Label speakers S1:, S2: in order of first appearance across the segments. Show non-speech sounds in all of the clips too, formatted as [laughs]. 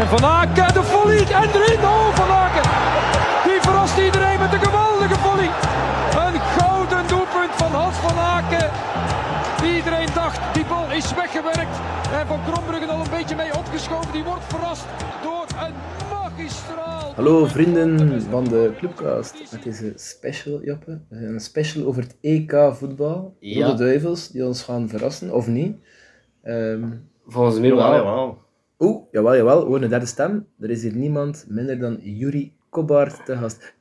S1: En Van Aken, de volley. En erin. Oh, Van Aken. Die verrast iedereen met een geweldige volley. Een gouden doelpunt van Hans Van Aken. Iedereen dacht, die bal is weggewerkt. En Van Krombruggen al een beetje mee opgeschoven. Die wordt verrast door een magistraal.
S2: Hallo vrienden van de Clubcast. Met deze special, Joppe. Een special over het EK voetbal.
S3: Ja.
S2: Rode Duivels, die ons gaan verrassen, of niet. Ehm
S3: Volgens mij
S2: Jawel,
S3: wel. Jawel.
S2: Oeh, jawel, jawel. Gewoon een derde stem. Er is hier niemand minder dan Juri Kobart te gast.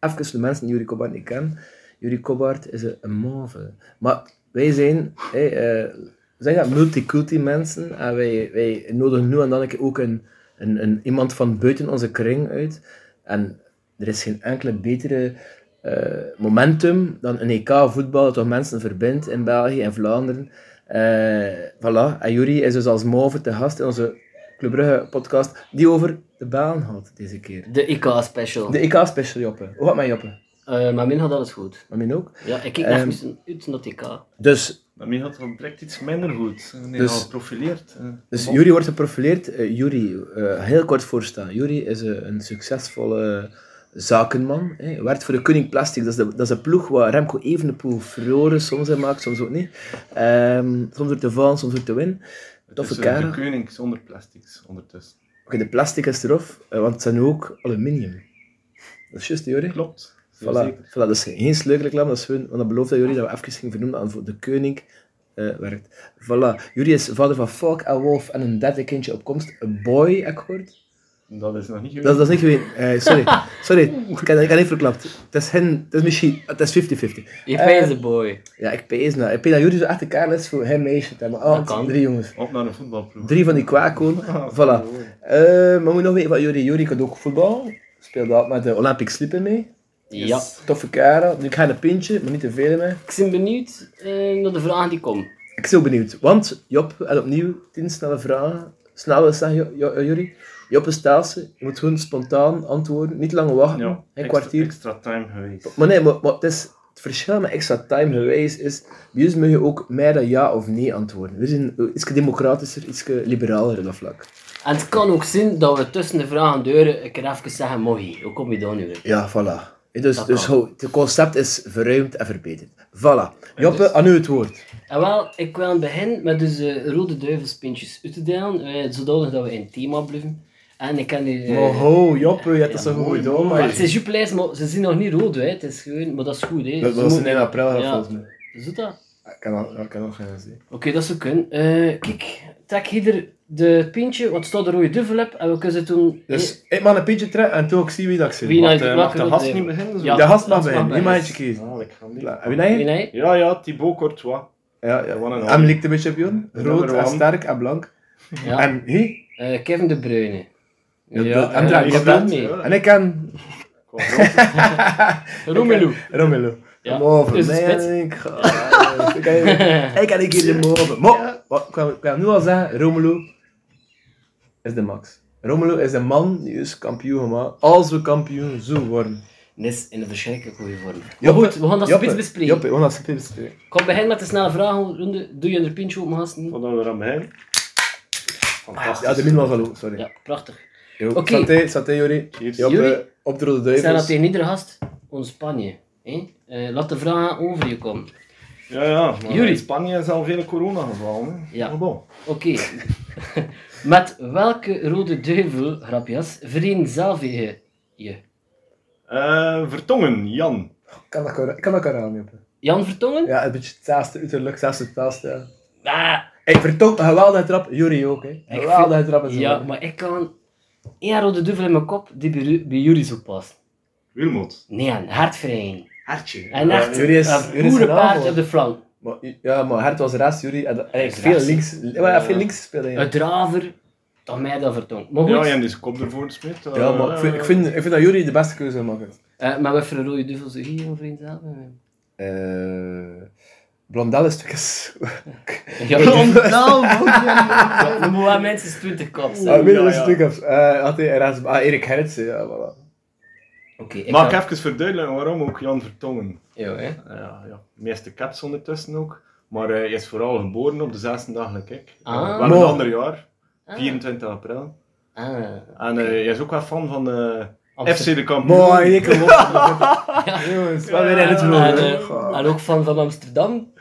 S2: Even voor de mensen die Juri Kobart niet kennen. Juri Kobart is een- een move. Maar wij zijn, hey, eh, we zijn dat multiculti mensen. En wij, wij nodigen nu en dan een keer ook een, een, een, iemand van buiten onze kring uit. En er is geen enkele betere eh, momentum dan een EK voetbal dat toch mensen verbindt in België en Vlaanderen. Eh voilà. En Juri is dus als move te gast in onze Club Brugge podcast die over de baan had deze keer.
S3: De IK-special.
S2: De EK special Joppe. Hoe gaat mijn Joppe?
S3: Eh, maar min had alles goed.
S2: Maar mijn ook.
S3: Ja, ik kijk echt
S2: Ehm.
S3: misschien uit naar het IK.
S2: Dus,
S4: Daarmee gaat het al direct iets minder goed. En hij
S2: Dus-
S4: al geprofileerd. eh.
S2: dus
S4: Bon.
S2: Juri wordt geprofileerd. Eh, Juri, eh, heel kort voorstaan. Juri is eh, een succesvolle zakenman. Hè. Werkt voor de Koning Plastic. Dat is, de, dat is een ploeg waar Remco Evenepoel furore soms in maakt, soms ook niet. Ehm, soms door te vallen, soms door te winnen.
S4: Het
S2: toffe
S4: is, eh,
S2: kerel.
S4: De koning zonder plastics ondertussen.
S2: Oké, de plastic is eraf, eh, want het zijn nu ook aluminium. Dat is juist, Juri.
S4: Klopt. Zeer
S2: Voilà,
S4: zeker.
S2: voilà, dat is geen sleutelreclame, dat is gewoon, want dat beloofde jullie dat we even gingen vernoemen aan voor de koning eh, werkt. Voilà, jullie is vader van Falk en Wolf en een derde kindje op komst, een boy, heb ik gehoord.
S4: Dat is nog niet geweest.
S2: Dat, dat is niet geweten, Eh, sorry,
S3: [laughs]
S2: sorry, ik heb, ik heb niet verklapt. Het is hen, het is misschien, het is 50-50.
S3: Je
S2: Eh,
S3: wijze boy.
S2: Ja, ik pees nou, ik pees dat jullie zo echt de kaart is voor hem meisje te hebben. Oh,
S3: Dat kan. Oh,
S2: drie jongens.
S4: Op naar een voetbalploeg.
S2: Drie van die kwaakkoen,
S3: [laughs]
S4: Ah,
S2: voilà.
S4: mooi.
S2: Eh, maar moet nog weten wat Juri, Juri kan ook voetbal, speelde altijd met de Olympic Sleeper mee.
S3: Ja.
S4: Yes.
S2: Toffe kerel, nu ga je een pintje, maar niet te veel mee.
S3: Ik ben benieuwd eh, naar de vragen die komen.
S2: Ik ben zo benieuwd, want Job, en opnieuw, tien snelle vragen. Snel wil zeggen, jullie. Job is Taalse, je moet gewoon spontaan antwoorden, niet lang wachten,
S4: Ja,
S2: een
S4: extra,
S2: kwartier.
S4: extra time geweest.
S2: Maar nee, maar, maar het, is, het verschil met extra time geweest is, bij ons mag je ook meer dan ja of nee antwoorden. We zijn eh, iets democratischer, iets liberaler op dat vlak.
S3: En het kan ook zijn dat we tussen de vragen deuren een keer even zeggen, mooi, hoe kom je daar nu weer?
S2: Ja, voilà. Eh, Dus,
S3: Dat
S2: dus
S3: kan.
S2: hou- het concept is verruimd en verbeterd. Voilà. Joppe,
S4: dus-
S2: aan u het woord.
S3: En wel, ik wil aan het begin met dus eh, rode duivelspintjes uit te delen, eh, zodanig dat we in het thema blijven. En ik kan nu... eh,
S2: Maar ho, Joppe, je hebt dat
S3: ja,
S2: zo goed
S4: mooi,
S2: gedaan,
S3: maar het
S2: maar...
S3: zijn juplijst, maar ze zien nog niet rood, hè. Het is gewoon... Maar dat is goed, hè.
S2: Dat
S3: Ze
S2: was
S3: moeten-
S2: in april, dat
S3: Ja.
S2: volgens mij.
S3: Is dat?
S2: Ik kan al- ik kan nog geen zien.
S3: Oké, dat zou kunnen. Eh, kijk, trek hier de pintje, want er staat een rode duvel op en we kunnen ze toen... eh,
S2: Dus ik mag een pintje trekken en toen ook zie wie dat ik zit.
S3: Wie
S2: Mag
S3: nou-
S2: de-
S3: welke
S2: mag de
S3: wil
S2: gast
S3: je?
S2: niet dus
S4: Niet beginnen zo.
S3: Ja.
S2: De gast mag
S3: dat
S2: bij,
S3: mag
S2: niet
S3: bij.
S2: maatje kiezen.
S4: Ah, ik ga niet.
S2: Voilà. En wie nou?
S3: Wie nee?
S4: Ja, ja, Thibaut Courtois.
S2: Ja, ja.
S4: Ja, wat een
S2: Hem
S4: hand.
S2: lijkt een beetje op Jon.
S4: De
S2: Rood
S4: nummer
S2: en
S4: one.
S2: sterk en blank.
S3: Ja.
S2: En hij?
S3: Eh, Kevin De Bruyne.
S2: Ja, dat- en
S3: eh,
S2: daar
S3: ik
S2: komt
S3: ben
S2: dat.
S3: mee.
S4: Ja.
S2: En ik ken
S4: Ik wou
S2: [laughs]
S4: rood.
S3: Romelu.
S2: Romelu.
S3: Ja,
S2: De Move.
S3: dus de
S2: Nee, [laughs]
S3: spits.
S2: ik ga- ik ken- Ik ken een keer de Move. Maar, wat- ik kan- ik kan nu al zeggen, Romelu is de max. Romelu is de man die is kampioen gemaakt. Als we kampioen zo worden.
S3: Nis in een verschrikkelijk goede vorm. Maar
S2: Joppe,
S3: goed, we gaan dat
S2: Joppe,
S3: spits bespreken.
S2: Joppe, we gaan dat spits bespreken.
S3: Ik ga beginnen met de snelle vragenronde. Doe je een pintje open, gasten?
S4: Wat dan weer aan mij. Fantastisch.
S2: Ja, de min was al ook, sorry.
S3: Ja, prachtig.
S2: Jo,
S3: Oké.
S2: Santé, santé Jori.
S4: Cheers.
S2: Joppe,
S3: Jori.
S2: op de Rode
S3: Ik zei dat
S2: Duivels.
S3: tegen iedere gast, ons Spanje. hè? Eh, laat de vragen over je komen.
S4: Ja, ja. maar
S3: Jullie.
S4: In Spanje is al veel corona gevallen. hè.
S3: Ja.
S4: Maar bon.
S3: Oké. [laughs] Met welke rode duivel, grapjas, vereenzelvig je je?
S4: Eh, Vertongen, Jan.
S2: Kan dat kara- kan dat karaam, Joppe?
S3: Jan Vertongen?
S2: Ja, een beetje hetzelfde uiterlijk, hetzelfde hetzelfde. ja.
S3: Ah,
S2: Hey, vertoont een geweldige trap. Jori ook, hè. Een
S3: ik
S2: geweldige
S3: vind-
S2: trap is
S3: Ja,
S2: dat.
S3: maar ik kan één rode duivel in mijn kop die bij, Ru- bij jullie zou passen.
S4: Wilmot.
S3: Nee, een hartverein.
S4: Hartje. Eh,
S3: En echt
S2: jullie is- jullie
S3: een
S2: is
S3: goede
S2: gedaan,
S3: paard
S2: hoor.
S3: op de flank.
S2: Maar, ja, maar Hert was raast, Jori. En dat-
S3: Hij is
S2: Veel
S3: raast,
S2: links. Maar ja, veel links spelen, ja.
S3: Een draver, dan mij dat vertongt. Maar goed,
S4: Ja, en dus kop ervoor gesmeed.
S2: Ja, maar ik vind, ik vind, ik vind dat Jori de beste keuze maakt.
S3: eh, maar wat voor een rode duivel zou je hier vriend hebben?
S2: Eh... Blondel is stukjes.
S3: [laughs]
S2: [laughs]
S3: Ja,
S2: Blondel,
S3: we moeten wel mensen 20 kop zijn.
S2: Ah,
S3: Oké,
S2: minder is
S4: ja.
S2: stukjes. Eh, had hij raast- Ah, Erik Gerritsen, ja, voilà.
S3: ik
S4: Mag
S3: ga-
S4: ik even verduidelijken waarom ook Jan Vertongen? Eh,
S3: Ja, hè.
S4: Ja, ja. De meeste caps ondertussen ook. Maar eh, hij is vooral geboren op de zesde dag, like ik. Eh,
S3: Ah.
S4: Wel een
S2: Maar-
S4: ander jaar,
S3: Ah.
S4: 24 april.
S3: Ah,
S4: En eh, jij is ook wel fan van eh, FC
S3: Amsterdam.
S4: de kampioen.
S2: Mooi, ik
S3: [laughs]
S2: heb Jongens, wat weer in het
S4: Ja,
S2: roer.
S3: En,
S2: hè.
S3: eh,
S2: Goh.
S3: en ook van, van Amsterdam.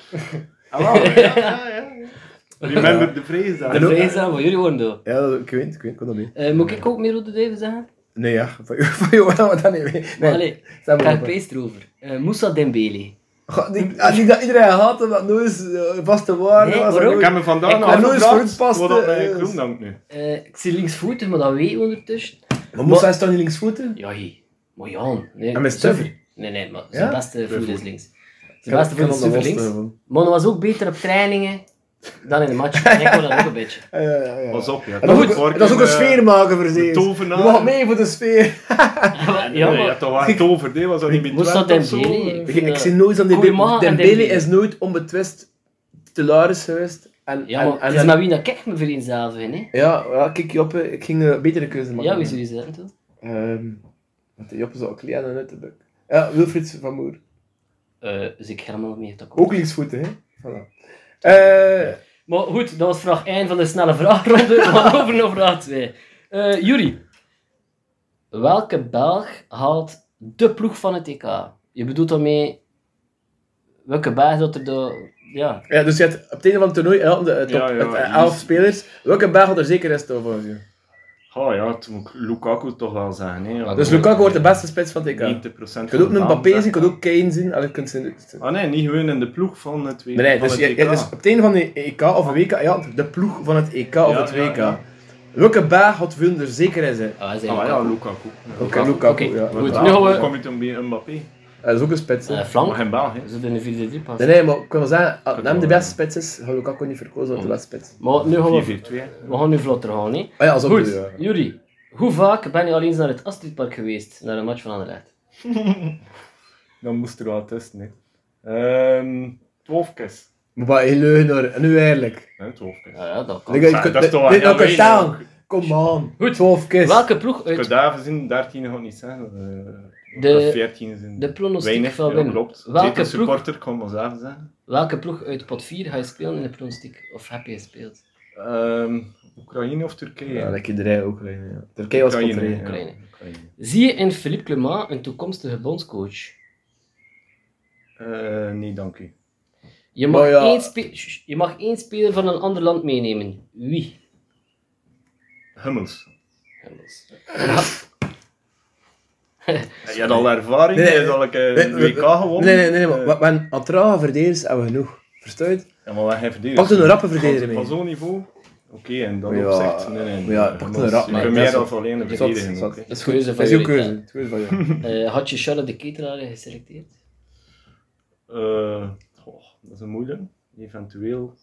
S4: Ah, wel, ja, ja, ja.
S3: [laughs]
S4: Remember the phrase daar.
S3: De vrees aan voor jullie worden door.
S2: Ja, ik weet, ik weet, ik kon dat mee.
S3: Eh, moet ik ook meer Rode Duiven zeggen?
S2: Nee, ja, [laughs] van jou, van jou gaan we dat niet mee. Nee,
S3: Maar allee,
S2: stem maar op, hè.
S3: KP's erover. Eh, Moussa Dembele.
S2: Goh, die- ah, die dat iedereen had en dat nooit eens, eh, vaste waarde
S3: Nee,
S2: was.
S3: waarom?
S2: en
S4: Ik
S2: nooit-
S4: heb me vandaag
S3: Ik
S4: nog
S2: heb nooit eens
S4: afgevraagd
S2: voortpast,
S4: wat dat mij
S2: eh,
S4: klopt dank nu.
S3: Eh, ik zie linksvoetig, maar dat weet je ondertussen.
S2: Maar Moussa is toch niet linksvoeten?
S3: Ja, hé. Maar Jan. Nee,
S2: En met Stuffer?
S3: Nee, nee, maar zijn
S2: Ja?
S3: beste voet is links.
S2: Ik heb-
S3: Zijn beste
S2: ik heb
S3: voet is
S2: hem
S3: super
S2: nog
S3: links.
S2: wel steun,
S3: Maar hij was ook beter op trainingen dan in de
S2: [laughs]
S3: match. En ik wou dat ook een beetje.
S2: Ja, ja, ja, ja.
S4: Pas op, ja.
S2: En dat,
S4: Vorige
S2: is ook,
S4: keer,
S2: dat is ook een
S4: eh,
S2: sfeer maken voor
S4: De
S2: ze.
S4: tovenaar.
S2: Wat mee voor de sfeer.
S3: Ja,
S4: Ja,
S3: maar-
S4: ja, toch waar, tover, nee, was dat niet met
S3: Moest dat
S4: Twente of
S3: Dembele?
S4: zo?
S2: Ik,
S3: vind,
S2: ik
S3: eh,
S2: zie nooit aan
S3: Koeman
S2: Dembele.
S3: en
S2: Dembele
S3: Dembele.
S2: is nooit onbetwist titularis geweest. En,
S3: Ja, maar
S2: en, en,
S3: het is naar wie dat kijk me vriend zelf in, hè.
S2: ja, ja, kijk Joppe, ik ging een betere keuze maken.
S3: Ja, wie zou je zeggen, toch?
S2: Ehm, want de Joppe zou ook Lea en Uitenbuk. Ja, Wilfried van Moer.
S3: Eh, dus ik ga helemaal mee te
S2: Ook linksvoeten, hè? Voilà. Eh,
S3: Maar goed, dat was vraag 1 van de snelle vraagronde. [laughs] We gaan over naar vraag 2. Eh Juri, welke Belg haalt de ploeg van het EK? Je bedoelt daarmee welke Belg dat er de... Ja,
S2: ja, dus je hebt op het einde van het toernooi eh, de, eh, top,
S4: Ja, ja,
S2: het, eh,
S4: die-
S2: elf spelers. Welke Belg had er zeker is toch volgens jou?
S4: Oh ja, toen moet ik Lukaku toch wel zeggen. Hè, ja.
S2: Dus Lukaku wordt de beste spits van het EK.
S4: 90%
S2: Je kunt ook een Mbappé zien, je
S4: ik
S2: kunt ook Kane zien. Allee, je kunt ze-
S4: Ah nee, niet gewoon in de ploeg van het WK.
S2: Nee, nee,
S4: van
S2: dus,
S4: het
S2: je,
S4: EK.
S2: je- dus op het einde van de EK of WK, ja, de ploeg van het EK of
S4: Ja,
S2: het
S4: ja,
S2: WK.
S4: ja.
S2: Welke Belg had veel er zeker in zijn?
S3: ah, hij zei
S4: Ah
S3: Lukaku.
S4: ja, Lukaku. Ja.
S2: Oké, Lukaku,
S3: Oké,
S2: ja.
S3: goed.
S4: Ja,
S3: Nu gaan
S4: dan
S3: we...
S4: kom je toen bij Mbappé.
S2: Dat is ook een spits. hè.
S3: eh,
S4: Maar
S3: flank.
S4: geen baan, hè.
S3: Ze doen een 4-3 pas.
S2: Nee, nee, maar ik kan wel zeggen, als
S4: Kan
S2: hem de
S4: wel, eh, Oh.
S2: beste spits is, had Lukaku niet verkozen als de beste spits.
S3: Maar nu gaan we...
S4: 4-4-2.
S3: We gaan nu vlotter gaan, hè.
S2: Ah ja, zo
S3: Goed,
S2: bedoel je, ja.
S3: Juri, hoe vaak ben je al eens naar het Astridpark geweest, naar een match van Anderlecht?
S4: Dan moest er wel testen, hè. Ehm, 12 keer.
S2: Maar wat een leugenaar, en nu eigenlijk.
S4: Nee, 12 keer.
S3: Ja, ja, dat kan.
S2: Like, je
S4: dat
S2: kunt-
S4: is toch wel
S2: dit-
S4: heel
S2: dat kan
S4: weinig.
S2: staan. Kom on.
S3: Goed.
S2: 12 keer.
S3: Welke ploeg
S4: Ik
S3: uit
S4: kan daar zien, 13 gaat niet zijn. eh,
S3: De-
S4: dat 14 zijn.
S3: de pronostiek
S4: Weinig,
S3: van
S4: ja,
S3: Wim.
S4: Klopt.
S3: Welke
S4: Welke
S3: ploeg-
S4: supporter kan maar zelf zeggen.
S3: Welke ploeg uit pot 4 ga je spelen in de pronostiek? Of heb je gespeeld?
S4: Ehm, Oekraïne of Turkije?
S2: Ja, dat kinderij ook. hè, Ja. Turkije was
S4: Oekraïne,
S2: contraire.
S4: ja,
S3: Oekraïne.
S4: Oekraïne.
S3: Zie je in Philippe Clement een toekomstige bondscoach?
S4: Eh, nee, dank u.
S3: Je mag,
S2: Maar Nou ja.
S3: één spe- Sst, je mag één speler van een ander land meenemen. Wie?
S4: Hummels.
S3: Hummels.
S4: Je hebt al ervaring,
S2: Nee, nee,
S4: je hebt al een keer een
S2: Nee,
S4: WK Eh, gewonnen.
S2: Nee, nee, nee, maar
S4: Eh,
S2: we- we hebben aan trage verdedigers hebben we genoeg. Verstaat?
S4: ja, maar wij geen verdediger.
S2: Pak er een rappe verdediger mee.
S4: Van zo'n niveau? Oké, en dat
S2: Maar ja,
S4: opzicht? Nee, nee.
S2: maar ja,
S4: nee,
S2: pak er een
S4: Hummels,
S2: rap,
S4: Je
S2: maar
S4: kunt
S2: dat
S4: meer
S2: is-
S4: dan alleen een
S2: Zot,
S4: verdediger.
S2: zot.
S4: oké.
S2: Dat is goed.
S3: Keuze
S2: Dat
S3: van
S2: is jouw
S3: jullie,
S2: keuze. Het
S4: [laughs]
S2: is goed van jou.
S3: Eh, had je Charlotte de Ketelaar geselecteerd?
S4: Eh, goh, dat is een moeilijk. Eventueel.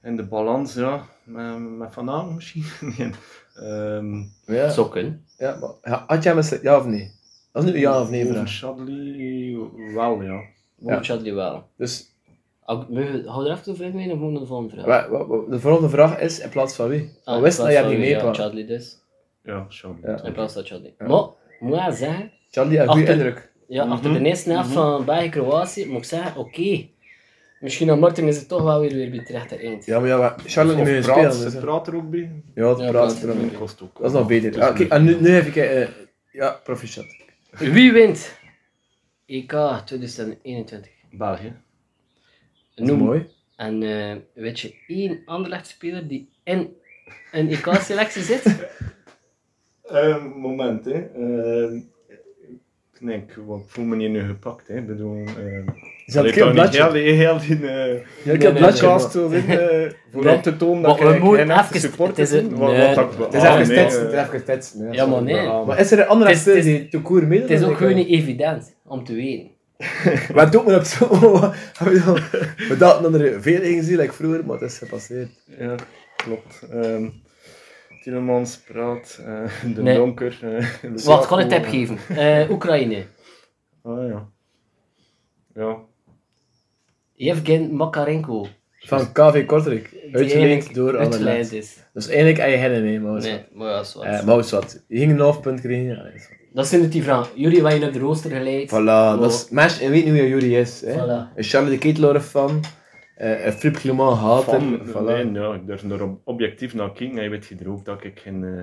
S4: En de balans, ja. Met, met Van Aam misschien. [laughs] nee. Ehm,
S2: Ja.
S3: Zou kunnen.
S2: Ja, maar ja, had jij hem eens- ja of nee? Dat is nu een ja of nee
S4: Over
S2: vraag.
S4: Chadli wel, ja.
S3: Moet Chadli wel.
S2: Dus
S3: Hou hou er even over mee of moet ik nog een vraag?
S2: wa- wa- wa- de volgende vraag is, in plaats van wie?
S3: Ah,
S2: We wisten dat
S3: in
S2: jij niet
S3: plaats van-
S2: mee
S3: Ja,
S2: kwam.
S3: Chadli dus.
S4: Ja, Chadli.
S2: Ja.
S4: toch.
S3: In plaats van Chadli.
S2: Ja.
S3: Maar, moet ik zeggen,
S2: Charlie, een goede
S3: Achter-
S2: indruk.
S3: Ja,
S4: Mhm.
S3: achter de eerste helft van België-Kroatië moet ik zeggen, oké. Misschien aan Martin is het toch wel weer, weer bij terecht eind.
S2: Ja, maar ja, maar Charlie
S4: Of
S2: niet mee
S4: Praat,
S2: spelen. dus,
S4: ze
S2: hè.
S4: praat er ook bij.
S2: Ja, het
S3: Ja,
S2: praat.
S3: praat.
S2: praat.
S4: Dat kost ook.
S2: Dat is nog beter.
S4: Dus
S2: Ja, kijk, en nu, nu even kijken. eh, ja, proficiat.
S3: Wie wint? E EK 2021.
S4: België.
S2: Dat is mooi.
S3: En eh, weet je één Anderlecht-speler die in een EK-selectie
S2: [laughs]
S3: zit?
S4: Eh, moment, hè. Eh, nee, ik wat- ik voel me niet nu gepakt, hè. Ik bedoel... eh,
S2: Is dat
S4: allee,
S2: een keer een
S4: toch niet heel,
S2: bladje?
S4: die- heel die... eh,
S2: Ja, ik
S3: Nee,
S2: heb bladje.
S3: nee,
S2: gehad,
S3: nee,
S4: podcast
S2: hoor.
S4: wil [laughs] winnen, voor
S3: Nee.
S4: aan te tonen
S3: Maar
S4: dat
S3: we
S4: ik
S3: moeten
S4: een echte
S3: even-
S4: supporter
S3: het is een-
S4: ben. Wat-
S3: nee.
S4: wat dat-
S2: Het is
S4: ah,
S2: even
S4: nee,
S2: tetsen,
S4: eh,
S2: het is even tetsen,
S3: Ja, maar
S2: zo.
S3: nee.
S4: ja,
S2: Maar is er een andere
S3: Het is-
S2: acteur
S3: het is-
S2: die te koer meedoet?
S3: Het is
S2: dan
S3: ook
S2: ik?
S3: gewoon niet evident om te weten.
S2: Wat doet men op zo? [laughs] We dachten dat er veel in gezien, like vroeger, maar het is gepasseerd.
S4: Ja, klopt. Ehm Tielemans praat, eh, de
S3: Nee.
S4: donker. eh,
S3: Wat kan ik
S4: Lukaku,
S3: tip geven? Eh, Oekraïne.
S4: Ah ja. Ja.
S3: Yevgen Makarenko.
S2: Van KV Kortrijk,
S3: die
S2: uitgeleend
S3: eigenlijk
S2: door
S3: uitgeleid
S2: Anderlecht.
S3: is.
S2: Dus eigenlijk heb je hen mee, maar nee.
S3: Nee, maar ja, is wat.
S2: eh, maar het is wat. Je ging een half punt krijgen. Ja, dat is wat.
S3: Dat zijn het die vragen. Jullie waren op de rooster geleid.
S2: Voilà, dat is match en weet niet hoe je Jury is. Hè.
S3: Voilà.
S2: Is Charlie de Ketelaar van. eh een Filip Clement haalt
S4: Van,
S2: hem.
S4: nee,
S2: Voilà.
S4: nou, ik durf er ob- objectief naar kijken. En je weet je er ook dat ik geen eh,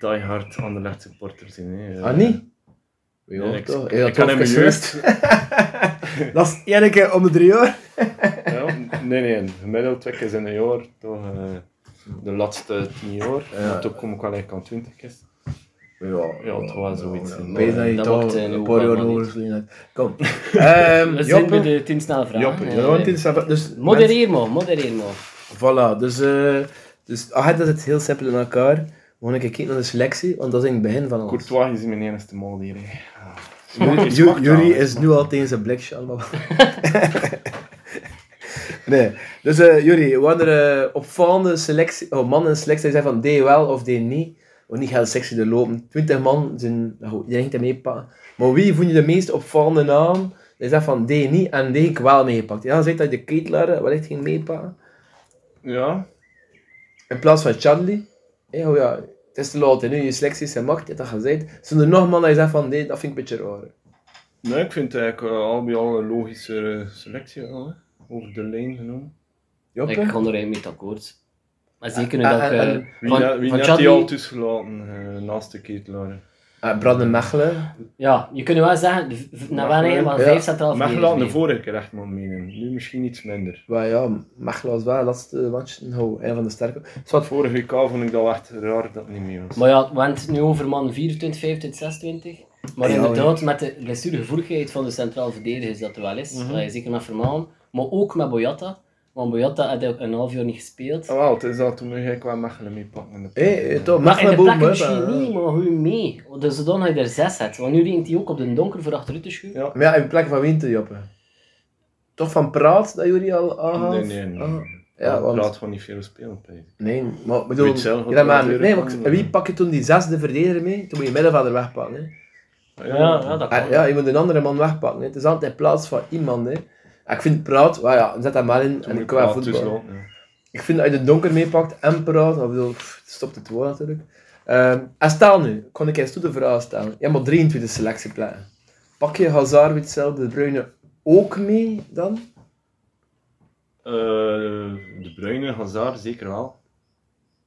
S4: diehard Anderlecht supporter ben. hè.
S2: Ah, niet?
S4: Eh,
S2: Ja,
S4: ik,
S2: toch?
S4: ik
S2: Heel
S4: kan
S2: tof
S4: in mijn
S2: pessimist.
S4: jeugd...
S2: Dat is één keer om de drie jaar.
S4: [laughs] Ja, nee, nee, gemiddeld twee keer in een jaar, toch eh, de laatste tien jaar.
S2: Ja.
S4: Maar Toen kom ik wel eigenlijk aan twintig keer. Ja, het was zoiets.
S2: Ik weet dat je
S3: Dat
S2: toch
S3: maakt, eh,
S2: een
S3: ook
S2: paar jaar
S3: allemaal
S2: over [laughs] Kom. Ehm
S3: We zijn bij
S2: Joppe.
S3: de tien snelle vragen.
S2: Joppe.
S3: Eh,
S2: Ja, want dit is even- dus mensen-
S3: Modereer maar, modereer maar.
S2: Voilà, dus, eh dus ah, dat is heel simpel in elkaar. We gaan een keer kijken naar de selectie, want dat is in het begin van alles.
S4: Courtois is mijn enige mol hier. hè.
S2: Ju-
S4: Is
S2: Ju-
S4: smaakt wel,
S2: Jury
S4: hè,
S2: is
S4: smaakt
S2: nu al tegen zijn blikje allemaal. [laughs] nee, dus eh Jury, we hadden er eh, opvallende selectie, oh, mannen in selectie die zeggen van D wel of D niet. We niet gaan sexy er lopen. 20 man zijn, nou goed, iedereen ging dat meepakken. Maar wie vond je de meest opvallende naam? Die zegt van D niet en D ik wel meegepakt. Ja, dan zegt dat je de Ketelaar eh, wellicht ging meepakken.
S4: Ja,
S2: In plaats van Charlie. Ja, oh ja, het is te laat. hè. Nu je selectie is gemaakt, je hebt dat gezegd. Zijn er nog mannen die zeggen van nee, dat vind ik een beetje raar.
S4: nee, ik vind het eigenlijk eh, al bij al een logische eh, selectie. wel, hè. Over de lijn genomen.
S2: Joppe?
S3: Ik ga er eigenlijk mee akkoord. Maar zeker nu
S2: Ah,
S3: dat ik...
S2: ah,
S3: eh,
S2: ah,
S4: Wie,
S3: van-
S4: net- wie
S3: van
S4: net
S3: Chadli-
S4: die al tussengelaten eh, naast de ketelaar?
S2: Eh, Brandon Mechelen.
S3: Ja, je kunt wel zeggen, de v- naar
S4: Mechelen,
S3: wanneer van
S2: ja.
S3: vijf centraal
S4: Mechelen de
S3: verdedigers mee.
S4: vorige keer echt man meenemen. Nu misschien iets minder.
S2: Maar ja, Mechelen was wel het laatste match. Nou, een van de sterke. Zwart voor.
S4: Vorige WK vond ik dat echt raar dat het niet meer was.
S3: Maar ja, we hebben het nu over man 24, 25, 26. Maar
S2: Ja,
S3: inderdaad, met de blessuregevoeligheid van de centraal verdedigers dat er wel is,
S2: Mhm.
S3: dat je zeker naar Vermaan, maar ook met Boyata. Want Boyata had ook een half jaar niet
S2: Oh,
S3: gespeeld.
S4: Ah, wel, het is dat toen nu eigenlijk wel Mechelen mee pakken. in de
S2: Hé,
S4: ploeg.
S2: hey, toch,
S3: Maar in
S2: Mechelen
S3: de
S2: boven eh.
S3: plek
S2: me.
S3: misschien
S2: hè.
S3: niet, maar hoe mee? Dus dan had je er zes hebt. Want nu ringt hij ook op de donker voor achteruit te schuiven.
S4: Ja.
S2: Maar ja, in plek van Winter, Joppe. Toch van Praat, dat jullie al aanhaalt?
S4: Nee, nee, nee.
S2: Ah,
S4: ja,
S2: ja, want...
S4: Praat gewoon niet veel spelen, Peter.
S2: Nee, maar ik bedoel...
S4: Weet zelf wat
S2: Ja, maar,
S4: de deur
S2: nee, maar
S4: kan,
S2: ik- wie
S4: eh.
S2: pak je toen die zesde verdediger mee? Toen moet je middenvelder wegpakken. Hè.
S3: Ja, ja, dat kan.
S2: Ah, ja, je moet een andere man wegpakken. Hè. Het is altijd in plaats van iemand. Hè. En ik vind praat, well, ja, zet dat maar in
S4: Toen moet
S2: en
S4: je
S2: qua
S4: Praat
S2: voetbal.
S4: tussenlopen, ja.
S2: Ik vind dat je de donker meepakt en praat, ik bedoel, pff, het stopt het woord natuurlijk. Ehm, en stel nu, kon ik eens toe de vraag stellen. Je hebt maar 23 selectieplannen. Pak je Hazard, Witzel, De Bruyne ook mee dan?
S4: Eh, de Bruine, Hazard zeker wel.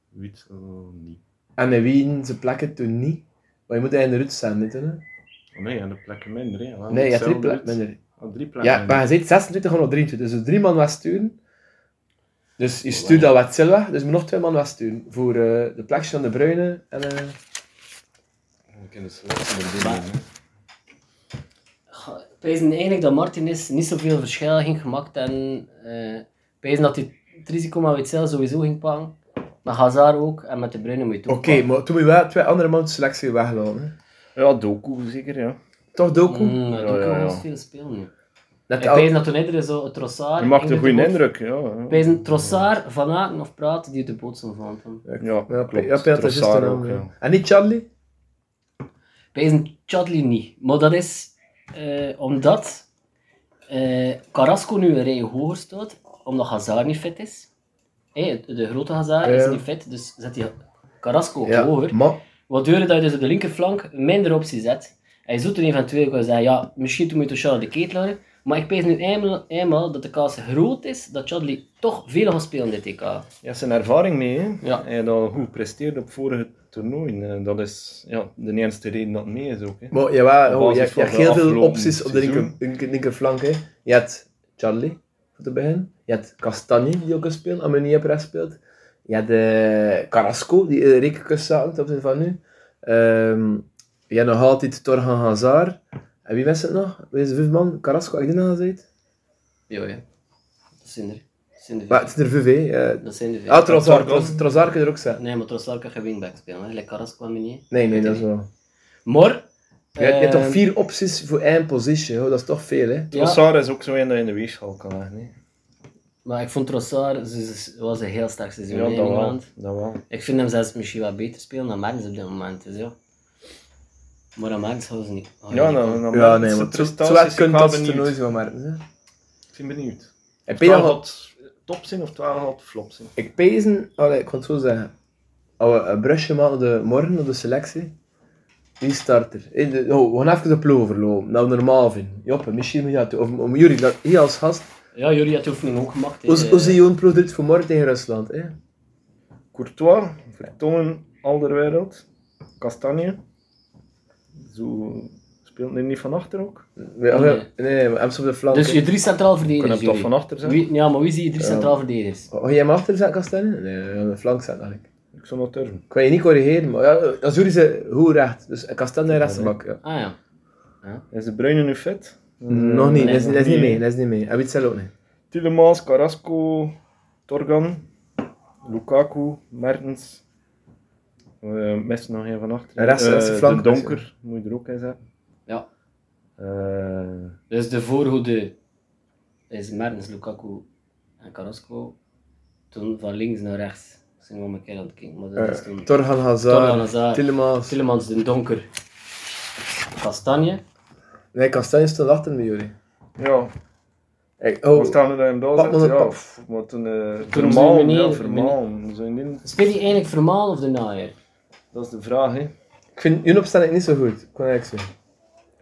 S4: Wit oh, niet.
S2: En met wie ze plekken toen niet? Want je moet eigenlijk de Ruud zijn, niet hè?
S4: Oh, nee, aan de plekken minder. Hè. Wel,
S2: Nee, je hebt drie
S4: hetzelfde
S2: plekken
S4: doet.
S2: minder.
S4: Ah, drie plekken
S2: Ja, maar je zit 26 of 23, dus drie man wegsturen. Dus je stuurt al wat Silva, dus je moet nog twee man wegsturen. Voor eh, de plekjes van de Bruine en... eh,
S4: Ik ken de selectie er binnen, hè.
S3: Pijzen eigenlijk dat Martinez niet zoveel verschil ging gemaakt en eh pijzen dat hij het risico met Witzel sowieso ging pakken. Met Hazard ook en met de Bruyne moet je het
S2: Oké,
S3: ook pakken.
S2: maar toen moet je wel twee andere man uit de selectie weglaten. hè.
S4: Ja, Doku zeker, ja.
S2: Toch Doku?
S3: Mm, dat
S4: Ja,
S3: kan
S4: ja, ja.
S3: wel eens veel spelen nu.
S2: Net
S3: Ik
S2: al-
S3: pijs dat toen iedereen zo het Trossard...
S4: Je maakt een
S3: goede
S4: goede indruk, ja. ja.
S3: Pijzen Trossard, Van Aken of Praat die uit de boot zijn van hem.
S4: Ja,
S2: Ja,
S4: klopt.
S2: ja, Peter is
S4: Trossard
S2: de naam,
S4: ook,
S2: ja.
S4: ja.
S2: En niet Charlie?
S3: Pijzen Chadli niet. Maar dat is eh, omdat eh, Carrasco nu een rij hoger staat, omdat Hazard niet fit is. Hey, de grote Hazard is
S2: Ja.
S3: niet fit, dus zet die Carrasco
S2: Ja,
S3: hoger.
S2: maar...
S3: Waardoor dat je dus op de linkerflank minder optie zet. En je zult er eventueel kunnen zeggen, ja, misschien toen moet je Charles de Ketelaar. Maar ik pees nu eenmaal, eenmaal dat de kans groot is dat Chadli toch veel gaat spelen in dit TK.
S4: Ja, zijn ervaring mee, hè.
S3: Ja.
S4: Hij had al goed presteerd op vorige toernooi. Eh, Dat is ja, de enige reden dat het mee is ook, hè.
S2: Maar jawel,
S4: Op
S2: oh, je, hebt- je
S4: basis van
S2: hebt
S4: de
S2: heel veel
S4: afgelopen
S2: opties op de linker,
S4: seizoen.
S2: linker, linkerflank. Hè. Je hebt Charlie, voor te beginnen. Je hebt Castanje, die ook kan spelen, als men niet op rechts speelt. Je hebt eh, Carrasco, die uh, rekenkus zaten ten opzichte van nu. Ehm, je hebt nog altijd Torgan Hazard. En wie was het nog? Wie is de vijf man? Carrasco, had ik die nog gezegd?
S3: Ja, ja. Dat zijn er. Dat zijn er
S2: Maar
S3: veel.
S2: het is er vijf, hè. Eh,
S3: Dat zijn er veel.
S2: ah, Trossard.
S4: Torgan.
S2: Tros- Trossard kan er ook zijn.
S3: Nee, maar Trossard kan geen wingback spelen, hè. Like Carrasco en Meunier.
S2: Nee, nee, dat is wel...
S3: Maar...
S2: Je hebt, je hebt toch
S3: ehm,
S2: vier opties voor één position, hoor. dat is toch veel, hè?
S3: Ja,
S4: Trossard is ook zo in dat je in de weegschaal kan leggen, hè.
S3: maar ik vond Trossard ze- ze- was een heel sterk seizoen
S4: Ja,
S3: in
S4: dat wel.
S3: Engeland.
S4: Dat wel.
S3: Ik vind hem zelfs misschien wat beter spelen dan Mertens op dit moment. Dus ja. Maar aan Mertens houden ze niet. houden
S4: Ja,
S3: ze niet van.
S4: nou, nou,
S2: Ja, nee,
S4: zijn
S2: want zo
S4: prestaties,
S2: zo hard
S4: ik
S2: kunt
S4: ben
S2: dat ze
S4: benieuwd.
S2: nooit van Mertens, hè.
S4: Ik ben benieuwd.
S2: Ik
S4: Twaalf
S2: pees al-
S4: had top zijn of 12 had flop zijn.
S2: ik pezen, allee, ik kan het zo zeggen, als we een brusje maken op de, morgen op de selectie, wie start er? Eh, Hey, de- oh, we gaan even de ploeg overlopen, dat we normaal vinden. Joppe, misschien moet je dat doen. Of, om jullie, dat, hier als gast,
S3: Ja, jullie hadden de oefening ook gemaakt. hè.
S2: Oz- Ozeon ploegt het vanmorgen tegen Rusland. Hè?
S4: Courtois, Vertongen, Alderwereld, Kastanje. Zo speelt hij niet van achter ook.
S2: Nee, of-
S3: Nee.
S2: nee, nee, maar hem is op de flank.
S3: Dus je drie centraal
S4: Kan
S3: verdedigers.
S4: hem toch
S3: jullie.
S4: van achter zijn?
S3: Wie, ja, maar wie zie je drie centraal verdedigers?
S2: Ga je hem achter zetten, Kastanje? Nee, aan de flank zetten eigenlijk.
S4: Ik zou dat durven.
S2: Ik kan je niet corrigeren, maar ja, Azuri is hoe recht. Dus Kastanje rechtsbak. Ja.
S3: Ah ja.
S4: Is de Bruyne nu fit?
S2: Nog niet, dat is, dat is niet
S4: Nee.
S2: mee. Dat is niet mee. En Witzel ook niet.
S4: Tielemans, Carrasco, Torgan, Lukaku, Mertens. Eh Messi nog een van achter.
S2: En rechts-
S4: Eh,
S2: rechts de flank,
S4: de Donker moet je er ook in zetten.
S3: Ja.
S4: Eh,
S3: Dus de voorhoede is Mertens, Lukaku en Carrasco. Toen van links naar rechts. Ik ben wel mijn keer aan het kijken, maar
S4: Eh,
S3: dat is
S2: Torgan
S3: toen... Torgan
S2: Hazard,
S3: Hazard.
S2: Tillemans.
S3: Tillemans, Den Donker. Kastanje.
S2: Nee, Kastanje stond achter me, jullie.
S4: ja,
S2: Ik,
S4: we
S2: oh,
S4: staan er dan daar
S2: pak
S4: zitten,
S2: maar een
S4: ja.
S2: pak.
S4: f- Maar toen, eh
S3: Toen
S4: Vermaal,
S3: zijn we
S4: ja,
S3: niet-
S4: Vermaal. Zijn niet-
S3: Speel je eigenlijk Vermaal of de Naaier?
S4: Dat is de vraag, hè.
S2: ik vind hun opstelling niet zo goed. Ik kon eigenlijk zeggen.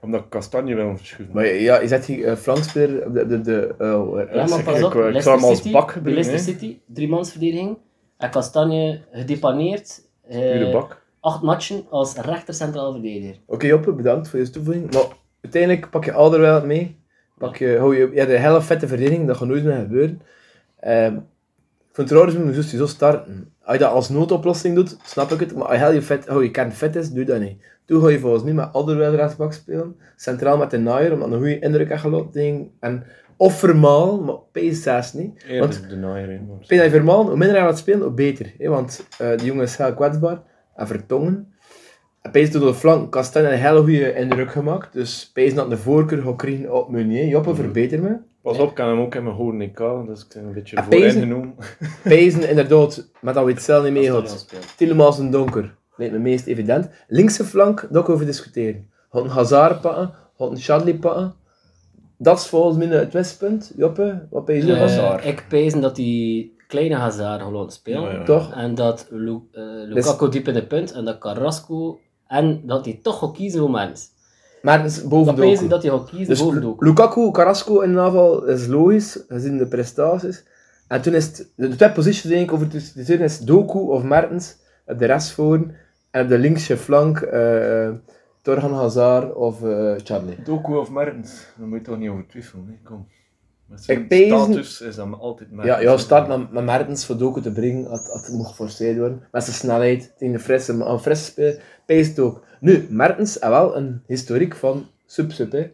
S4: Omdat ik Kastanje wil verschuiven.
S2: Maar ja, je zet die eh, flankspeler op de... de, de eh,
S3: Ja, maar
S4: zeg
S3: pas
S4: ik,
S3: op.
S4: eh, ik
S3: Leicester
S4: zou hem als
S3: City,
S4: bak
S3: bij
S4: gebruiken,
S3: Leicester City, driemansverdediging. En Kastanje gedepaneerd. eh,
S4: Pure bak.
S3: acht matchen als rechter centraal verdediger.
S2: Oké, Joppe, bedankt voor je toevoeging. Maar uiteindelijk pak je Alderweireld mee. Pak je, hou je, ja, de hele vette verdediging, dat gaat nooit meer gebeuren. Ehm, ik vind trouwens, moet je zo zo starten. Als je dat als noodoplossing doet, snap ik het. Maar als je heel je, vet, hou je kern vet is, doe dat niet. Toen ga je volgens mij met Alderweireld rechtsbak spelen. Centraal met de naaier, omdat hij een goede indruk heeft gelaten. tegen- En, of vermaal, maar PS6 niet. Want
S4: Eerder de naaier, hè, maar-
S2: ik vind dat Vermaal, hoe minder hij gaat spelen, hoe beter. Hè? Want eh, die jongen is heel kwetsbaar en vertongen. En Pees doet door de flank Kastanje een hele goede indruk gemaakt. Dus Pees dat de voorkeur gaat krijgen op Meunier. Joppe, verbeter me.
S4: Pas op, ik kan hem ook in mijn hoorn niet kalen, dus ik ben een beetje
S2: Ah, pezen?
S4: vooringenomen.
S2: Pezen inderdaad, met dat Witzel niet
S3: Kastanje
S2: meegaat.
S3: als speler.
S2: Tielemans en Donker, lijkt me meest evident. Linkse flank, daar kunnen we over discussiëren. Gaat een Hazard pakken, gaat een Chadli pakken. Dat is volgens mij het westpunt. Joppe, wat pees je
S3: Eh,
S2: Hazard?
S3: ik pezen dat die kleine Hazard gewoon speelt.
S4: Ja, ja.
S2: Toch?
S3: En dat Lu- eh,
S2: Dus-
S3: Lukaku diep in de punt en dat Carrasco. En dat hij toch gaat kiezen voor mens.
S2: Maar het is
S3: Dat
S2: boven
S3: pees
S2: Doku.
S3: ik dat hij gaat kiezen
S2: Dus
S3: boven
S2: Lu-
S3: Doku.
S2: Lukaku, Carrasco in de aanval is logisch, gezien de prestaties. En toen is het, de twee posities denk ik over te discussiëren is Doku of Mertens op de rest voor. En op de linkse flank eh eh, Torgan Hazard of eh Chadli.
S4: Doku of Mertens, daar moet je toch niet over twijfelen. Hè? Kom. Met zijn
S2: Ik pezen-
S4: status is dan altijd Mertens.
S2: Ja, jouw start met, met Mertens voor Doku te brengen had, had mocht geforceerd worden. Met zijn snelheid tegen de frisse, maar een frisse spe- pace het ook. Nu, Mertens heeft wel een historiek van sub-sub, hè.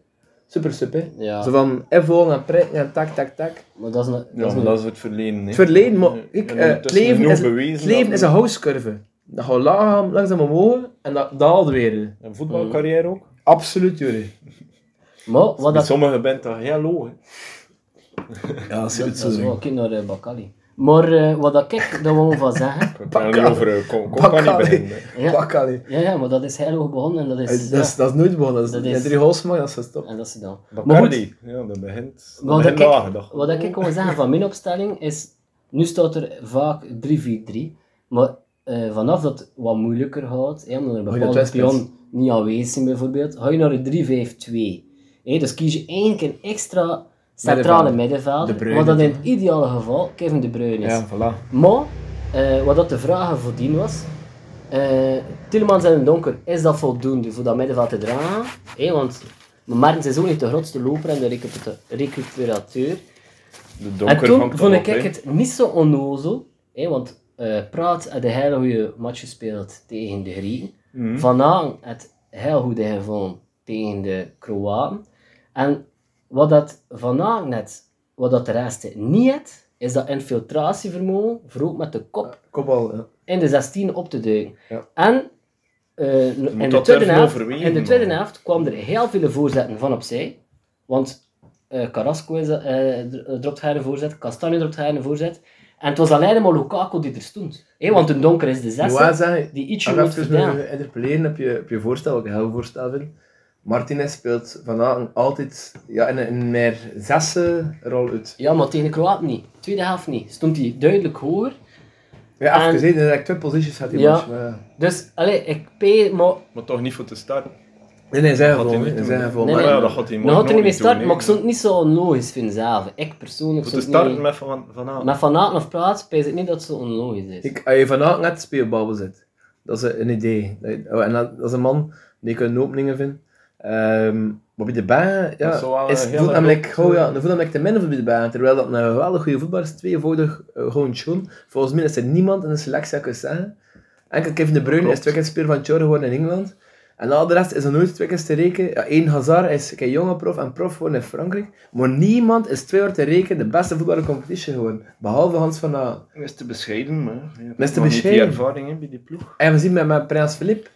S2: Super-sub, hè.
S3: Ja.
S2: Zo van invallen en prikken en tak, tak, tak.
S3: Maar dat is een, dat
S4: Ja,
S3: is
S4: maar
S3: een-
S4: dat is het verleden. Hè?
S2: Het verleden, maar
S4: Ja,
S2: ik,
S4: en
S2: eh, het
S4: ondertussen
S2: leven,
S4: genoeg
S2: is,
S4: bewezen
S2: het leven
S4: dat-
S2: is een houtcurve. Dat gaat langzaam, langzaam omhoog en dat daalt weer.
S4: Een voetbalcarrière ook.
S2: Absoluut, jullie.
S3: maar wat
S4: Bij
S3: dat,
S4: sommigen bent dat heel low. Hè?
S2: Ja, dat is
S3: dat, dat is wel kijk naar eh, Bakali. Maar eh, wat dat ik daar wel van zeggen. [laughs]
S4: Ik kan er niet over eh, kom, kom kan
S2: Pak
S4: niet
S2: Ali.
S4: beginnen. hè.
S3: Ja.
S2: Pak Ali.
S3: Ja, ja, maar dat is heel hoog begonnen en dat
S2: Dat
S3: is.
S2: is, dat is,
S3: ja,
S2: nooit begonnen. Dat
S3: Dat
S2: is,
S3: is-
S2: dat drie goals maken, dat is gestopt.
S3: en dat is dan.
S4: Bacardi. Ja, dat begint. Dat
S3: Wat
S4: begint
S3: ik,
S4: nagedacht.
S3: wat ik wil zeggen van mijn opstelling is, nu staat er vaak 3-4-3, maar eh, vanaf dat het wat moeilijker gaat, hè, omdat er
S2: Ga je
S3: bepaalde
S2: naar het westpunt?
S3: pion niet aanwezig zijn bijvoorbeeld, ga je naar een 3-5-2. Hè, dus kies je eigenlijk een extra centrale
S2: Middenvelder. De
S3: middenvelder,
S2: Bruyne.
S3: wat dat in het ideale geval Kevin De Bruyne is.
S2: voilà.
S3: Maar, eh, wat dat de vraag voordien was, eh Tillemans en Donker, is dat voldoende voor dat middenveld te dragen? Hé, want Martens is ook niet de grootste loper en de recuper- recuperateur.
S4: De donker
S3: en toen
S4: hangt
S3: vond
S4: erop,
S3: ik
S4: hè.
S3: het niet zo onnozel, hé, want eh, Praat had een hele goede match gespeeld tegen de Grieken.
S4: Mhm.
S3: Van Haan had heel goed gevonden tegen de Kroaten. En wat dat Van Haan net, wat dat de rest niet had, is dat infiltratievermogen, vooral met de kop
S2: Kopbal, ja.
S3: in de 16 op te duiken.
S2: Ja.
S3: En eh, in, de
S4: dat
S3: tweede
S4: durven
S3: helft,
S4: overwegen,
S3: in de tweede
S4: man.
S3: helft kwam er heel veel voorzetten van opzij. Want eh, Carrasco is, eh, dr- dropt haar een voorzet, Castanje dropt haar een voorzet. En het was alleen maar Lukaku die er stond. Hé, want een donker is
S2: Ik
S3: de
S2: moet wel
S3: zesde,
S2: zeggen,
S3: die ietsje
S2: Als
S3: moet
S2: even
S3: verdelen.
S2: wil interpelleren op je, op je voorstel, wat ik een heel voorstel vind. Martinez speelt vanavond altijd ja, in een- in een meer zessen rol uit.
S3: Ja, maar tegen de Kroaten niet. Tweede helft niet. Stond hij duidelijk hoger.
S2: Ja, even
S3: En-
S2: gezien, dat ik twee posities had die
S3: Ja.
S2: match, maar ja.
S3: Dus, allee, ik pay, maar
S4: Maar toch niet voor te starten.
S2: Nee, nee, zijn gevoel.
S4: hij
S2: hè.
S4: niet doen.
S2: Zijn gevoel.
S3: Nee,
S2: Maar
S4: Maar
S3: nee.
S2: ja,
S4: ja, dat gaat hij
S3: Dan
S4: morgen
S3: gaat er
S4: ook
S3: niet mee
S4: doen,
S3: starten,
S4: nee.
S3: maar ik zou het niet zo logisch vinden zelf. Ik persoonlijk
S4: Om
S3: zou
S4: te
S3: het
S4: starten
S3: niet...
S4: met van, vanavond.
S3: Met Van Aken of Plaats pijs ik niet dat het zo onlogisch is.
S2: Ik, als je vanavond net de speelbabbel zit, dat is een idee. Dat je- oh, En dat, dat is een man die kan openingen vinden. Ehm, maar bij de baan,
S4: Dat
S2: ja,
S4: is zo wel eh, een
S2: is,
S4: hele
S2: voelt namelijk,
S4: grote-
S2: gauw, ja, dan voelt namelijk te min voor bij de baan. Terwijl dat een geweldig goede voetballer is, tweevoudig eh, gewoon schoon. Volgens mij is er niemand in de selectie dat ik kan zeggen. Enkel Kevin De Bruyne
S4: Klopt.
S2: is twee keer speler van Chor geworden in Engeland. En al de rest is er nooit twee keer te rekenen. Ja, één Hazard is een jonge prof en prof geworden in Frankrijk. Maar niemand is twee jaar te rekenen de beste voetballer in de competitie geworden. Behalve Hans van Aken.
S4: Hij is te bescheiden, maar hij heeft
S2: Hij is te
S4: nog niet
S2: bescheiden.
S4: die ervaring hè, bij die ploeg.
S2: En we zien met, met Prins Filip.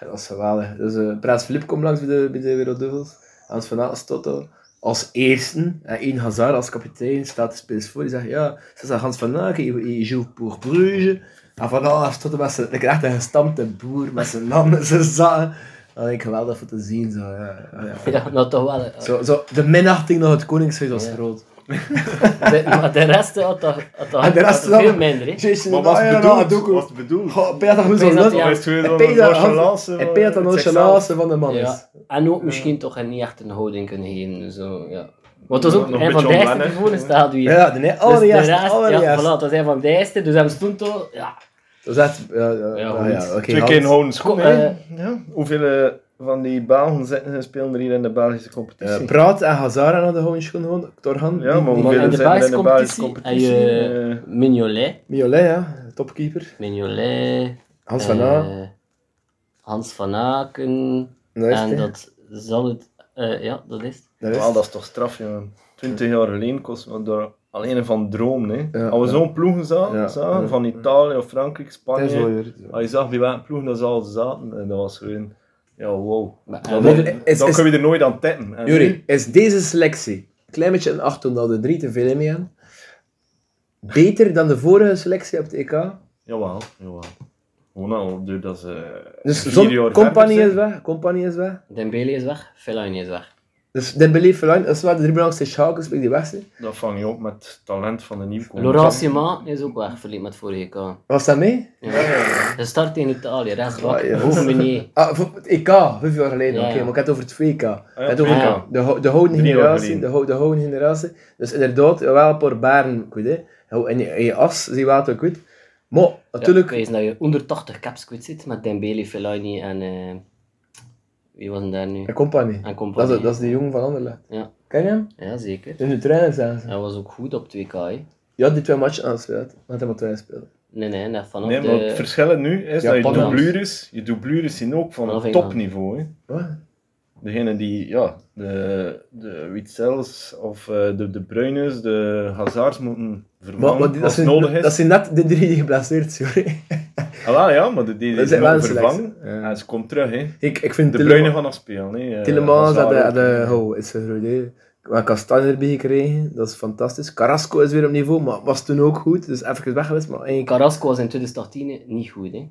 S2: Dat was geweldig. Dus eh, Prins Filip komt langs bij de, bij de Wereld Duivels. Hans van Aken Toto. Als eerste, en één Hazard als kapitein, staat de spits voor. Die zegt, ja, ze zijn Hans van Aken, je- je joue pour Bruges. En van Aken Toto met zijn, ik echt een gestampte boer, met zijn naam en zijn zaken. Dat vind ik geweldig om te zien. Zo, ja. Ja, ja.
S3: Ja, nou toch wel. eh,
S2: Zo, zo, de minachting naar het koningshuis was
S3: Ja.
S2: groot.
S3: de- maar de rest eh, had dat, had dat,
S2: En Ah, de rest
S3: had dat veel
S2: dan-
S3: minder. hè.
S2: Jason
S4: Maar was
S2: Dedeyer,
S4: het
S2: nou,
S4: bedoeld?
S2: Doku.
S4: Was het bedoeld?
S2: Goh, Peter, hoe
S3: Ik
S2: zou
S3: weet dat
S2: dat?
S3: hij-
S4: Of is het gewoon
S2: Hij
S4: een
S2: peet dat
S4: nonchalance,
S2: hij
S4: eh,
S2: peet dat
S4: het zichzelf?
S2: nonchalance van de man is.
S3: Ja. En ook misschien toch een- niet echt een houding kunnen geven. dus Zo, ja. Want dat is
S4: Nog
S3: ook
S4: een
S3: een van
S4: beetje
S3: de eerste
S4: onwennig,
S3: die voor
S4: hè.
S3: staat hier.
S2: Ja, de ne-
S3: Dus de
S2: allereerste.
S3: rest- ja, voilà,
S2: allereerste.
S3: dat was een van de eerste. Dus hem stond toch... Ja,
S2: Dus dat, ja, ja,
S3: Ja,
S2: ja, ja,
S3: goed.
S2: oké,
S4: Twee
S2: Hans.
S4: keer een houden schoen,
S3: Kom,
S4: hè. ja. Hoeveel eh, van die Belgen zitten- spelen er hier in de Belgische competitie?
S2: Eh, Praat en Hazara hadden gewoon schoon gewoon. Torhan,
S4: ja, maar
S2: Mi-
S3: Maar in
S4: hoeveel
S3: de
S4: zijn er in de Belgische
S3: Belgische
S4: competitie?
S3: competitie, en je-
S4: Eh,
S3: Mignolet.
S2: Miolet, ja, topkeeper.
S3: Mignolet.
S2: Hans van A.
S3: eh, Hans van Aken.
S2: Dat is
S3: en
S2: het, hè.
S3: dat zal het... eh, ja, dat is het.
S2: Dat is
S4: Wel,
S2: het.
S4: dat is toch straf, jongen. 20 jaar geleden kost me daar alleen een van droom, hè.
S2: Ja,
S4: Als we
S2: ja.
S4: zo'n ploegen zagen,
S2: Ja,
S4: zagen
S2: ja.
S4: van Italië of Frankrijk,
S2: Het is wel
S4: Spanje,
S2: weer-
S4: als je zag bij welke ploegen dat ze al zaten, en dat was gewoon, ja, wow.
S3: Maar,
S4: Dan,
S2: maar-
S3: eh,
S2: is- is-
S4: dan kun je er nooit aan titten. En
S2: Juri, is deze selectie, klein beetje een acht omdat er drie te veel in mee gaan, beter dan de vorige selectie op het EK?
S4: Jawel, jawel. Gewoon al, doordat ze
S2: Dus
S4: vier
S2: zon,
S4: jaar
S2: compagnie
S4: verder
S2: is
S4: zijn.
S2: weg, compagnie is weg.
S3: Dembele is weg, Fellaini is weg.
S2: Dus Dembele, Verlaine, dat is wel de drie belangrijkste schakels bij die weg zijn.
S4: Dat vang je op met het talent van de nieuwkomer.
S3: Laurent Simon is ook weg, verliep met vorige keer.
S2: Was dat mee?
S3: Hij start in Italië, rechtsbak,
S2: Ah, ja.
S3: hoeven we niet.
S2: Ah, voor het EK, vijf jaar geleden,
S3: Ja,
S2: oké,
S3: ja.
S2: maar ik had het over het VK.
S4: Ah, ja, E
S2: ik had het over
S3: ja.
S2: de, ho- de houden
S4: Drie jaar
S2: generatie,
S4: geleden.
S2: de, ho- de houden generatie. Dus inderdaad, wel een paar baren, goed hè. Hou- En je, en je as, zie wat ook goed. Maar, natuurlijk,
S3: Ja, ik weet dat je onder 80 caps kwijt zit met Dembele, Fellaini en... eh, wie was hem daar nu?
S2: een compagnie.
S3: En
S2: Dat
S3: compagnie.
S2: is, dat is die jongen van Anderlecht.
S3: Ja.
S2: Ken je hem?
S3: Ja, zeker.
S2: In de trainer zijn ze.
S3: Hij was ook goed op 2K. hè.
S2: Ja, die twee matchen aanspeelt. Want hij moet twee spelen.
S3: Nee, nee, net vanaf
S4: Nee, maar het
S3: de...
S4: verschil nu is
S2: Ja,
S4: dat je
S2: Panama.
S4: doublures, je doublures zien ook van
S3: Vanaf
S4: een
S3: Engeland.
S4: topniveau. Hè.
S2: Wat?
S4: Degene die, ja, de, de Witzels of eh, de, de Bruines, de Hazards moeten
S2: Maar,
S4: vervangen
S2: maar die- dat,
S4: als
S2: zijn,
S4: nodig is.
S2: dat zijn net de drie die geblesseerd zijn. hoor.
S4: Ah, wel, ja, maar die, die,
S2: Dat
S4: die
S2: zijn wel een
S4: moeten
S2: selectie.
S4: vervangen.
S2: Ja.
S4: En ze komt terug, hè.
S2: [laughs] Ik, ik vind
S4: De
S2: Tillema-
S4: Bruinen gaan nog spelen, hè. Eh,
S2: Tillemans had
S4: Hazard
S2: de,
S4: ook. eh.
S2: had de oh, is een groot idee. We hebben Kastanje erbij gekregen, dat is fantastisch. Carrasco is weer op niveau, maar was toen ook goed, dus even weg geweest. Maar één keer.
S3: Carrasco was in 2018 niet goed, hè.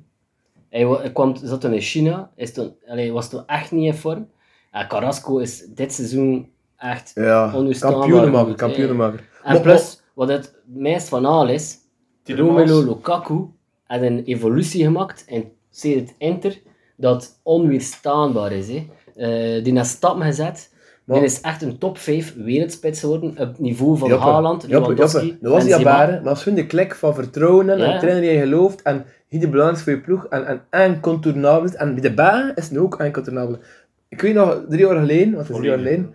S3: Hij, wa- hij kwam, zat toen in China, is toen, allee, was toen echt niet in vorm. En Carrasco is dit seizoen echt
S2: Ja,
S3: Onweerstaanbaar
S2: kampioenenmaker,
S3: goed,
S2: kampioenenmaker.
S3: En
S2: Maar-
S3: plus, wat het meest van al is,
S4: Tielemans.
S3: Romelu Lukaku heeft een evolutie gemaakt in sinds het Inter dat onweerstaanbaar is. Hè. Eh, die naar stappen gezet.
S2: Maar-
S3: Die is echt een top 5 wereldspits geworden op het niveau van
S2: Joppe,
S3: Haaland,
S2: Joppe,
S3: Lewandowski
S2: Joppe. Dat was
S3: en
S2: die
S3: Benzema.
S2: abare, maar dat is gewoon de klik van vertrouwen en
S3: Ja.
S2: een trainer die je gelooft en hier de belangrijk voor je ploeg en, en, en contournabel is. En bij de baren is het nu ook incontournabel. Ik weet nog, drie jaar geleden, want het is drie jaar
S4: Olivier.
S2: geleden,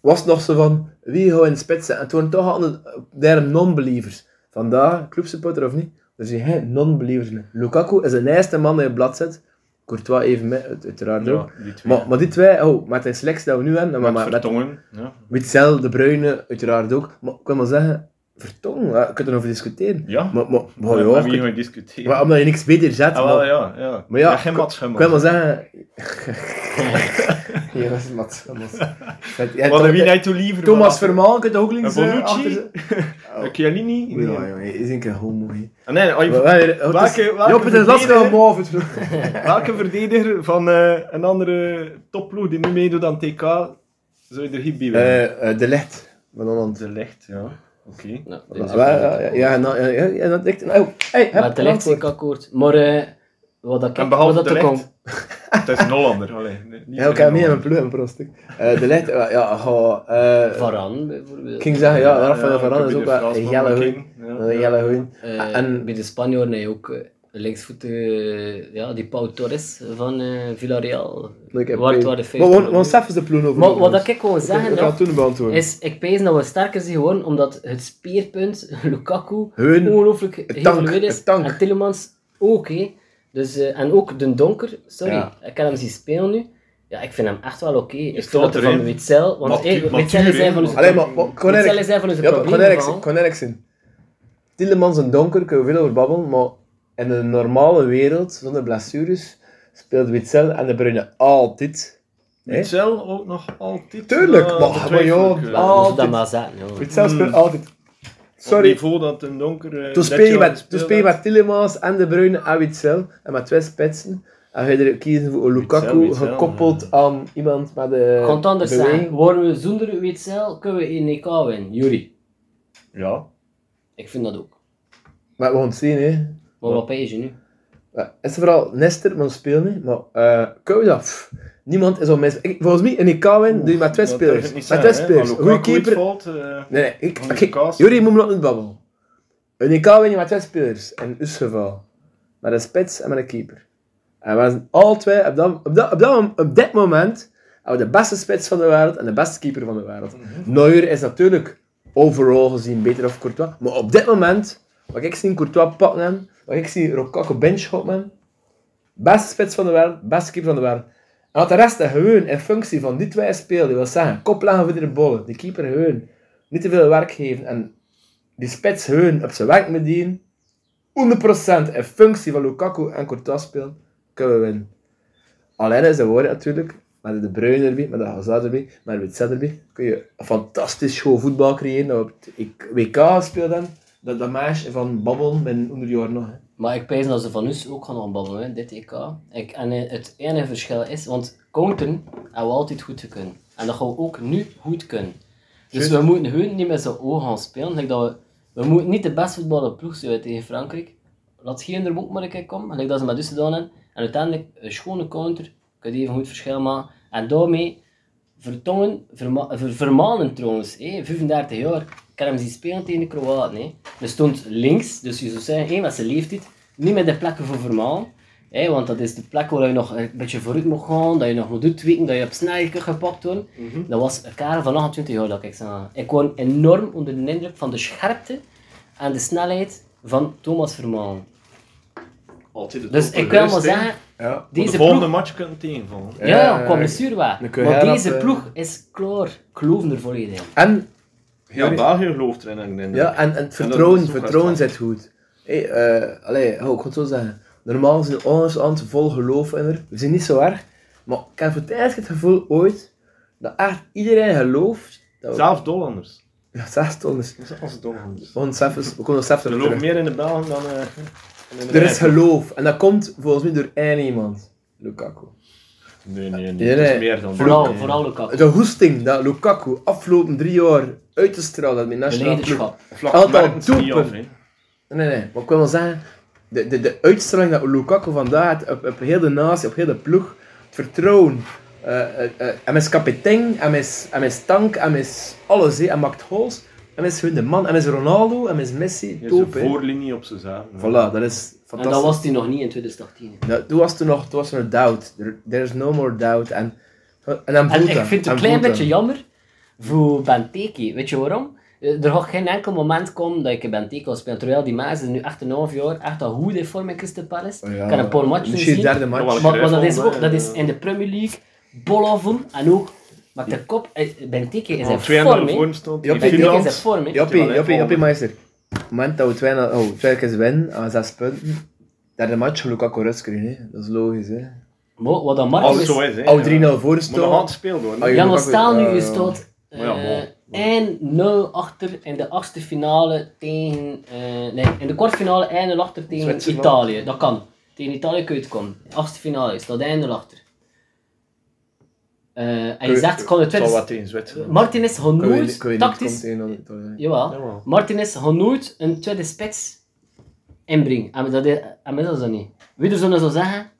S2: was het nog zo van, wie hou in de spitsen? En het waren toch altijd derde non-believers. Vandaar, clubsupporter of niet, er zijn geen non-believers meer. Lukaku is de eerste man die je op blad zet. Courtois even mee, uit- uiteraard ook.
S4: Ja, die twee.
S2: Maar, maar die twee, oh, met de selectie dat we nu hebben, maar,
S4: met
S2: maar, met
S4: Vertongen, ja.
S2: Witzel, De Bruyne, uiteraard ook. Maar ik wil maar zeggen, Vertongen, ja, je kunt erover discussiëren.
S4: Ja.
S2: Maar, maar, maar
S4: Met wie
S2: ja,
S4: gaan we discussiëren?
S2: maar omdat je niks beter zet.
S4: Ah, wel,
S2: maar,
S4: ja, ja.
S2: maar ja,
S4: geen
S2: ik- ik
S4: matschema.
S2: wil maar zeggen... ja, dat is Mats. Mats. Ja,
S4: Wat
S2: Tom-
S4: een wie net toe liever
S2: Thomas
S4: van-
S2: Vermaelen kunt ook links
S4: Een
S2: eh,
S4: Bonucci?
S2: achter zijn-
S4: Een Chiellini?
S2: Ja, jongen, hij is een keer homo. hè.
S4: Ah, Nee, als je-
S2: Maar wij- het is-
S4: welke- welke
S2: Joppe, het is lastig om
S4: verdediger-
S2: boven
S4: welke verdediger van eh, een andere topploeg die nu meedoet aan TK zou je er hier bij
S2: Eh,
S4: willen?
S2: De Let, van Holland.
S4: de licht, ja. Oké.
S3: Nou, dit is
S2: Ja, ja, ja, ja, nou, ja, ja, ja, dat ik... oh, hey, heb
S3: Maar
S2: een
S3: terecht zie
S2: antwoord.
S3: ik akkoord. Maar eh, wat dat
S4: En behalve
S3: wat dat
S4: terecht.
S3: ook al-
S4: Het is een Hollander, allee. Niet
S2: Ja, ik
S4: meer
S2: heb
S4: een
S2: niet in mijn
S4: Hollander.
S2: ploeg, in Prostik. Eh, de licht, ja, ja, ga, eh,
S3: Varan bijvoorbeeld.
S2: ik ging zeggen, ja, Rafael
S4: Ja,
S2: Varane
S4: ik heb
S2: is
S4: hier
S2: ook
S4: de
S2: wel een
S4: Fransman
S2: jelle goeie.
S4: bekeken. Ja,
S2: Een
S4: ja.
S2: jelle goeie.
S3: Eh,
S2: En-
S3: Bij de Spanjaarden heb je ook eh, linksvoetige, ja, die Pau Torres van eh, Villarreal.
S2: Ik heb
S3: Waar
S2: geen-
S3: het waren de
S2: Maar
S3: vijf-
S2: we we ontseffen de ploeg over.
S3: Maar wat ik gewoon zeggen
S2: Ik ga het
S3: nog,
S2: toen beantwoorden.
S3: is, ik pees dat we sterker zijn geworden, omdat het speerpunt, [laughs] Lukaku,
S2: Hun-
S3: ongelooflijk
S2: tank,
S3: geëvalueerd is.
S2: het tank.
S3: En Tillemans ook, hè. Dus, eh, en ook Den Donker, sorry,
S2: Ja.
S3: ik heb hem zien spelen nu. Ja, ik vind hem echt wel oké. Ik
S4: staat
S3: vind dat
S4: erin.
S3: van Witzel, want
S4: Matu-
S3: eh, Witzel
S4: Matuur,
S3: is een
S4: hè.
S3: van onze
S2: Alleen maar, maar kon
S3: Witzel
S2: Erik-
S3: is een van onze
S2: ja, maar kon
S3: problemen
S2: Erik-
S3: van.
S2: kon Erik zijn. Tielemans en Donker kunnen we veel over babbelen, maar in een normale wereld, zonder blessures, speelt Witzel en de Bruyne altijd. Hè?
S4: Mitchell ook nog altijd.
S2: Tuurlijk,
S4: eh,
S2: maar-
S4: betwijfel
S2: maar joh,
S4: ik wel.
S2: ah,
S3: Laten we dat
S2: Altijd.
S3: maar zeggen, jongen.
S2: Witzel
S4: Hmm.
S2: speelt altijd.
S4: Op
S2: Sorry,
S4: niveau dat een donker. eh,
S2: toen
S4: dit
S2: speel je
S4: jaar
S2: met, toen
S4: gespeeld
S2: speel je
S4: had.
S2: met Tillemans en de Bruyne en Witzel, en met twee spitsen. En ga je er kiezen voor Lukaku,
S4: Witzel,
S2: gekoppeld
S4: ja.
S2: aan iemand met de
S3: Kan het Eh, anders zijn?
S2: beweging.
S3: Worden we zonder Witzel, kunnen we E in EK winnen. Jury,
S4: Ja.
S3: ik vind dat ook.
S2: Maar we gaan het zien, hè.
S3: Maar wat pees je nu?
S2: Ja, het is vooral Nester, maar speel niet. Maar eh kunnen we dat? Pff, niemand is al mis. Ik, volgens mij, in EK win doe je maar twee
S4: Dat
S2: spelers.
S4: durf ik niet
S2: Met
S4: zeggen,
S2: twee
S4: hè, maar
S2: spelers.
S4: Lukaku
S2: Goeie keeper.
S4: uitvalt, eh,
S2: Nee, nee, ik,
S4: Van de
S2: kijk,
S4: kast.
S2: Jury moet me nog niet babbelen. In EK win je maar twee spelers, in ons geval. Met een spits en met een keeper. En we zijn al twee, op, dat, op, dat, op, dat, op dit moment, hebben we de beste spits van de wereld en de beste keeper van de wereld.
S4: Mhm.
S2: Neuer is natuurlijk overal gezien beter of Courtois. Maar op dit moment, wat ik zie Courtois pakken, hem, wat ik zie Rokaku bench man. Beste spits van de wereld, beste keeper van de wereld. En wat de rest er gewoon in functie van die twee spelen, dat wil zeggen, kop leggen voor de bollen, die keeper gewoon niet te veel werk geven en die spits gewoon op zijn werk bedienen, 100% in functie van Lukaku en Courtois spelen, kunnen we winnen. Alleen is de woorden natuurlijk, met de Bruyne erbij, met de Hazard erbij, met Witzel erbij, kun je een fantastisch goed voetbal creëren dat we op het WK gespeeld hebben. Dat, dat meisje van Babbel, ben onder jaar nog. hè.
S3: Maar ik pijs dat ze van ons ook gaan aanbabbelen, hè, dit EK. Ik, en eh, het enige verschil is, want counteren hebben we altijd goed kunnen. En dat gaan we ook nu goed kunnen. Dus we moeten gewoon niet met z'n ogen gaan spelen. Like dat we, we moeten niet de best voetballende ploeg zijn tegen Frankrijk. Laat geen er ook maar een keer komen, like dat ze met ons gedaan hebben. En uiteindelijk, een schone counter, kun je even goed verschil maken. En daarmee Vertongen, verma ver- Vermanen trouwens, hé, 35 jaar. Ik heb hem zien spelen tegen de Kroaten. Hé. Hij stond links, dus je zou zeggen, hé, met zijn leeftijd, niet met de plekken voor Vermanen. Hé, want dat is de plek waar je nog een beetje vooruit moet gaan, dat je nog moet uitweken, dat je op snelheid kunt gepakt worden. Dat was een kerel van 28 jaar dat ik zei. Ik kwam enorm onder de indruk van de scherpte en de snelheid van Thomas Vermanen.
S4: Altijd het
S3: Dus
S4: open
S3: ik wil maar
S4: rust, hè.
S3: zeggen,
S2: Ja.
S4: Voor
S3: deze
S4: de volgende
S3: ploeg...
S4: match kunnen tegenvallen.
S3: Ja,
S2: Ja,
S3: qua
S2: ja.
S3: blessure wel.
S2: Dan kun je
S3: Maar
S2: herop,
S3: deze
S2: eh,
S3: ploeg is klaar. Ik geloof er volledig in.
S2: En,
S4: Ja, België gelooft erin. ik denk
S2: ja,
S4: dat.
S2: en, en het
S4: dat-
S2: vertrouwen,
S4: dat is ook
S2: vertrouwen
S4: wel
S2: zit goed. Hey, eh allee, oh, ik kan het zo zeggen. Normaal zijn ons aan het vol geloof in er. We zijn niet zo erg. Maar ik heb voor het eerst het gevoel ooit dat echt iedereen gelooft. Dat we,
S4: Zelfs Dollanders.
S2: Ja, zelfs toen is.
S4: Dat is als Dollanders.
S2: We konden zelfs- we konden zelfs
S4: Ze
S2: erop
S4: geloven
S2: Oh, terug.
S4: meer in de Belgen dan eh, dan in de
S2: Er is
S4: Belgen.
S2: geloof. En dat komt volgens mij door één iemand. Lukaku.
S4: Nee, nee, nee.
S2: Nee,
S4: Het
S2: nee.
S4: is meer dan
S3: Vooral,
S4: Nee.
S3: vooral Lukaku.
S2: De hoesting dat Lukaku afgelopen drie jaar uit te stralen dat met
S3: De
S2: nationale ploeg.
S3: leiderschap.
S4: Vlak
S2: Aantal
S4: merken ze niet af,
S2: doelpunten.
S4: hè.
S2: Nee, nee, nee. Maar ik wil wel zeggen, de, de, de uitstraling dat Lukaku vandaag had op, op heel de natie, op heel de ploeg, het vertrouwen. eh eh eh, hem is kapitein, hem is, hem is tank, hem is alles. Hè. Hij maakt goals, hem is gewoon de man, hem is Ronaldo, hem is Messi,
S4: Je
S2: top.
S4: hebt
S2: hè.
S4: een voorlinie op ze zaal.
S2: Voilà, dat is
S3: En
S2: fantastisch.
S3: dat was hij nog niet in 2018.
S2: Nou, toen was er nog toen was er doubt. There, there's no more doubt. En, en, hem
S3: En
S2: voelt
S3: ik
S2: hem,
S3: vind het
S2: hem
S3: een klein
S2: voelt
S3: beetje
S2: hem.
S3: jammer voor Benteke. Weet je waarom? Eh, Er gaat geen enkel moment komen dat ik Benteke wil spelen. Terwijl die maas is nu echt een half jaar echt al goed in vorm in Crystal Palace.
S2: Oh Ja,
S3: ik kan een paar matchen
S2: Misschien
S3: zien.
S2: het
S3: Maar,
S2: derde match.
S4: Ja, wel
S3: maar dat, is
S4: Kruijffel,
S3: ook, dat is
S4: eh,
S3: in de Premier League bolavond en ook met de kop. eh, Benteke is in
S4: Oh, Twee en
S3: vorm.
S4: een
S3: hè.
S4: vorm stond.
S2: Ja,
S4: in
S2: Benteke
S3: Benteke is in
S4: Finland.
S3: vorm. hè.
S2: Joppie,
S4: Terwijl hij
S2: joppie, joppie,
S4: volgende-
S2: meester. Op het moment dat we twee, na- oh, twee keer winnen, aan zes punten, derde match, gelukkig ook rust krijgen. hè. Dat is logisch. Hè.
S3: Maar wat dat Marco
S4: Alles
S3: is,
S4: zo is, hè.
S2: Al
S4: Ja.
S2: 3-0
S4: Moet nog aan
S2: voorstaan.
S4: het spelen worden.
S2: Ah, ja.
S3: Jan
S2: Lukaku-
S3: Staal nu,
S2: ja,
S3: je
S2: ja.
S3: staat
S4: Maar ja, bon.
S3: eh 1-0 achter in de achtste finale tegen... eh, nee, in de kwartfinale 1-0 achter tegen
S2: Zwitserland.
S3: Italië. Dat kan. Tegen Italië kun je het komen. Achtste finale is dat 1-0 achter. Eh, en je
S2: Kun-
S3: zegt, kan het
S4: Het zal
S3: twintig...
S4: wat tegen Zwitserland.
S3: Martinez gaat
S2: Kun je niet-
S3: nooit
S2: kun je niet
S3: tactisch...
S2: komen tegen dat- dat- dat-
S3: Jawel.
S4: Jawel.
S3: Martinez gaat nooit een tweede Ah, spits inbrengen. En dat is en dat, is dat niet. Wie er zou zeggen,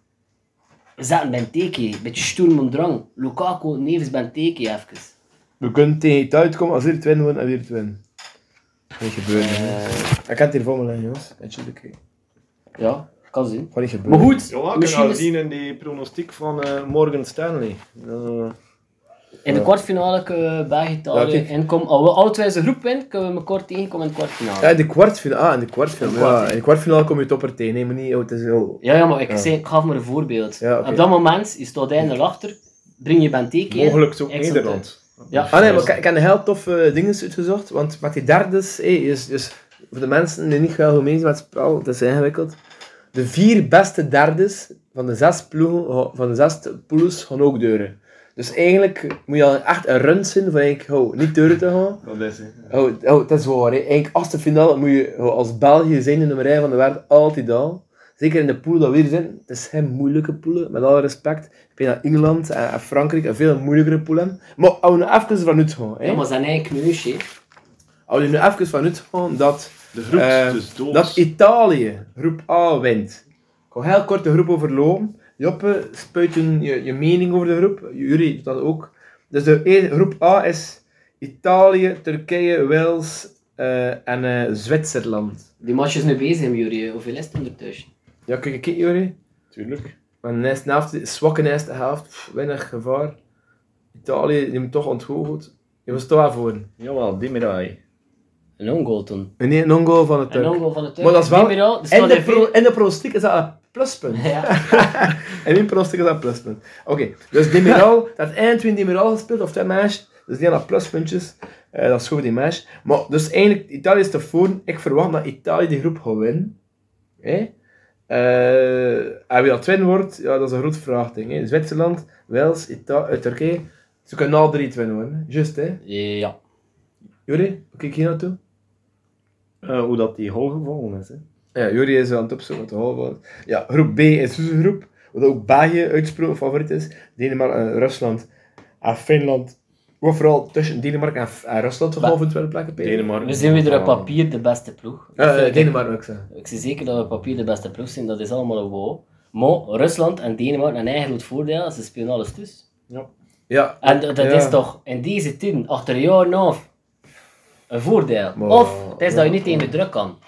S3: We zaten Benteke, beetje Sturm und Drang. Lukaku, Neves, Benteke even.
S2: We kunnen tegen het uitkomen als we het winnen worden en weer het winnen. Gaat niet gebeuren. hè.
S3: Eh,
S2: Ik kan het hier voor me leggen, jongens. Natuurlijk. Gaat
S3: ja, kan zien.
S2: niet gebeuren.
S3: Maar goed,
S4: Ja, ik
S3: misschien
S4: kan al
S3: is-
S4: zien in die pronostiek van eh, Morgan Stanley. Eh,
S3: in de kwartfinale kunnen we België, Italië
S2: Ja, kijk.
S3: inkomen. Als we alle twee zijn groep winnen, kunnen we elkaar tegenkomen in de kwartfinale.
S2: Ja, in de kwartfinale. Ah, in de kwartfinale.
S3: In de
S2: Ja,
S3: kwartfinale.
S2: in de kwartfinale kom je topper tegen. Nee, maar niet. Oh, het is heel...
S3: Ja, ja, maar ik,
S2: Ja.
S3: zei- ik gaf maar een voorbeeld.
S2: Ja, oké.
S3: Op dat moment is het uiteindelijk achter. Breng je Benteke in.
S4: mogelijk ook
S3: Ik zat
S4: Nederland.
S3: Ja.
S2: Ah nee, maar ik, ik heb een heel toffe dingen uitgezocht. Want met die derdes, hé, is, is voor de mensen die niet wel goed mee zijn met het spel, het is ingewikkeld. De vier beste derdes van de zes ploegen, van de zes ploegs gaan ook deuren. Dus eigenlijk moet je al echt een run zijn van ik, oh, niet deuren te gaan.
S4: Dat is het.
S2: Oh, oh, dat is waar. Hè. Eigenlijk als de finale moet je oh, als België zijn de nummer 1 van de wereld altijd al. Zeker in de pool dat we hier zijn. Het is geen moeilijke pool, met alle respect. Ik denk dat Engeland en, en Frankrijk een veel moeilijkere pool hebben. Maar hou nu even vanuit gaan. Hè.
S3: Ja, maar zijn eigen kneus, hè.
S2: Hou er nu even vanuit gaan dat,
S4: De groep
S2: eh,
S4: dus dood.
S2: dat Italië groep A wint. Ik ga heel kort de groep overlopen. Joppe, spuit je, je, je mening over de groep. Jullie doen dat ook. Dus de e- groep A is Italië, Turkije, Wales eh, en eh, Zwitserland.
S3: Die match is nu bezig, Jury. Hoeveel is het ondertussen?
S2: Ja, kijk, kijk Jori.
S4: Tuurlijk.
S2: Maar de eerste helft, zwakke eerste helft, pff, weinig gevaar. Italië, die hem toch ontgoocheld. Je was toch wel voor.
S4: Jawel, Demirai.
S3: Een ongoal toen.
S2: Nee, een non-goal van het
S3: Een
S2: Turk.
S3: ongoal van de Turk.
S2: Maar dat is wel...
S3: Demiral, die
S2: in,
S3: staat
S2: de
S3: in
S2: [laughs] pro, in de pronostiek is dat een
S3: [laughs]
S2: pluspunt.
S3: veel- Ja.
S2: En mijn pronostiek is dat een pluspunt. Oké, dus Demiral, dat eind win Demiral gespeeld, of dat match, dus die had dat pluspuntjes. Eh, dat is goed voor die match. Maar dus eigenlijk, Italië is te voor. Ik verwacht dat Italië die groep gaat winnen. Hè? Eh, en wie dat winnen wordt, ja, dat is een groot vraagding. hè. Zwitserland, Wales, Ita- eh, Turkije. Ze kunnen al drie het winnen, hoor. Juist, hè?
S3: ja.
S2: Juri, hoe kijk je hier naartoe?
S4: Eh, hoe dat die hol gevallen is. Hè?
S2: Ja, Juri is aan het opzoeken wat de hal was. Ja, groep B is dus een groep, wat ook België uitgesproken favoriet is. Denemarken, eh, Rusland en Finland. Wat vooral tussen Denemarken en, F- en Rusland toch
S3: Maar-
S2: wel voor twee plekken spelen.
S4: Denemarken.
S3: We zijn weer op papier de beste ploeg.
S2: Eh, eh,
S3: Ik-
S2: Denemarken ook zo.
S3: Ik zie zeker dat we op papier de beste ploeg zijn, dat is allemaal een wow. Maar Rusland en Denemarken een eigen groot voordeel, ze spelen alles dus.
S2: Ja.
S3: En dat dat
S2: Ja.
S3: is toch in deze tien, achter een jaar en een half, een voordeel.
S2: Maar- Oh.
S3: of het is dat je
S2: ja.
S3: niet tegen de druk kan.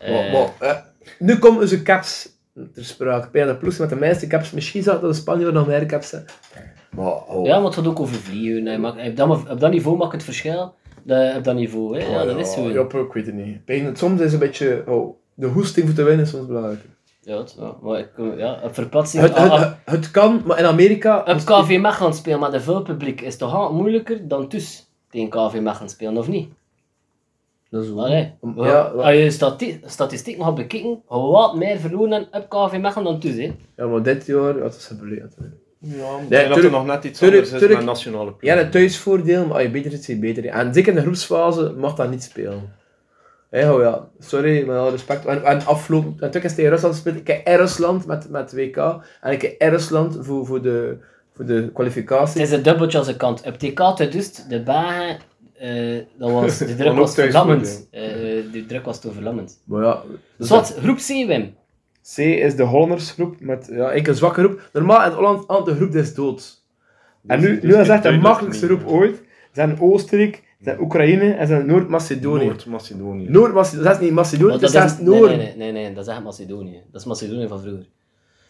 S2: Maar-
S3: Eh,
S2: maar, eh, nu komen onze caps ter sprake. Bij de ploeg met de meeste caps. Misschien zag dat de Spanjaarden nog meer caps hebben. Maar, oh.
S3: Ja, maar het gaat ook over vliegen. hè. Maar op, dat, op dat niveau maakt het verschil. Dat, op dat niveau, hè. Ja, dat is zo.
S2: Oh, Ja, ik weet het niet. Ik denk dat Soms is een beetje... Oh, de hoesting voor te winnen is soms belangrijk.
S3: Ja, het- ja, maar ik, ja, op verplaatsing...
S2: Het,
S3: ah,
S2: het,
S3: ah,
S2: het, het kan, maar in Amerika...
S3: Op KV Mechelen spelen met een veel publiek is toch altijd moeilijker dan thuis tegen KV Mechelen spelen, of niet?
S2: Dat is waar.
S3: Allee.
S2: Ja, ja.
S3: Als je stati- statistiek nog gaat bekijken, gaan we wat meer verloren hebben op KV Mechelen dan thuis, hè.
S2: Ja, maar dit jaar, wat is gebeurd?
S4: Ja, nee,
S2: Nee,
S4: dat er
S2: Turk-
S4: nog net iets
S2: Turk-
S4: anders is
S2: Turk-
S4: met nationale ploeg.
S2: Ja, een thuisvoordeel, maar als je beter zit, zie je beter. En zeker in de groepsfase mag dat niet spelen. Hé, oh ja, sorry, met alle respect. En, en afgelopen, en toen is tegen Rusland gespeeld. Ik heb in Rusland met, met WK en ik heb in Rusland voor, voor, de, voor de kwalificatie.
S3: Het is een dubbeltje aan zijn kant. Op TK dus de Bagen, eh, dat was, de druk
S4: Van ook
S3: was
S4: thuis
S3: verlammend. Eh, eh, de druk was te verlammend.
S2: Maar ja,
S3: Dus wat, groep C, Wim.
S2: C is de Hollandersgroep met ja, eigenlijk een zwakke groep. Normaal in Holland aan de groep des doods. En nu,
S4: Dus
S2: nu is echt de
S4: duidelijk
S2: makkelijkste
S4: niet,
S2: groep ooit. Ze zijn Oostenrijk, ze zijn Oekraïne en ze zijn Noord-Macedonië.
S4: Noord-Macedonië.
S2: Noord-Macedonië, dat is niet Macedonië,
S3: Maar
S2: dat is zelfs
S3: nee,
S2: Noord.
S3: nee, nee, nee, nee, dat is echt Macedonië. Dat is Macedonië van vroeger.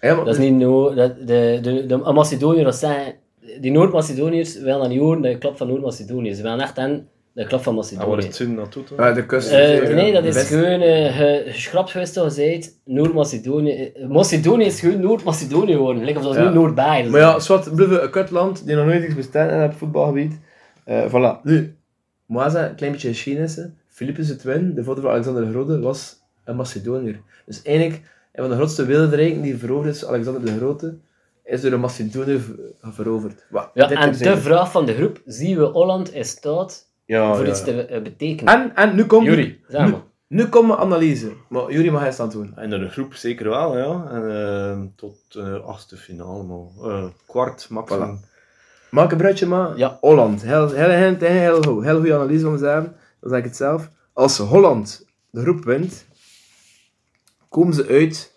S2: Ja, maar-
S3: Dat is niet Noor. Dat, de, de, de Macedoniërs, dat zijn. Die Noord-Macedoniërs willen dan niet horen de klap van Noord-Macedonië. Ze willen echt aan de klap
S2: Ah,
S3: van
S4: En waar is
S3: Macedonië.
S4: het zin naartoe dan?
S2: Ja, Ah, de kust.
S3: Eh, nee, dat is
S2: West-
S3: gewoon eh, ge- geschrapt geweest dat je zei, Noord-Macedonië. eh, Macedonië is gewoon Noord-Macedonië geworden. Like, of dat is
S2: Ja.
S3: nu Noord-Bij.
S2: Maar ja, zwart, blijven een kutland die nog nooit iets bestaan en op voetbalgebied. Eh voilà. Nu, Moaza, een klein beetje Chinese. Philippus het Win, de vader van Alexander de Grote, was een Macedoniër. Dus eigenlijk, een van de grootste wereldrijken die veroverd is, Alexander de Grote, is door een Macedoniër ver- veroverd. Wat,
S3: Ja,
S2: dit
S3: en
S2: is
S3: de
S2: eigenlijk-
S3: vraag van de groep: zien we Holland in staat
S2: Oh, ja,
S3: voor
S2: ja.
S3: iets te eh, betekenen?
S2: En, en nu komt...
S4: Juri,
S3: Zeg maar.
S2: Nu komt mijn analyse. Maar Juri mag eerst aan het doen.
S4: En de groep zeker wel, ja. En, eh, tot eh achtste finale, maar eh, kwart maximum.
S2: Maak een bruidje, maar
S3: Ja.
S2: Holland. Heel, heel, heel, heel, heel, goed. heel goede analyse van mezelf. Dan zeg ik het zelf. Als Holland de groep wint, komen ze uit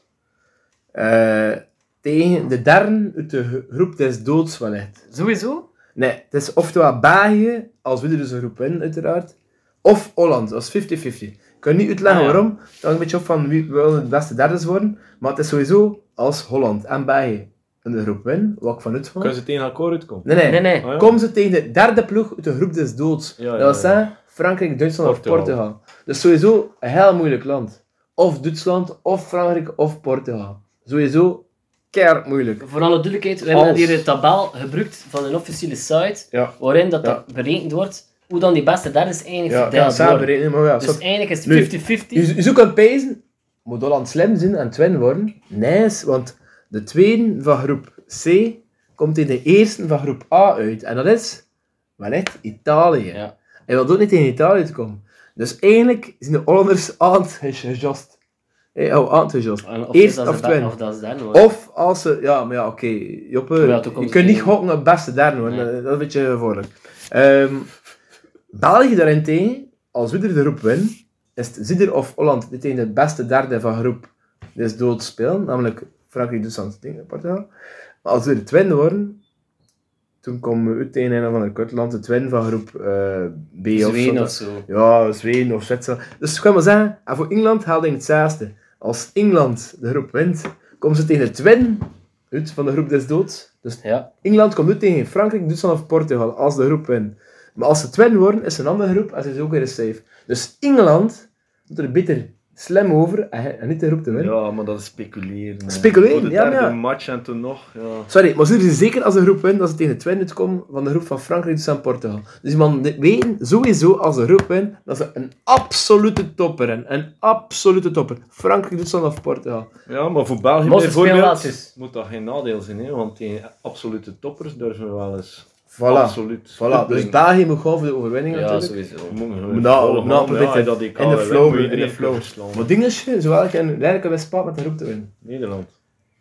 S2: eh, tegen de derde uit de gro- groep des doods wellicht.
S3: Sowieso?
S2: Nee, het is oftewel België, als we er dus een groep winnen, uiteraard. Of Holland, dat is 50-50. Ik kan niet uitleggen
S3: Ah, ja.
S2: waarom. Het hangt een beetje op van wie wil de beste derdes worden. Maar het is sowieso als Holland en België in de groep winnen, wat ik vanuit van.
S4: Kunnen ze tegen elkaar uitkomen?
S2: Nee, nee.
S3: Nee, nee.
S4: Ah, ja.
S2: Komen ze tegen de derde ploeg uit de groep des doods.
S4: Ja, ja,
S2: dat wil
S4: ja.
S2: zeggen Frankrijk, Duitsland
S4: Portugal.
S2: of Portugal. Dus sowieso een heel moeilijk land. Of Duitsland, of Frankrijk, of Portugal. Sowieso keihard moeilijk.
S3: Voor alle duidelijkheid, we hebben
S2: Als.
S3: hier een tabel gebruikt van een officiële site,
S2: Ja.
S3: waarin dat,
S2: Ja.
S3: dat berekend wordt hoe dan die beste derdes eindigt
S2: Ja,
S3: verdeeld
S2: ja samen
S3: worden.
S2: berekenen, maar ja.
S3: Dus
S2: stop.
S3: eigenlijk is
S2: Nu,
S3: het 50-50.
S2: Je, je zoekt aan pezen. Moet Holland slim zijn en twin worden? Nice, want de tweede van groep C komt in de eerste van groep A uit. En dat is, wellicht, Italië.
S3: Ja.
S2: Hij wil ook niet in Italië te komen. Dus eigenlijk zijn de Hollanders aan het gejast. Hey, oh, aan het gejast.
S3: En of
S2: Eerst
S3: dat ze
S2: of
S3: dat-
S2: twin.
S3: Of dat is dan, hoor.
S2: Of als ze... Ja, maar ja, oké. Joppe,
S3: Maar ja, toen
S2: je
S3: komt
S2: kunt
S3: het
S2: niet
S3: in.
S2: gokken op het beste derde, hoor.
S3: Nee.
S2: Dat, dat is een beetje gevaarlijk. Ehm, België daarentegen, als we er de groep winnen, is het Zieder of Holland die tegen de beste derde van groep dus dood spelen, namelijk Frankrijk, Duitsland tegen Portugal. Maar als we de twin worden, toen komen we uit tegen een of ander kutland, de twin van groep eh, B of zo.
S3: Zweden of zo.
S2: Ja, Zweden of Zwitserland. Dus ik kan maar zeggen, en voor Engeland haalde ik het zesde. Als Engeland de groep wint, komen ze tegen de twin uit van de groep des doods. Dus
S3: Ja.
S2: Engeland komt nu tegen Frankrijk, Duitsland of Portugal als de groep wint. Maar als ze twin worden, is een andere groep en ze is ook weer een safe. Dus Engeland doet er beter slim over en en niet de groep te winnen.
S4: Ja, maar dat is speculeren. hè.
S2: Speculeren,
S4: Voor de
S2: ja, maar
S4: derde
S2: ja.
S4: match en toen nog, ja.
S2: Sorry, maar ze zijn zeker als de groep wint dat ze tegen de twin uitkomen van de groep van Frankrijk, Duitsland en Portugal. Dus die mannen weten sowieso als de groep wint dat ze een absolute topper hebben. Een absolute topper. Frankrijk, Duitsland of Portugal.
S4: Ja, maar voor België
S3: Mossen spelen
S4: bijvoorbeeld
S3: laatjes.
S4: moet dat geen nadeel zijn, hè? want die absolute toppers durven wel eens.
S2: Voilà.
S4: Absoluut.
S2: Voilà. Dus België moet gaan voor de overwinning
S3: Ja,
S2: natuurlijk.
S3: sowieso.
S4: Nou,
S2: Moet dat- moet dat proberen.
S4: dat ik
S2: In de flow, in de flow.
S4: flow.
S2: Maar Dingetje, zowel ik en Rijnlijk hebben spaat met de groep te winnen.
S4: Nederland.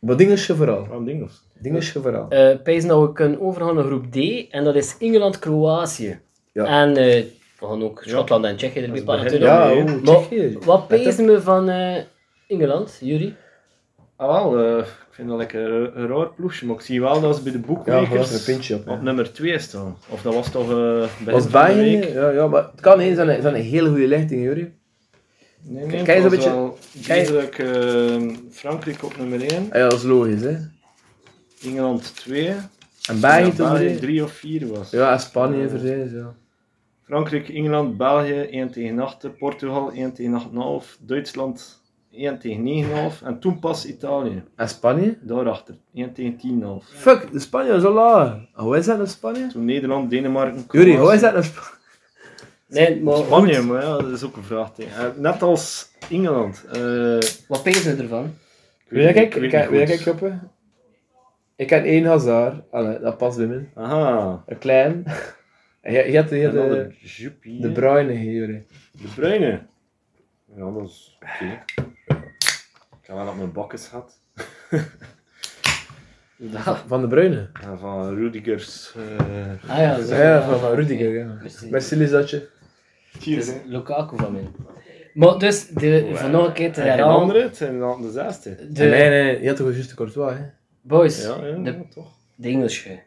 S2: Maar Dingetje vooral.
S4: Aan Dingels.
S2: Dingetje vooral.
S3: Eh Pijs nou, we kunnen overgaan naar groep D, en dat is Engeland-Kroatië.
S2: Ja.
S3: En eh, we gaan ook Schotland en Tsjechië erbij
S4: is
S3: pakken.
S4: begin,
S3: natuurlijk.
S2: Ja,
S4: nee,
S2: oeh,
S3: Maar
S2: Tsjechië.
S3: Wat pezen we van eh, Engeland, Jury?
S4: Ah, wel, eh, ik vind dat lekker eh, een, een raar ploegje, maar ik zie wel dat ze bij de
S2: Ja, er
S4: boekmakers
S2: was een pintje op.
S4: op
S2: ja.
S4: nummer 2 staan. Of dat was toch eh begin
S2: Was
S4: van de
S2: België?
S4: week?
S2: Ja, ja, maar het kan eens zijn een, zijn een hele goede lichting, Jury.
S4: Nee, nee,
S2: Kijk,
S4: het
S2: zo'n
S4: was
S2: beetje-
S4: wel
S2: kijk.
S4: duidelijk, eh, Frankrijk op nummer 1,
S2: Ah Ja, dat is logisch, hè.
S4: Engeland 2, en
S2: En België
S4: dan
S2: toen
S4: België
S2: weer.
S4: 3 of 4 was.
S2: Ja, en Spanje verzijs, ja.
S4: Frankrijk, Engeland, België 1 tegen 8, Portugal 1 tegen 8,5, Duitsland 1 tegen 9,5 en toen pas Italië,
S2: En Spanje?
S4: daarachter 1 tegen 10,5.
S2: Fuck, de Spanje is al laag. Hoe is dat in Spanje?
S4: Toen Nederland, Denemarken,
S2: Jury, hoe
S4: Kroatië.
S2: is dat in Spanje?
S3: Nee, maar
S4: Spanje,
S3: goed,
S4: maar ja, dat is ook een vraag. Eh, Net als Engeland. eh,
S3: wat pezen we ervan?
S4: ik
S2: Wil jij
S4: weet
S2: kijken? Ik
S4: niet- ik
S2: heb- Wil jij kijken,
S4: weet niet goed.
S2: Joppe? Ik heb één Hazard. Allee, dat past bij mij.
S4: Aha.
S2: Een klein. En Je, je had je
S4: En
S2: had
S4: dan
S2: de,
S4: de Juppie,
S2: de bruine hier, Jury.
S4: de Bruyne. Ja, dat is oké. Ik heb wel op mijn bakjes gehad.
S3: [laughs] Ah
S2: Van de bruine?
S4: En van Rudigers. eh
S3: ja, zo.
S2: Ja, van, van Rudiger, ja.
S3: Merci.
S2: Merci, Lisatje.
S3: Het
S4: Cheers,
S3: is
S4: hè.
S3: Lukaku van mij. Maar dus, de, voor nog een keer te
S4: En geen
S3: herhalen.
S4: andere, het zijn dan de zesde.
S3: De
S2: Nee, nee, je had toch juist de Courtois, hè?
S3: boys,
S4: Ja, ja,
S3: de,
S4: toch.
S3: de Engelsen.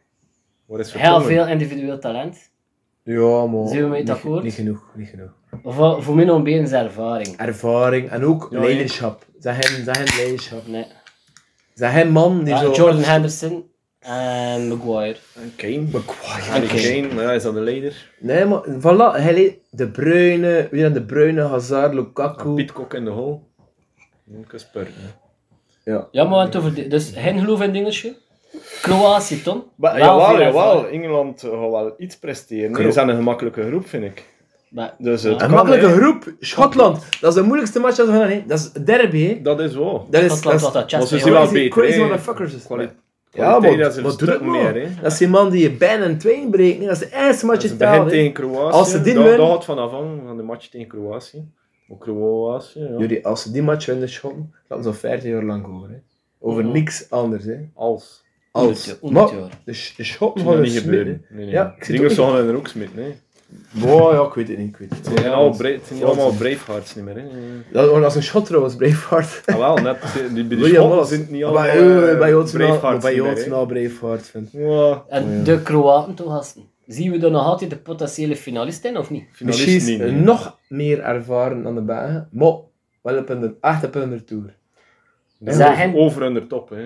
S4: Waar is
S3: Heel
S4: Vertongen?
S3: veel individueel talent.
S2: Ja, maar...
S3: Zijn we mee
S2: niet-
S3: akkoord?
S2: Niet genoeg, niet genoeg.
S3: Voor, voor mij nog een beetje zijn ervaring.
S2: Ervaring en ook
S4: Ja,
S2: leiderschap. Zijn hem, zijn hem leiderschap.
S3: Nee.
S2: Zijn hem man die
S3: Ah,
S2: zo...
S3: Jordan Henderson en Maguire.
S4: En Kane.
S2: Maguire.
S4: En
S3: Oké.
S4: Kane, nou ja, is dat de leider?
S2: Nee, maar voilà, hij leidt de Bruyne, weer aan de Bruyne, Hazard, Lukaku.
S4: Pitcock in de hol. Ik is per.
S2: Ja.
S3: Ja, maar we hebben het over de- dus geen geloof in dingetje. Kroatië, Tom.
S4: Maar,
S3: Wel
S4: jawel,
S3: veel
S4: jawel.
S3: ervaring.
S4: Engeland eh, gaat wel iets presteren.
S2: Klopt.
S4: Ze zijn een gemakkelijke groep, vind ik.
S3: Maar-
S4: Dus het
S2: Een
S4: kan,
S2: makkelijke
S4: hè.
S2: groep. Schotland. Dat is de moeilijkste match dat we gaan hebben. Dat is derby, hè.
S4: Dat is wel.
S2: Dat is...
S3: Dat klopt, dat dat
S4: Maar
S3: Chelsea
S4: ze zien wel
S2: crazy,
S4: beter.
S2: crazy
S4: hè.
S2: motherfuckers is het.
S4: Kwali-
S2: Ja,
S4: kwaliteit,
S2: maar
S4: dat is een
S2: wat doet
S4: stuk
S2: het man?
S4: meer, hè.
S2: Dat is die man die je bijna een tweeën breekt. hè. Dat is de eerste match
S4: Ze
S2: in taal.
S4: beginnen tegen Kroatië.
S2: Als ze dit
S4: dat,
S2: winnen-
S4: dat gaat vanaf hangen, van de match tegen Kroatië. Ook Kroatië, ja.
S2: Jullie, als ze die match winnen, schotten, laten ze al 15 jaar lang horen. Hè. Over
S3: Mhm.
S2: niks anders. Hè.
S4: Als.
S2: Als.
S3: Honderd jaar.
S2: Maar de, sch- de schotten
S4: Dat gaat
S2: gaan
S4: niet
S2: niet
S4: gebeuren. Nee, nee.
S2: Ja, ik
S4: Ja,
S2: zit
S4: Dingers
S2: ook
S4: gaan er ook smitten, nee.
S2: Boah, ja, ik weet het niet. Ik weet het
S4: Het
S2: niet.
S4: zijn
S2: Ja,
S4: al bra- het zijn niet allemaal Bravehearts niet meer. Hè.
S2: dat was een shot trouwens, Braveheart.
S4: Ah, wel, net. Die, die, die
S2: William
S4: Schotten
S2: Wallace.
S4: zijn het niet
S2: Maar
S4: allemaal
S2: Bij eh, bij
S4: eh,
S2: ons wel-
S4: Bravehearts
S2: bij
S4: niet meer,
S2: ons nou-
S4: hè.
S2: wel Braveheart vindt.
S4: Oh Ja,
S3: En de Kroaten toch, gasten. Zien we dan nog altijd de potentiële finalist in, of niet?
S4: finalisten niet meer.
S2: Misschien nog meer ervaren dan de Belgen, maar wel op hun, echt op hun tour.
S4: Ja,
S3: Zij
S4: over-
S3: hem-
S4: Over in de top. Hè.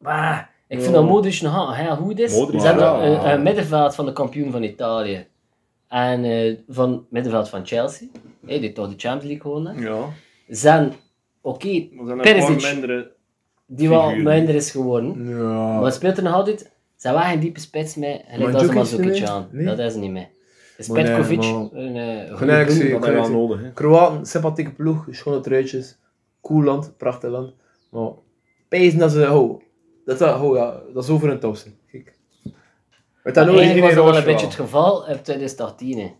S3: Bah, ik vind dat Modric nog heel goed is.
S4: Modric,
S3: Ze hebben
S4: ja.
S3: een, een eh, middenveld van de kampioen van Italië. En eh, van middenveld van Chelsea. Hey, die toch de Champions League gewonnen.
S4: Ja.
S3: Zijn, oké,
S4: Er eh, zijn een
S3: Perisic.
S4: paar mindere...
S3: die wel
S4: Figuren.
S3: minder is geworden.
S2: Nou. Ja.
S3: Maar speelt er nog altijd? Zijn wij geen diepe spits mee? Gelijk dat ze
S2: Mandzukic
S3: Mandzukic
S2: niet?
S3: aan.
S2: Nee?
S3: Dat is niet mee. Is
S2: Maar nee,
S3: Petkovic
S2: maar-
S3: een eh
S2: Gewoon eigenlijk
S3: goede
S2: zie
S3: broer?
S2: ik
S4: Dat is wel
S2: weet het.
S4: nodig. Hè.
S2: Kroaten, sympathieke ploeg, schone truitjes, cool land, prachtig land. Maar pezen dat ze, oh, dat, dat, oh ja, dat is over hun top zijn. Kijk. Weet dat
S3: Maar
S2: nou
S3: Eigenlijk was dat wel een
S2: Roosevelt.
S3: beetje het geval in 2018. hè.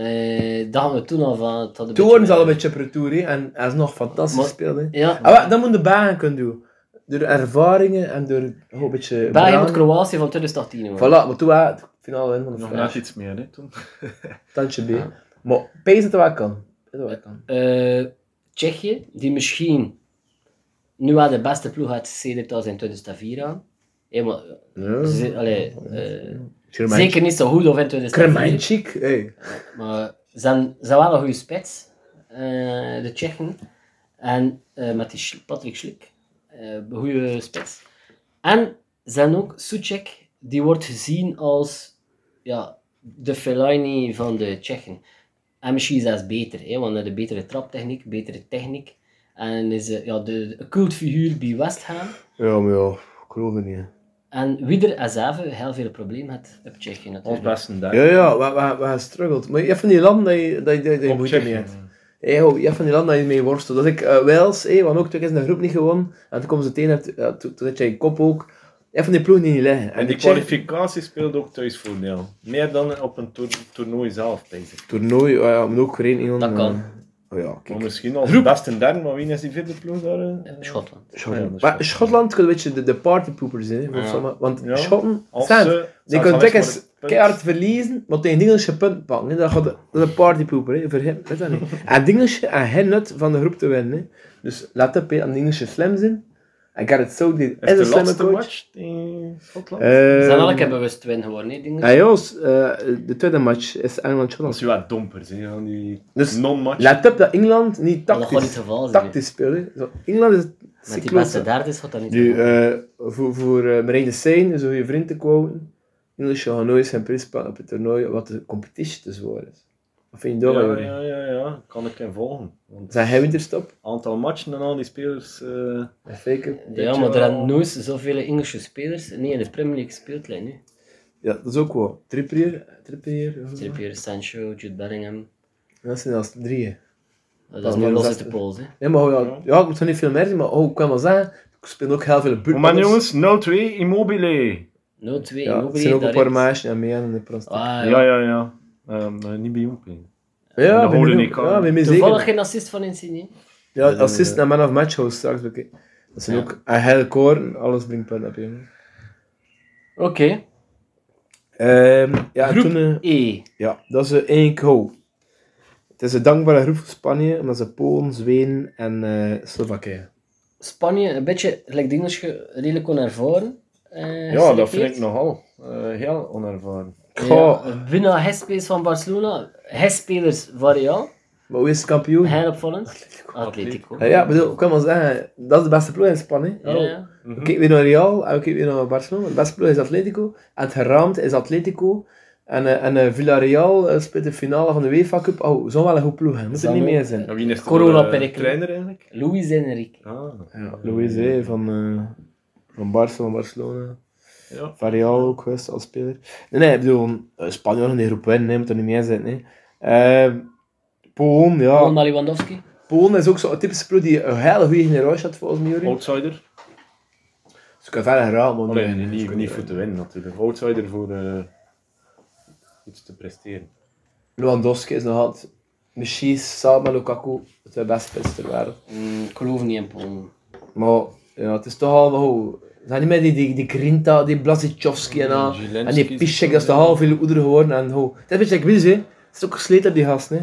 S3: Eh daar hadden we toen al van. het had een
S2: Toen
S3: beetje-
S2: worden ze al een beetje op retour, hè, en hij is nog fantastisch
S3: Maar-
S2: gespeeld. hè.
S3: Ja,
S2: Ah, maar dat moeten de Belgen kunnen doen. Door ervaringen en door oh, een beetje...
S3: België moet
S2: brand.
S3: Kroatië van 2018 hoor.
S2: Voilà, maar toen waren het finale win van de
S4: Nog
S2: Fransen.
S4: net iets meer, hè, toen.
S2: Tandje B. Maar pees dat het wel kan. Dat het wel kan.
S3: Eh, Tsjechië, die misschien nu wel de beste ploeg had sedert als in 2004 aan. Hé, maar,
S2: Ja.
S3: ze, allee, eh,
S2: Kremantje.
S3: zeker niet zo goed of in 2004.
S2: Kremantjik, hey.
S3: Maar ze zijn, ze zijn wel een goede spits, eh, de Tsjechen. En eh, met die Schl- Patrick Schlik, eh, een goede spits. En ze zijn ook Suchek, die wordt gezien als ja, de Fellaini van de Tsjechen. En misschien zelfs beter, hè, want hij heeft een betere traptechniek, betere techniek. En is eh, ja, de, de cultfiguur bij West Ham.
S2: Ja, maar ja, ik geloof het niet. hè.
S3: En Wieder Azave heel veel probleem had op Tsjechië
S4: Ons
S3: natuurlijk.
S4: beste dag.
S2: Ja, ja, we- we- we hebben gestruggeld. Maar je hebt van die landen dat je, dat je, dat je
S4: Op
S2: moeite
S4: Tsjechië.
S2: mee hebt. Hey, ho, je hebt van die landen dat je mee worstelt. Dat ik eh, Wales, hey, want ook toen is in de groep niet gewonnen. En toen komen ze tegen, en toen- ja, toen toen had jij je kop ook. Je hebt van die ploegen die niet liggen.
S4: En die
S2: de Tsjechen-
S4: kwalificatie speelde ook thuisvoordeel. Meer dan op een toer- toernooi zelf, denk ik.
S2: Toernooi, oh ja, maar ook Vereniging.
S3: Dat kan.
S2: Oh ja,
S4: Maar
S2: kijk.
S4: misschien als beste derde, maar wie is die vierde ploeg daar? eh?
S3: Schotland.
S4: Ja, dat
S2: Schotland.
S4: is
S2: maar
S4: Schotland.
S2: Schotland kan een beetje de, de partypoopers zijn. hè,
S4: Ja.
S2: sommige- Want
S4: Ja.
S2: Schotten,
S4: Als
S2: zijn-
S4: ze-
S2: die
S4: zelfs
S2: kunnen
S4: al
S2: telkens
S4: is maar een punt.
S2: keihard verliezen, maar tegen de Engelsen punt pakken. hè. Dat, gaat, dat is een partypooper, hè. vergeet weet dat niet. en de Engelsen en geen nut van de groep te winnen. Hè. Dus laat op, hè. en de Engelsen slim zijn. En Gareth Southgate is,
S4: Is
S2: een
S4: de
S2: slimme
S4: laatste
S2: coach.
S4: match in Schotland?
S3: Ze
S2: Eh,
S3: zijn elke keer bewust win geworden, hè, dingen.
S2: ah, jongens, eh, de tweede match is
S4: Dat is
S2: Engeland-Schotland.
S4: wel wat dompers, hè, van die
S2: Dus
S4: non-match.
S2: Let op dat Engeland niet
S3: Maar dat gaat niet
S2: tactisch,
S3: het geval zijn. hè.
S2: tactisch speelt. hè. Zo, Engeland is
S3: Met die
S2: cyclopen.
S3: beste derde is wat dat niet
S2: Nu,
S3: zo.
S2: eh, voor, voor eh Marijn de Sein is een goede vriend te quoten. English gaan nooit zijn prijs pakken op het toernooi, wat de competitie te zwaar is. Wat vind je
S4: ja,
S2: daarvan? Jurgen?
S4: ja, ja, ja, kan ik in volgen. Want
S2: Zijn hij winterstop?
S4: aantal matchen en al die spelers. eh,
S2: Ja, Zeker.
S3: Ja, maar er
S4: wel-
S3: zijn nooit zoveel Engelse spelers niet in de Premier League speelt hè, nu.
S2: Ja, dat is ook wel. Trippier? Trippier? ja.
S3: Trippier, Sancho, Jude Bellingham.
S2: Dat zijn als drieën.
S3: Dat is
S2: Dat
S3: nu
S2: is
S3: los
S2: wel
S3: uit de
S2: zes-
S3: pols, hè.
S2: Ja, maar ja, ja, ik moet er niet veel meer zien, maar oh, ik kan wel zeggen, ik speel ook heel veel buurt.
S4: Maar Oh, jongens, 0-2 Immobile.
S3: 0-2,
S2: Ja, er
S3: Immobile,
S2: zijn ook een paar
S3: direct.
S2: meisjes en mee aan de prostitutie.
S3: Ah,
S4: Ja, ja, ja. Ehm, maar niet bij Ompé.
S2: ja,
S4: dat
S2: ben
S4: hoorde
S2: benieuwd.
S4: ik al.
S2: Ja, ben mee
S3: Toevallig
S2: zeker.
S3: geen assist van Insigne.
S2: Ja, assist naar man of match host straks bekeken. Dat zijn
S3: Ja.
S2: ook een hele koor, alles brengt punten op, jongen.
S3: Oké,
S2: Ehm ja, en
S3: Groep
S2: toen, eh,
S3: E.
S2: ja, dat is eh, één goal. Het is een dankbare groep voor Spanje, omdat ze Polen, Zweden en eh, Slowakije.
S3: Spanje, een beetje, gelijk dinges, ge- redelijk onervaren. eh,
S4: Ja, dat
S3: geselecteerd.
S4: vind ik nogal. eh, heel onervaren.
S2: Goh.
S3: Ja, winnaar hespelers van Barcelona. Hespelers van Real.
S2: Maar hoe is het kampioen? Ja,
S3: Heel opvallend. Atletico. Oh.
S2: ja, ik bedoel, ik kan wel zeggen, dat is de beste ploeg in Spanje. Oh.
S3: Ja, ja.
S2: We kijken weer naar Real en we kijken weer naar Barcelona. De beste ploeg is Atletico. En het geraamd is Atletico. En, eh, en eh, Villarreal eh, speelt de finale van de UEFA Cup. Oh, zo'n wel een goed ploeg, hè. moet er
S3: Zou
S2: niet
S3: ook-
S2: meer zijn.
S4: Ja, wie is de
S3: Corona
S4: eh,
S3: perikelen.
S4: trainer eigenlijk?
S3: Luis Enrique.
S4: Ah,
S2: Ja, Luis hè, van, eh, van Barca, van Barcelona.
S4: ja.
S2: Variaal ook geweest als speler. Nee, nee, ik bedoel, eh, Spanje nog in de groep winnen, nee, moet er niet meer zijn. hè. Eh Polen, ja.
S3: Allemaal Lewandowski.
S2: Polen is ook zo'n typische ploeg die een hele goede generatie had volgens mij.
S4: Oh.
S2: Jury.
S4: Outsider?
S2: Ze kan verder geraakt, maar
S4: Alleen
S2: nee,
S4: niet,
S2: ze-
S4: niet voor te winnen natuurlijk. Outsider voor eh, iets te presteren.
S2: Lewandowski is nog altijd misschien samen met Lukaku de twee beste spitsen ter wereld.
S3: Mm, ik geloof niet in Polen.
S2: Maar ja, het is toch al wel. ze Zijn niet meer die, die, die Grinta, die Blazichovski en al.
S4: Zielinski
S2: En die
S4: is
S2: Piszczek,
S4: het
S2: dat is toch al veel ouder geworden. En, ho. Het is een beetje like Wies, hè. Het is ook gesleten, die gast, hè.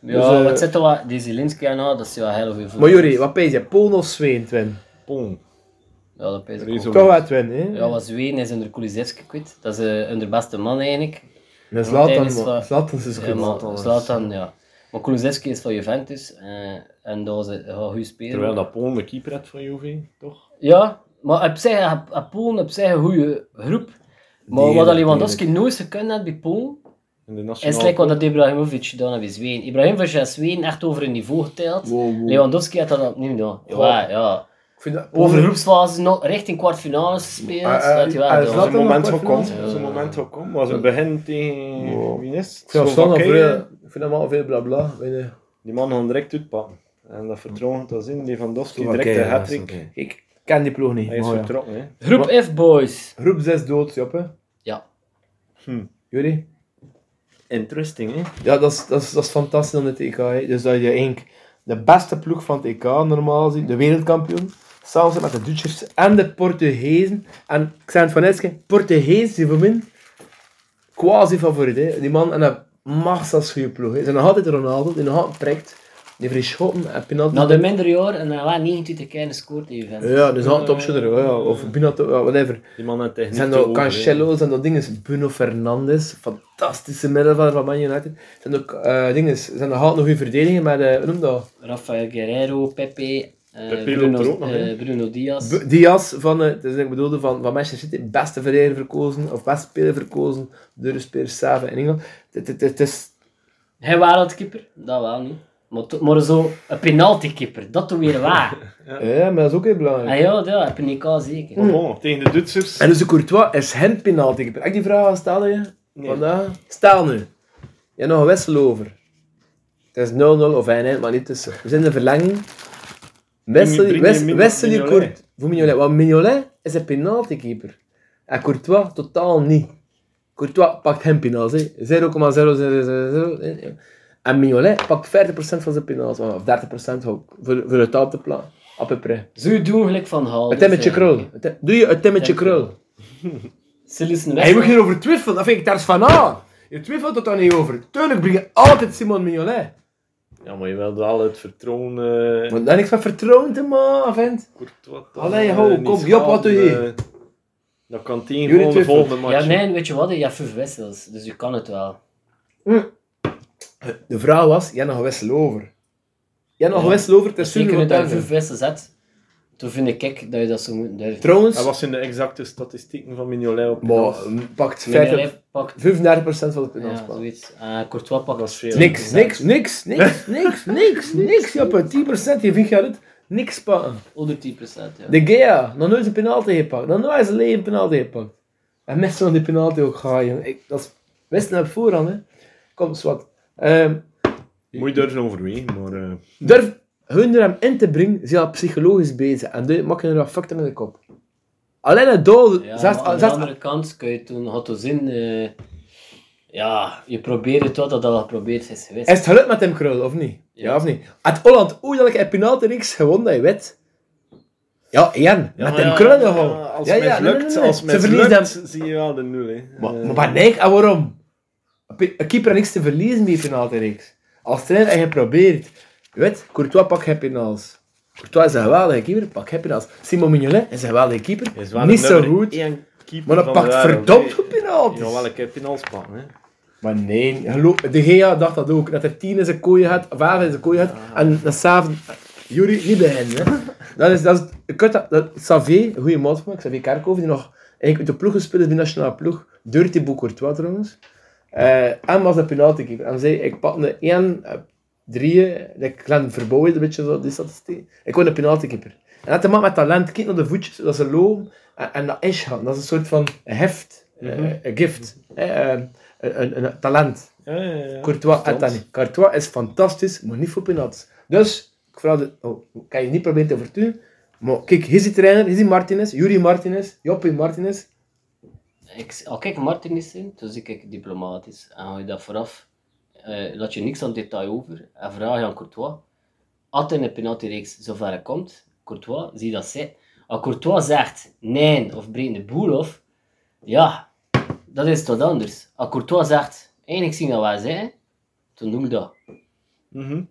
S3: Ja,
S2: Dus, eh,
S3: wat zit er wat? Die Zelinski en al, dat is wel heel veel.
S2: Maar Juri, wat pees je? Polen of Zweden, Twin?
S4: Pong.
S3: Ja, dat pees ik ook.
S4: Rezo.
S2: Toch wel Twin, hè?
S3: Ja, wat Zweden is onder Kulisevski kwijt. Dat is eh hun beste man eigenlijk.
S2: En Zlatan,
S3: Tijdens
S2: man.
S3: wat-
S2: Zlatan is goed.
S3: Ja, maar Zlatan, ja. Maar Kulisevski is van Juventus eh, en dat was een een goede speler.
S4: Terwijl dat Pong de keeper had van Juve, toch?
S3: Ja, maar op zich, op, op Polen op zich een goede groep. Maar
S2: Die-
S3: wat dat Lewandowski nooit gekund had bij Polen,
S4: In de
S3: is
S4: nationale
S3: gelijk wat dat Ibrahimovic gedaan heeft bij Zweden. Ibrahimovic had Zweden echt over een niveau geteld.
S2: Wow, wow.
S3: Lewandowski had dat opnieuw gedaan. Ja,
S2: Ja.
S3: ja.
S2: Ik vind dat...
S3: Over groepsfase nog richting kwartfinales gespeeld.
S2: Ah,
S3: dat
S2: ah,
S3: had hij wel
S2: ah,
S3: gedaan.
S4: Dat is een
S2: Zlatan
S4: moment
S2: nog
S4: van komt.
S2: kwartfinale?
S4: Dat is een moment van komt. Was het begin tegen
S2: Wow.
S4: wie is
S2: Ik
S4: het?
S2: vind dat Zlatan
S4: Slowakije.
S2: veel- ik vind hem al veel blabla. winnen.
S4: Die man gaan direct uitpakken. En dat vertrouwen dat in. Lewandowski direct
S2: Slowakije,
S4: de
S2: ja,
S4: hat-trick.
S2: Slowakije. Ik ken die ploeg niet.
S4: Hij is
S2: maar ja.
S4: vertrokken, hè.
S3: Groep F, boys.
S2: Groep 6 dood, Joppe.
S3: Ja.
S4: Hm.
S2: Juri?
S4: Interesting, hè.
S2: Ja, dat is, dat, is, dat is fantastisch aan het EK. Hè. Dus dat je eigenlijk de beste ploeg van het EK normaal ziet, de wereldkampioen, samen zit met de Duitsers en de Portugezen. En ik zei het van Eske, Portugees die voor min quasi favoriet. Hè. Die man en dat massa's goede ploeg. Hè. Ze zijn nog altijd Ronaldo, die nog altijd prikt. Die vrij schotten en penalty.
S3: Na Nou, de minder jaar en dan wel 29 keer gescoord in Juventus.
S2: ja, dus altijd topschutter. Ja, ja. Of Bina, ja, whatever.
S4: Die man had techniek
S2: Zijn
S4: te
S2: er
S4: over, hè.
S2: Cancelo's en dat ding is Bruno Fernandes, fantastische middenvelder van Man United. Zijn ook eh dingen, zijn er haalt nog goede verdedigingen, maar eh, hoe noem dat?
S3: Rafael Guerrero, Pepe, eh,
S4: Pepe loopt er
S3: Bruno,
S4: ook nog
S3: eh,
S4: in.
S3: Bruno Diaz.
S2: B- Diaz van, eh, het is ik bedoelde van, van Manchester City, beste verdediger verkozen, of beste speler verkozen door de spelers Saven en Engeland. Het- Het het is
S3: Hij wereldkeeper, dat wel niet. Maar, to- maar zo, een penaltykeeper, dat doe weer waar.
S2: ja, maar dat is ook heel belangrijk.
S3: ah ja, dat heb ik al zeker.
S4: Maar bon, tegen de Duitsers.
S2: En dus de Courtois is hem penalty. Ik heb ik die vraag aan staan je
S4: Nee.
S2: vandaag. Stel nu, je hebt nog een wissel over. Het is 0-0 of 1-1, maar niet tussen. We zijn in de verlenging. Wissel je-
S4: Mignolet,
S2: wis-
S4: Mignolet.
S2: Wissel je Courtois voor Mignolet. Want Mignolet is een penaltykeeper. En Courtois totaal niet. Courtois pakt hem penalty. 0,0000. hè. En Mignolet pakt 40% van zijn penalty. Of 30% ook. Voor, voor het op te plan. À peu près.
S3: Zo doen gelijk van eh, halen.
S2: Een timmetje krul. Een tim- Doe je een timmetje
S3: Timmetje
S2: krul.
S3: Sillissen
S2: Hij moet hierover twijfelen, dat vind ik daar is van aan. Je twijfelt het dan niet over. Tuurlijk breng je altijd Simon Mignolet.
S4: Ja, maar je wilt wel het vertrouwen... eh,
S2: Want daar niks van vertrouwen te maken, vent.
S4: Courtois dan,
S2: Allee,
S4: eh,
S2: ho,
S4: niet
S2: kom, Job, wat doe je?
S4: schaden, eh, Dat kan tegen
S2: Jullie
S4: van de
S2: twijfelen.
S4: volgende
S3: Ja,
S4: match.
S3: nee, weet je wat? Je hebt vijf wissels, dus je kan het wel.
S2: De vraag was, jij nog een wissel over. Jij nog
S3: Ja.
S2: een wissel over, het is
S3: Zeker
S2: Sune
S3: dat
S2: van
S3: je vijf
S2: Terven.
S3: wissels hebt, toen vind ik ik dat je dat zo moet durven.
S4: Dat
S2: Trouwens,
S4: was in de exacte statistieken van Mignolet op
S2: maar,
S4: penalty.
S2: eh, pakt
S3: Mignolet
S2: 50
S3: pakt,
S2: 35% van het
S3: ja,
S2: penalty.
S3: zoiets. Eh, Courtois pakt
S4: Dat is veel.
S2: Niks, niks, niks, niks, niks, niks, [laughs] niks. Joppe, 10% je vindt je uit. Niks pakken.
S3: onder 10%. Ja.
S2: De Gea, nog nooit een penalty gepakt. Nog nooit in zijn leven een penalty gepakt. En mensen van die penalty ook gaan, jongen. Ik, dat is wisten op voorhand, hè. Kom, zwart. Ehm
S4: Moet je durven overwegen, maar... eh,
S2: durf hun er hem in te brengen, zijn al psychologisch bezig. En doe- maak je er wat fucked in de kop. Alleen het doel,
S3: Ja,
S2: zelfs,
S3: maar aan de
S2: zelfs-
S3: andere kant kun je toen had zin. eh, ja, je probeert het wat dat al geprobeerd is geweest.
S2: is het gelukt met hem krul, of niet? Ja,
S3: Ja.
S2: of niet? Had Holland ooit een penalty reeks gewonnen, dat je weet. Ja, Jan,
S4: ja,
S2: met
S4: maar
S2: hem
S4: ja,
S2: krullen
S4: ja,
S2: gewoon.
S4: Als
S2: Ja,
S4: het
S2: ja, nee, nee,
S4: mislukt,
S2: nee, nee.
S4: als
S2: Ze
S4: het
S2: verliezen hem.
S4: mislukt, zie je wel de nul, hè.
S2: Maar,
S4: Eh,
S2: maar wat denk en waarom? Pe- Een keeper heeft niks te verliezen bij een penaltyreeks. Als trainer en je probeert. Je weet, Courtois pak je penals. Courtois is een geweldige keeper, pak je penals. Simon Mignolet is een geweldige keeper,
S4: Hij is wel
S2: niet
S4: de
S2: zo
S4: nummer
S2: goed.
S4: één keeper
S2: Maar dat
S4: van de
S2: pakt
S4: wereld,
S2: verdomd
S4: hè.
S2: goed penalties.
S4: Jawel, ik heb penalty pakken, hè.
S2: Maar nee, geloof, de Gea dacht dat ook. Dat er tien in zijn kooi had, vijf in zijn kooi had. En dat s'avonds... Jury, niet bij hen. Hè. Dat is... Dat is je kunt dat, dat, Xavier, een goede maat van mij, Xavier Kerkhoven, die nog eigenlijk uit de ploeg gespeeld is, die nationale ploeg. Dirty Boek Courtois trouwens. Eh, en was de penaltykeeper. En zei, ik pak de 1, drieën. Ik Glenn verbouwen, een beetje zo, die statistiek. Ik word een penaltykeeper. En dat te maken met talent. Kijk naar de voetjes, dat ze lopen. En, en dat is gaan. Dat is een soort van heft. eh, Een gift. eh, eh, een, een, een talent.
S4: Ja, ja, ja.
S2: Courtois had dat niet. Courtois is fantastisch, maar niet voor penalties. Dus, ik vraag de... Oh, ik kan je niet proberen te overtuigen. Maar kijk, hier is die trainer, hier is die Martinez, Yuri Martinez, Joppie Martinez.
S3: Ik, al kijk Martin is in, toen zie ik diplomatisch. En hou je dat vooraf, eh, laat je niks aan detail over en vraag je aan Courtois. Altijd in de penaltyreeks zover hij komt, Courtois, zie dat zij. Als Courtois zegt nee of breekt de boel af, ja, dat is wat anders. Als Courtois zegt, eigenlijk zien dat wij zijn, toen doe ik dat.
S4: Mhm.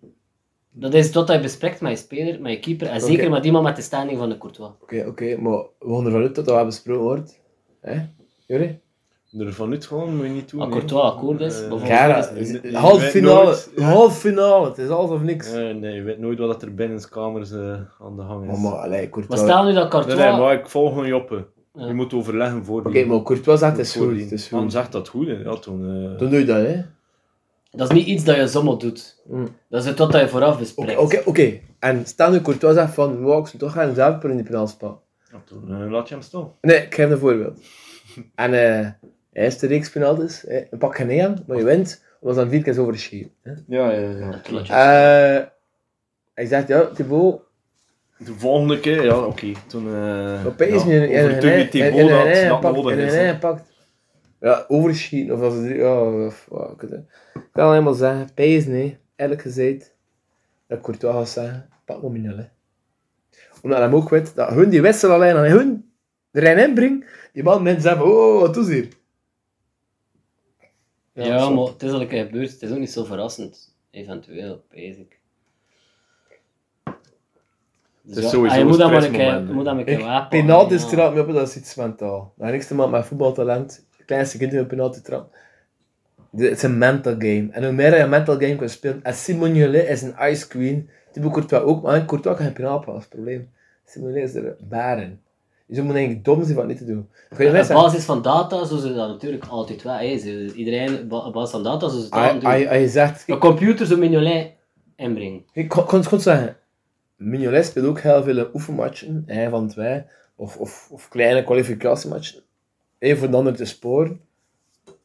S3: Dat is wat je bespreekt met je speler, met je keeper en zeker
S2: Oké.
S3: met iemand met de standing van de Courtois.
S2: Oké, oké, maar we gaan ervan uit dat dat wel besproken wordt. Hè? Jullie?
S4: Ervan uit gewoon, moet je niet doen.
S3: Ah,
S4: hè.
S3: Courtois akkoord is,
S4: Eh,
S3: bijvoorbeeld.
S2: Ja,
S4: is- is-
S2: half
S4: weet
S2: finale.
S4: nooit.
S2: Half finale. Het is alles of niks.
S4: eh, nee, je weet nooit wat dat er binnenkamers eh aan de gang is.
S2: Oh, Maar, maar allee,
S3: Maar
S2: Courtois...
S3: stel nu dat
S4: Nee, nee,
S3: Courtois...
S4: maar ik volg een joppe.
S3: Ja.
S4: Je moet overleggen voor
S2: Oké, maar Courtois zegt het is goed. Het is
S4: Dan
S2: goed.
S4: zegt dat goed, hè. ja, toen... eh
S2: Dan doe je dat, hè.
S3: Dat is niet iets dat je zomaar doet.
S2: Mm.
S3: Dat is het wat dat je vooraf bespreekt.
S2: Oké, oké, oké. En stel nu Courtois zegt van, wow, ik zou toch gaan zelf per in de penalspa.
S4: ja, toen eh, laat je hem staan.
S2: Nee, ik geef een voorbeeld. En eh eerste reeks penalties, eh, een pak geen aan, maar je wint, omdat ze dan vier keer over de schie.
S4: Ja, ja, ja.
S2: Eh hij zegt, ja, Thibaut,
S4: De volgende keer, ja, oké. Toen... eh
S2: opeens nu
S4: ja,
S2: in een
S4: overtuig je Thibaut dat het
S2: eigen
S4: dat
S2: pak,
S4: nodig
S2: in een
S4: is. hè.
S2: eigen pak. Ja, overschieten, of als het... Ja, of, wat ik het- ik kan alleen maar zeggen, pijs nee, eerlijk gezegd, dat Courtois gaat zeggen, pak me nul, hè. Omdat hij ook weet, dat hun die wissel alleen aan hun erin inbrengt, die man mensen zeggen, oh, wat is hier?
S3: Ja,
S2: zo.
S3: maar het is al een keer gebeurd. Het is ook niet zo verrassend. Eventueel, basic. Dus
S4: is
S3: ja,
S4: sowieso
S3: ah, je
S4: een
S3: moet dat maar een
S4: stressmoment,
S3: keer-
S4: hè.
S3: je moet dat maar een keer
S2: Ik,
S3: wapen.
S2: penalty
S3: ja.
S2: straalt me op, dat Oh, is iets mentaal. Dat heeft niks te maken met voetbaltalent. Het Kleinste kind in een penalty trap. Het is een mental game. En hoe meer je een mental game kunt spelen... En Simon Jollet is een ice queen. Thibaut Courtois ook, maar Courtois kan geen penalty passen, dat is het probleem. Simon Jollet is er baren. Dus je moet eigenlijk dom zijn van niet te doen. Kun je
S3: Op
S2: mensen... Als
S3: basis van data, zo ze dat natuurlijk altijd wel. hè. Ze- Iedereen, ba- op basis van data, zo ze dat
S2: je- als
S3: natuurlijk.
S2: je- als "Ah, je zegt...
S3: Een computer zo'n mignolet inbrengen.
S2: Ik kon kon het goed zeggen. Mignolet speelt ook heel veel oefenmatchen, hij van twee, of, of, of kleine kwalificatiematchen. Eén voor de ander te sporen.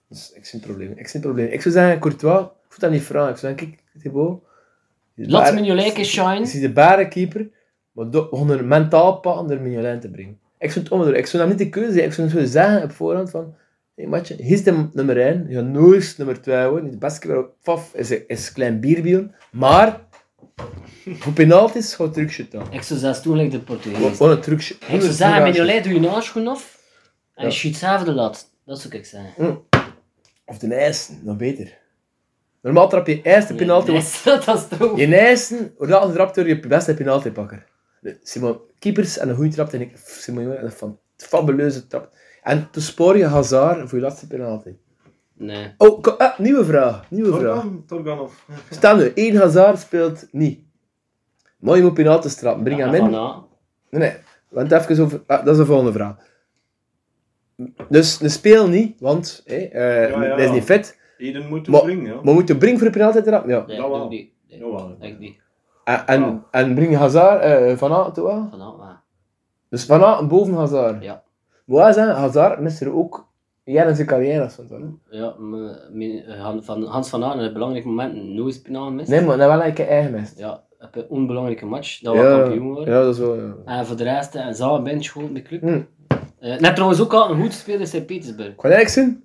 S2: Dus ik zie het probleem. Ik zie het probleem. Ik zou zeggen, Courtois, ik hoef dat niet vragen. Ik zou zeggen, kijk, Thibaut. die
S3: Laat
S2: baren-
S3: mignolet eens
S2: Ik
S3: shine.
S2: zie de barenkeeper, maar do- om er mentaal pakken door Mignolet in te brengen. Ik zou het omdoen. Ik zou hem niet de keuze zijn. Ik zou hem zo zeggen op voorhand van, hey matje, hier is de nummer 1, je gaat nooit nummer 2 worden. De beste keeper op Faf is, is klein bierbion, maar... Voor penalties gaat trucje dan.
S3: Ik zou zelfs toen like de Portugees.
S2: Gewoon een trucje.
S3: Ik zou zeggen, mignolet doe je naaschoen af. En je
S2: Ja.
S3: schiet zelf de lat. Dat zou ik zeggen.
S2: Of de eisen, nog beter. Normaal trap je eerst de penalty.
S3: Nee, [laughs] Dat is toch...
S2: Je eisen, doordat een trap door je beste penaltypakker. De Simon, keepers en een goede trap, en ik, Simon Jongen, en een fan- fabuleuze trap. En te spoor je Hazard voor je laatste penalty.
S3: Nee.
S2: Oh, ko- eh, nieuwe vraag. Nieuwe vraag.
S4: Torgan, Torgan of...
S2: Stel nu, één Hazard speelt niet. Maar je moet penalty trappen. Breng hem in.
S3: Vanaf.
S2: Nee, nee. Want even over... ah, dat is de volgende vraag. Dus de speel niet, want hé, eh,
S4: Ja, ja,
S2: hij is
S4: ja.
S2: niet fit.
S4: Eden moet hem
S2: Maar-
S4: brengen, ja.
S2: Maar moet je Brink voor de penalty trappen? Ja.
S3: Nee,
S4: Dat wel.
S3: doe ik niet. Nee,
S4: Jawel.
S3: doe ik niet.
S2: En, en,
S4: Ja.
S2: en Brink Hazard eh van Aert ook wel?
S3: Vanaf, maar.
S2: Dus van Aert boven Hazard?
S3: Ja.
S2: Maar wij zeggen, Hazard mist er ook jaren in zijn carrière of zo. hè?
S3: Ja, me- me- eh, Han- van Hans van Aan, een belangrijk moment, nooit penal gemist.
S2: Nee, maar dat wel een keer eigen mist.
S3: Ja, op een onbelangrijke match, dat we kampioen worden.
S2: Ja, dat is wel... Ja.
S3: En voor de rest, eh, een zaal bench gewoon de club.
S2: Hm.
S3: Eh, net trouwens ook al een goed speler in Sint-Petersburg.
S2: Ik ga eerlijk zijn,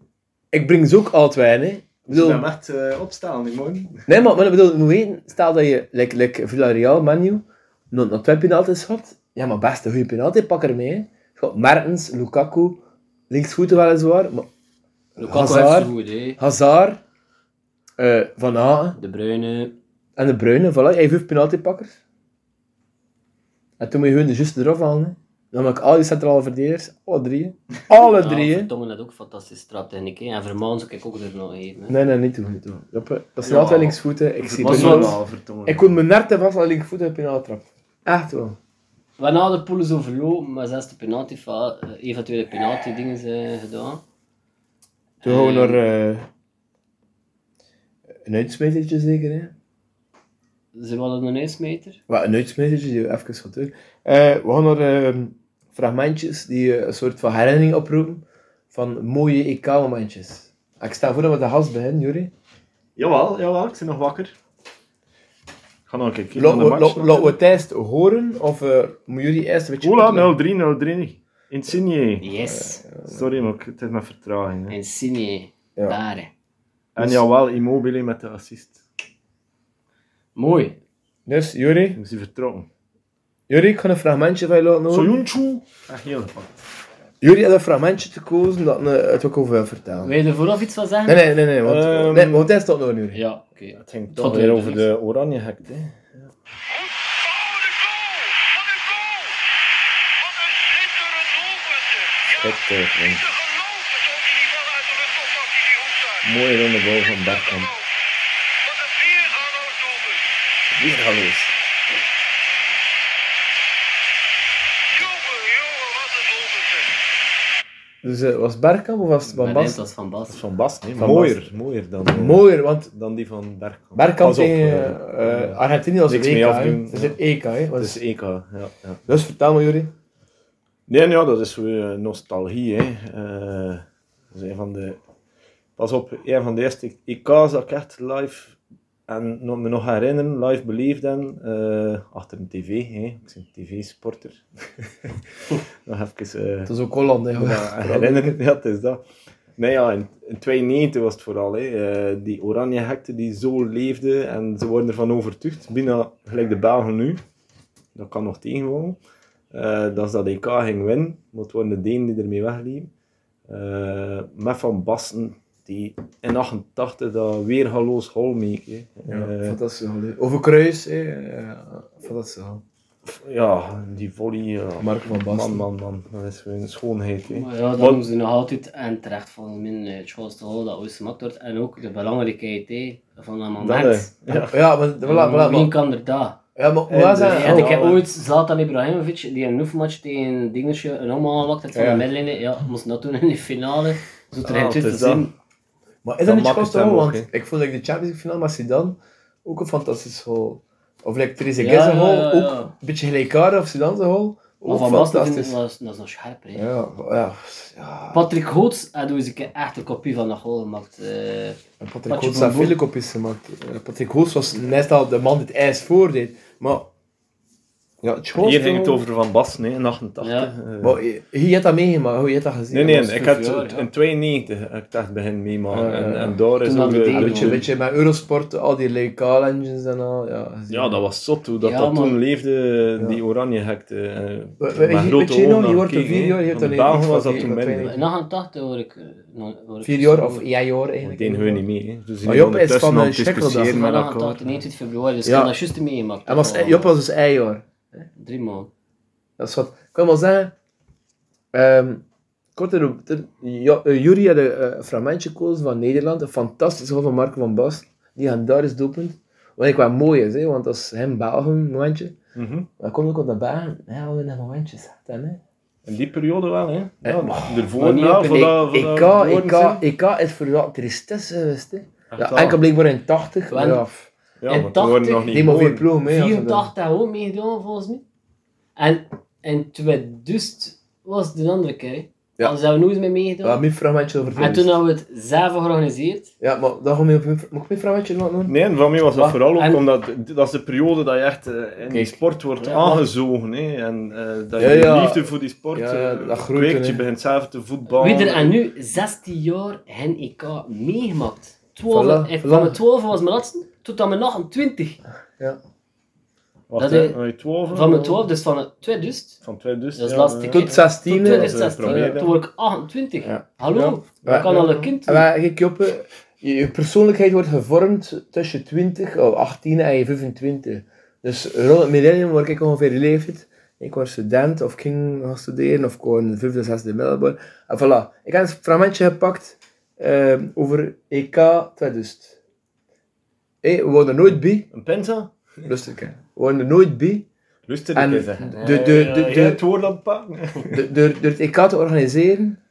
S2: ik breng ze ook altijd wijn, hè. Ik
S4: Ze
S2: bedoel,
S4: hem echt eh, opstaan, ik moet niet.
S2: Nee, maar, maar ik bedoel, je moet weten, stel dat je, like, like Villarreal, Manu, nog nog twee penalties had. Ja, maar best een goede penalty, pak er mee. hè. Je had Mertens, Lukaku, linksvoeten weliswaar, maar
S3: Lukaku heeft
S2: Hazard.
S3: zo goed, hè.
S2: Hazard, eh, Van Hagen
S3: De Bruyne.
S2: en De Bruyne, voilà, je hebt vijf penaltypakkers. En toen moet je gewoon de juiste eraf halen. hè. Dan maak ik al die centrale verdedigers, alle drie. hè. Alle
S3: Ja,
S2: drie, hè.
S3: Vertongen had ook fantastische straptechniek, hè. En Vermaan zou ik ook er nog even. hè.
S2: Nee, nee, niet doen, niet doen. Joppe, Dat zijn
S4: Ja.
S2: altijd linksvoeten, ik zie
S3: was
S2: het
S3: wel-
S2: nooit.
S4: normaal, vertongen.
S2: Ik kon mijn nerten vast aan linksvoeten op penalty trap. Echt wel.
S3: We hebben al de poelen zo verloren, maar zelfs de penalty, fa- eh, eventuele penalty dingen zijn gedaan.
S2: Toen gaan we naar eh, een uitsmijtertje zeker, hè?
S3: Ze willen een uitsmijter.
S2: Wat, een uitsmijtertje die we even gaan doen. Eh, we gaan naar eh, fragmentjes die eh, een soort van herinnering oproepen van mooie EK-momentjes. Ah, Ik sta voor dat we de gast beginnen, Juri.
S4: Jawel, jawel, ik ben nog wakker. Ik ga nog een keer kijken
S2: Laten
S4: naar de
S2: we-
S4: match.
S2: la- laten we het eerst horen of eh, moet Juri eerst een beetje...
S4: Ola, 0-3, 0-3. Insigne.
S3: Yes.
S4: Sorry, maar ik- het is mijn vertraging. hè.
S3: Insigne.
S2: Ja.
S3: Daar. hè.
S4: En jawel, Immobile met de assist.
S3: Mooi.
S4: nou.
S2: Dus, Juri.
S4: Dan is hij vertrokken.
S2: Juri, ik ga een fragmentje van je laten horen.
S4: Soyuncu. Echt Oh. heel gepakt.
S2: Jullie hebben een fragmentje gekozen dat eh, het ook over wil vertellen.
S3: Wil je er vooraf iets van zeggen?
S2: Nee, nee, nee, nee, want,
S4: Ehm.
S2: nee, want hij staat nog een uur.
S3: Ja, oké.
S4: Het ging
S3: vond
S4: toch
S3: ik
S4: weer
S3: niet
S4: over
S3: niks.
S4: de oranje hek.
S5: Oh,
S4: Hè?
S5: de goal! Wat een goal! Wat een schitterend doelpunt! zeg. Ja,
S4: Schitterend.
S5: niet te geloven zo die die bal uit de lucht opvangt die die hoek staat.
S4: Mooie ronde bal van Bergkamp.
S5: Wat een viergaloos doelpunt!
S4: Weer halloos.
S5: Jongen, jongen, wat een doelpunt! zeg.
S2: Dus eh, was het Bergkamp of was het Van
S3: Mijn eind
S2: Bast?
S3: was van Bas.
S4: Van Bast, nee,
S2: Van
S4: mooier,
S2: Bast.
S4: mooier dan, eh,
S2: Mooier, want
S4: dan die van Bergkamp.
S2: Bergkamp
S4: Pas op,
S2: tegen
S4: eh,
S2: eh,
S4: eh,
S2: Argentinië was het EK.
S4: niks mee
S2: hè.
S4: afdoen,
S2: Het is
S4: ja.
S2: een EK, hè.
S4: het
S2: Was-
S4: is EK, ja. ja.
S2: Dus vertel me, Jury.
S4: Nee, ja, dat is weer nostalgie. Hè. Eh, dat is een van de... Pas op, een van de eerste EK's dat ik echt live en nog- me nog herinneren, live beleefd heb, eh, achter een tv. Hè. Ik ben een tv-sporter. [laughs] nog even eh,
S2: Het was ook Holland, hè. hoor.
S4: ja, herinneren, ja, het is dat. Nee, ja, in, in 92 was het vooral. Hè. Eh, die oranje hekte die zo leefde en ze worden ervan overtuigd, bijna gelijk de Belgen nu, dat kan nog tegenvallen, Eh dat ze dat EK ging winnen, maar het waren de Denen die ermee wegliepen. Eh, met Van Basten, die in 88 dat weergaloos hol meekreeg.
S2: Ja,
S4: Eh,
S2: fantastisch. hoor, hè. Over Kruis, hè. eh, fantastisch. hoor.
S4: ja, die volley. ja.
S2: Marco van Basten.
S4: Man, man, man, dat is weer een schoonheid. Hè.
S3: Maar ja, dat
S4: Wat-
S3: doen ze nog altijd en terecht van min eh, het grootste rol dat ooit gemaakt wordt. En ook de belangrijkheid hè, van een
S4: Dat,
S3: moment.
S4: eh, ja.
S2: Ja, maar... Voilà, voilà,
S3: Wie
S2: maar
S3: kan er dat?
S2: ja, maar hoe was
S4: En,
S2: dat?
S4: eh,
S3: En ik heb
S4: ja.
S3: ooit Zlatan Ibrahimovic, die een oefenmatch tegen Dingetje een allemaal gelakt heeft van
S2: Ja.
S3: de middenlijn. Ja, moest dat doen in de finale. Zo
S4: Ah,
S3: terecht
S4: het
S3: te
S4: is dat.
S3: zien.
S2: Maar is dat
S4: Dan
S2: niet
S4: maakt
S2: kost
S4: het hem
S2: wel,
S4: ook,
S2: want
S4: hè.
S2: ik vond like, de Champions League finale met Zidane ook een fantastisch goal. Of like Trezeguet
S3: Ja,
S2: zijn
S3: ja,
S2: goal,
S3: ja, ja.
S2: ook een beetje gelijkaardig of Zidane zijn goal,
S3: Maar
S2: ook
S3: van Bas dat
S2: fantastisch.
S3: is dat is nog scherp. hè.
S2: Ja, ja, ja.
S3: Patrick Goots had ooit een keer echt een kopie van dat goal gemaakt. eh.
S2: En Patrick
S3: Patje
S2: Hoos
S3: van
S2: heeft
S3: Boer.
S2: vele kopjes gemaakt. Eh, Patrick Hoos was net al de man die het ijs voordeed. Maar ja, het schoonste
S4: Hier ging het
S2: goal-
S4: over Van Basten, hè, in 88.
S3: Ja.
S4: eh.
S2: Maar je, je hebt dat meegemaakt, hoe je hebt dat gezien.
S4: Nee, nee,
S3: was
S4: ik
S3: vijf
S4: had
S3: jaar,
S4: het
S3: ja.
S4: in 92 heb ik dacht begin meemaken.
S2: Ja, ja,
S4: en,
S2: ja.
S4: en daar is
S3: Toen dat
S4: ook de-
S3: meteen-
S2: Een
S4: de-
S2: beetje, een beetje met Eurosport, al die legal engines en al. Ja, gezien.
S4: Ja, dat was zot hoe dat,
S3: Ja,
S4: dat
S3: maar-
S4: toen leefde, die oranje hekte. eh,
S2: we-
S4: met
S2: we- je-
S4: grote
S2: weet je nog,
S4: ogen
S2: je hoort
S4: naar
S2: er vier
S4: gekeken,
S2: jaar, je
S4: hè.
S2: hebt
S4: Van
S2: er
S4: Belgen
S2: niks
S4: was
S2: van
S4: dat toen
S2: gekeken, dat
S4: minder.
S2: weet
S3: In 88 hoor ik. eh, nog- hoor ik
S2: Vier jaar
S3: zo-
S2: of ja jaar eigenlijk.
S4: Meteen hun niet mee. hè. Dus die
S2: Maar Job is
S4: ondertussen
S2: van,
S4: aan
S2: eh,
S4: het
S2: Schekkel, dat is
S4: discussiëren
S3: Van
S4: met
S3: 88,
S4: elkaar.
S3: 29 februari, dus
S2: Ja.
S3: ik heb dat juist meegemaakt.
S2: En was,
S3: Oh,
S2: Job was dus eijaar.
S3: Drie man.
S2: Dat is wat. Ik kan wel zeggen. ehm kort erop. ter- Jo- eh, Jury had een eh, fragmentje gekozen van Nederland. Een fantastisch goal van Marco van Basten. Die Handaris doelpunt. Wat ik wel mooi is, hè, want dat is hem Belgium momentje.
S4: Mhm.
S2: Maar komt ook op de baan. Ja, we hebben een momentje zegt hij, hè.
S4: In die periode wel, hè? Ja,
S2: Eh,
S4: ervoor
S3: niet
S4: na,
S3: op een
S4: voor dat- voor
S2: EK,
S4: dat
S2: EK,
S4: woorden
S2: EK is voor dat tristesse geweest. hè.
S4: zijn.
S2: Ja, enkel blijkbaar in 80.
S3: Wel,
S2: Ja,
S4: Ja,
S3: in
S4: maar toen waren
S3: 80,
S4: nog niet
S2: neem maar
S4: geboren.
S2: veel ploeg mee. als we dat-
S3: 84 ook meegedaan volgens mij. En in 2000 was het de andere keer. hè.
S2: Ja.
S3: Anders hebben we nooit mee
S2: Ja,
S3: meegedaan.
S2: mijn fragmentje over
S3: en toen hadden we het zelf georganiseerd.
S2: Ja, maar dan moet je mijn fragmentje nog doen.
S4: Nee, en voor mij was dat
S3: Wat?
S4: vooral ook
S3: En-
S4: omdat dat is de periode dat je echt eh, in die
S2: Ah, Kijk.
S4: sport wordt
S3: Ja, maar-
S4: aangezogen. Hè, en eh, dat je
S2: Ja, ja.
S4: liefde voor die sport
S2: Ja,
S4: eh,
S2: dat groeit,
S4: kweekt. Je
S2: hè.
S4: begint zelf te voetballen.
S3: Wie er en nu 16 jaar hen EK meegemaakt. 12,
S2: Voilà,
S3: ik-
S2: voilà.
S3: Van mijn 12 was mijn laatste, tot aan mijn 28.
S4: Wacht,
S3: dat
S4: hè,
S3: je-
S4: van je 12?
S3: Van mijn 12, dus van mijn 2000.
S4: Van 2000.
S3: Dat is
S4: ja,
S3: lastig,
S4: eh,
S3: hè.
S2: Tot 16. hè.
S3: Tot
S4: Dat is
S3: 2016.
S4: een
S3: Toen word ik 28.
S2: Ja.
S3: Hallo,
S2: Ja.
S3: dat kan
S2: Ja.
S3: al een kind
S2: En
S3: doen.
S2: waar ik je op, eh, je, je persoonlijkheid wordt gevormd tussen 20, of 18 en je 25. Dus rond het millennium word ik ongeveer die leeftijd. Ik was student, of ik ging gaan studeren, of ik was in de vijfde, zesde middelbaar. En voilà. Ik heb een fragmentje gepakt eh, over EK 2000. Hé, dus. Eh, we worden er nooit bij.
S4: Een pinza?
S2: Rustig, hè. We worden er nooit bij.
S4: Rustig,
S2: En
S4: ik zeggen.
S2: de- de- de-
S4: Eh,
S2: de-
S4: jij het woord aan het
S2: [laughs]
S4: pakken.
S2: Door- Door door het EK te organiseren,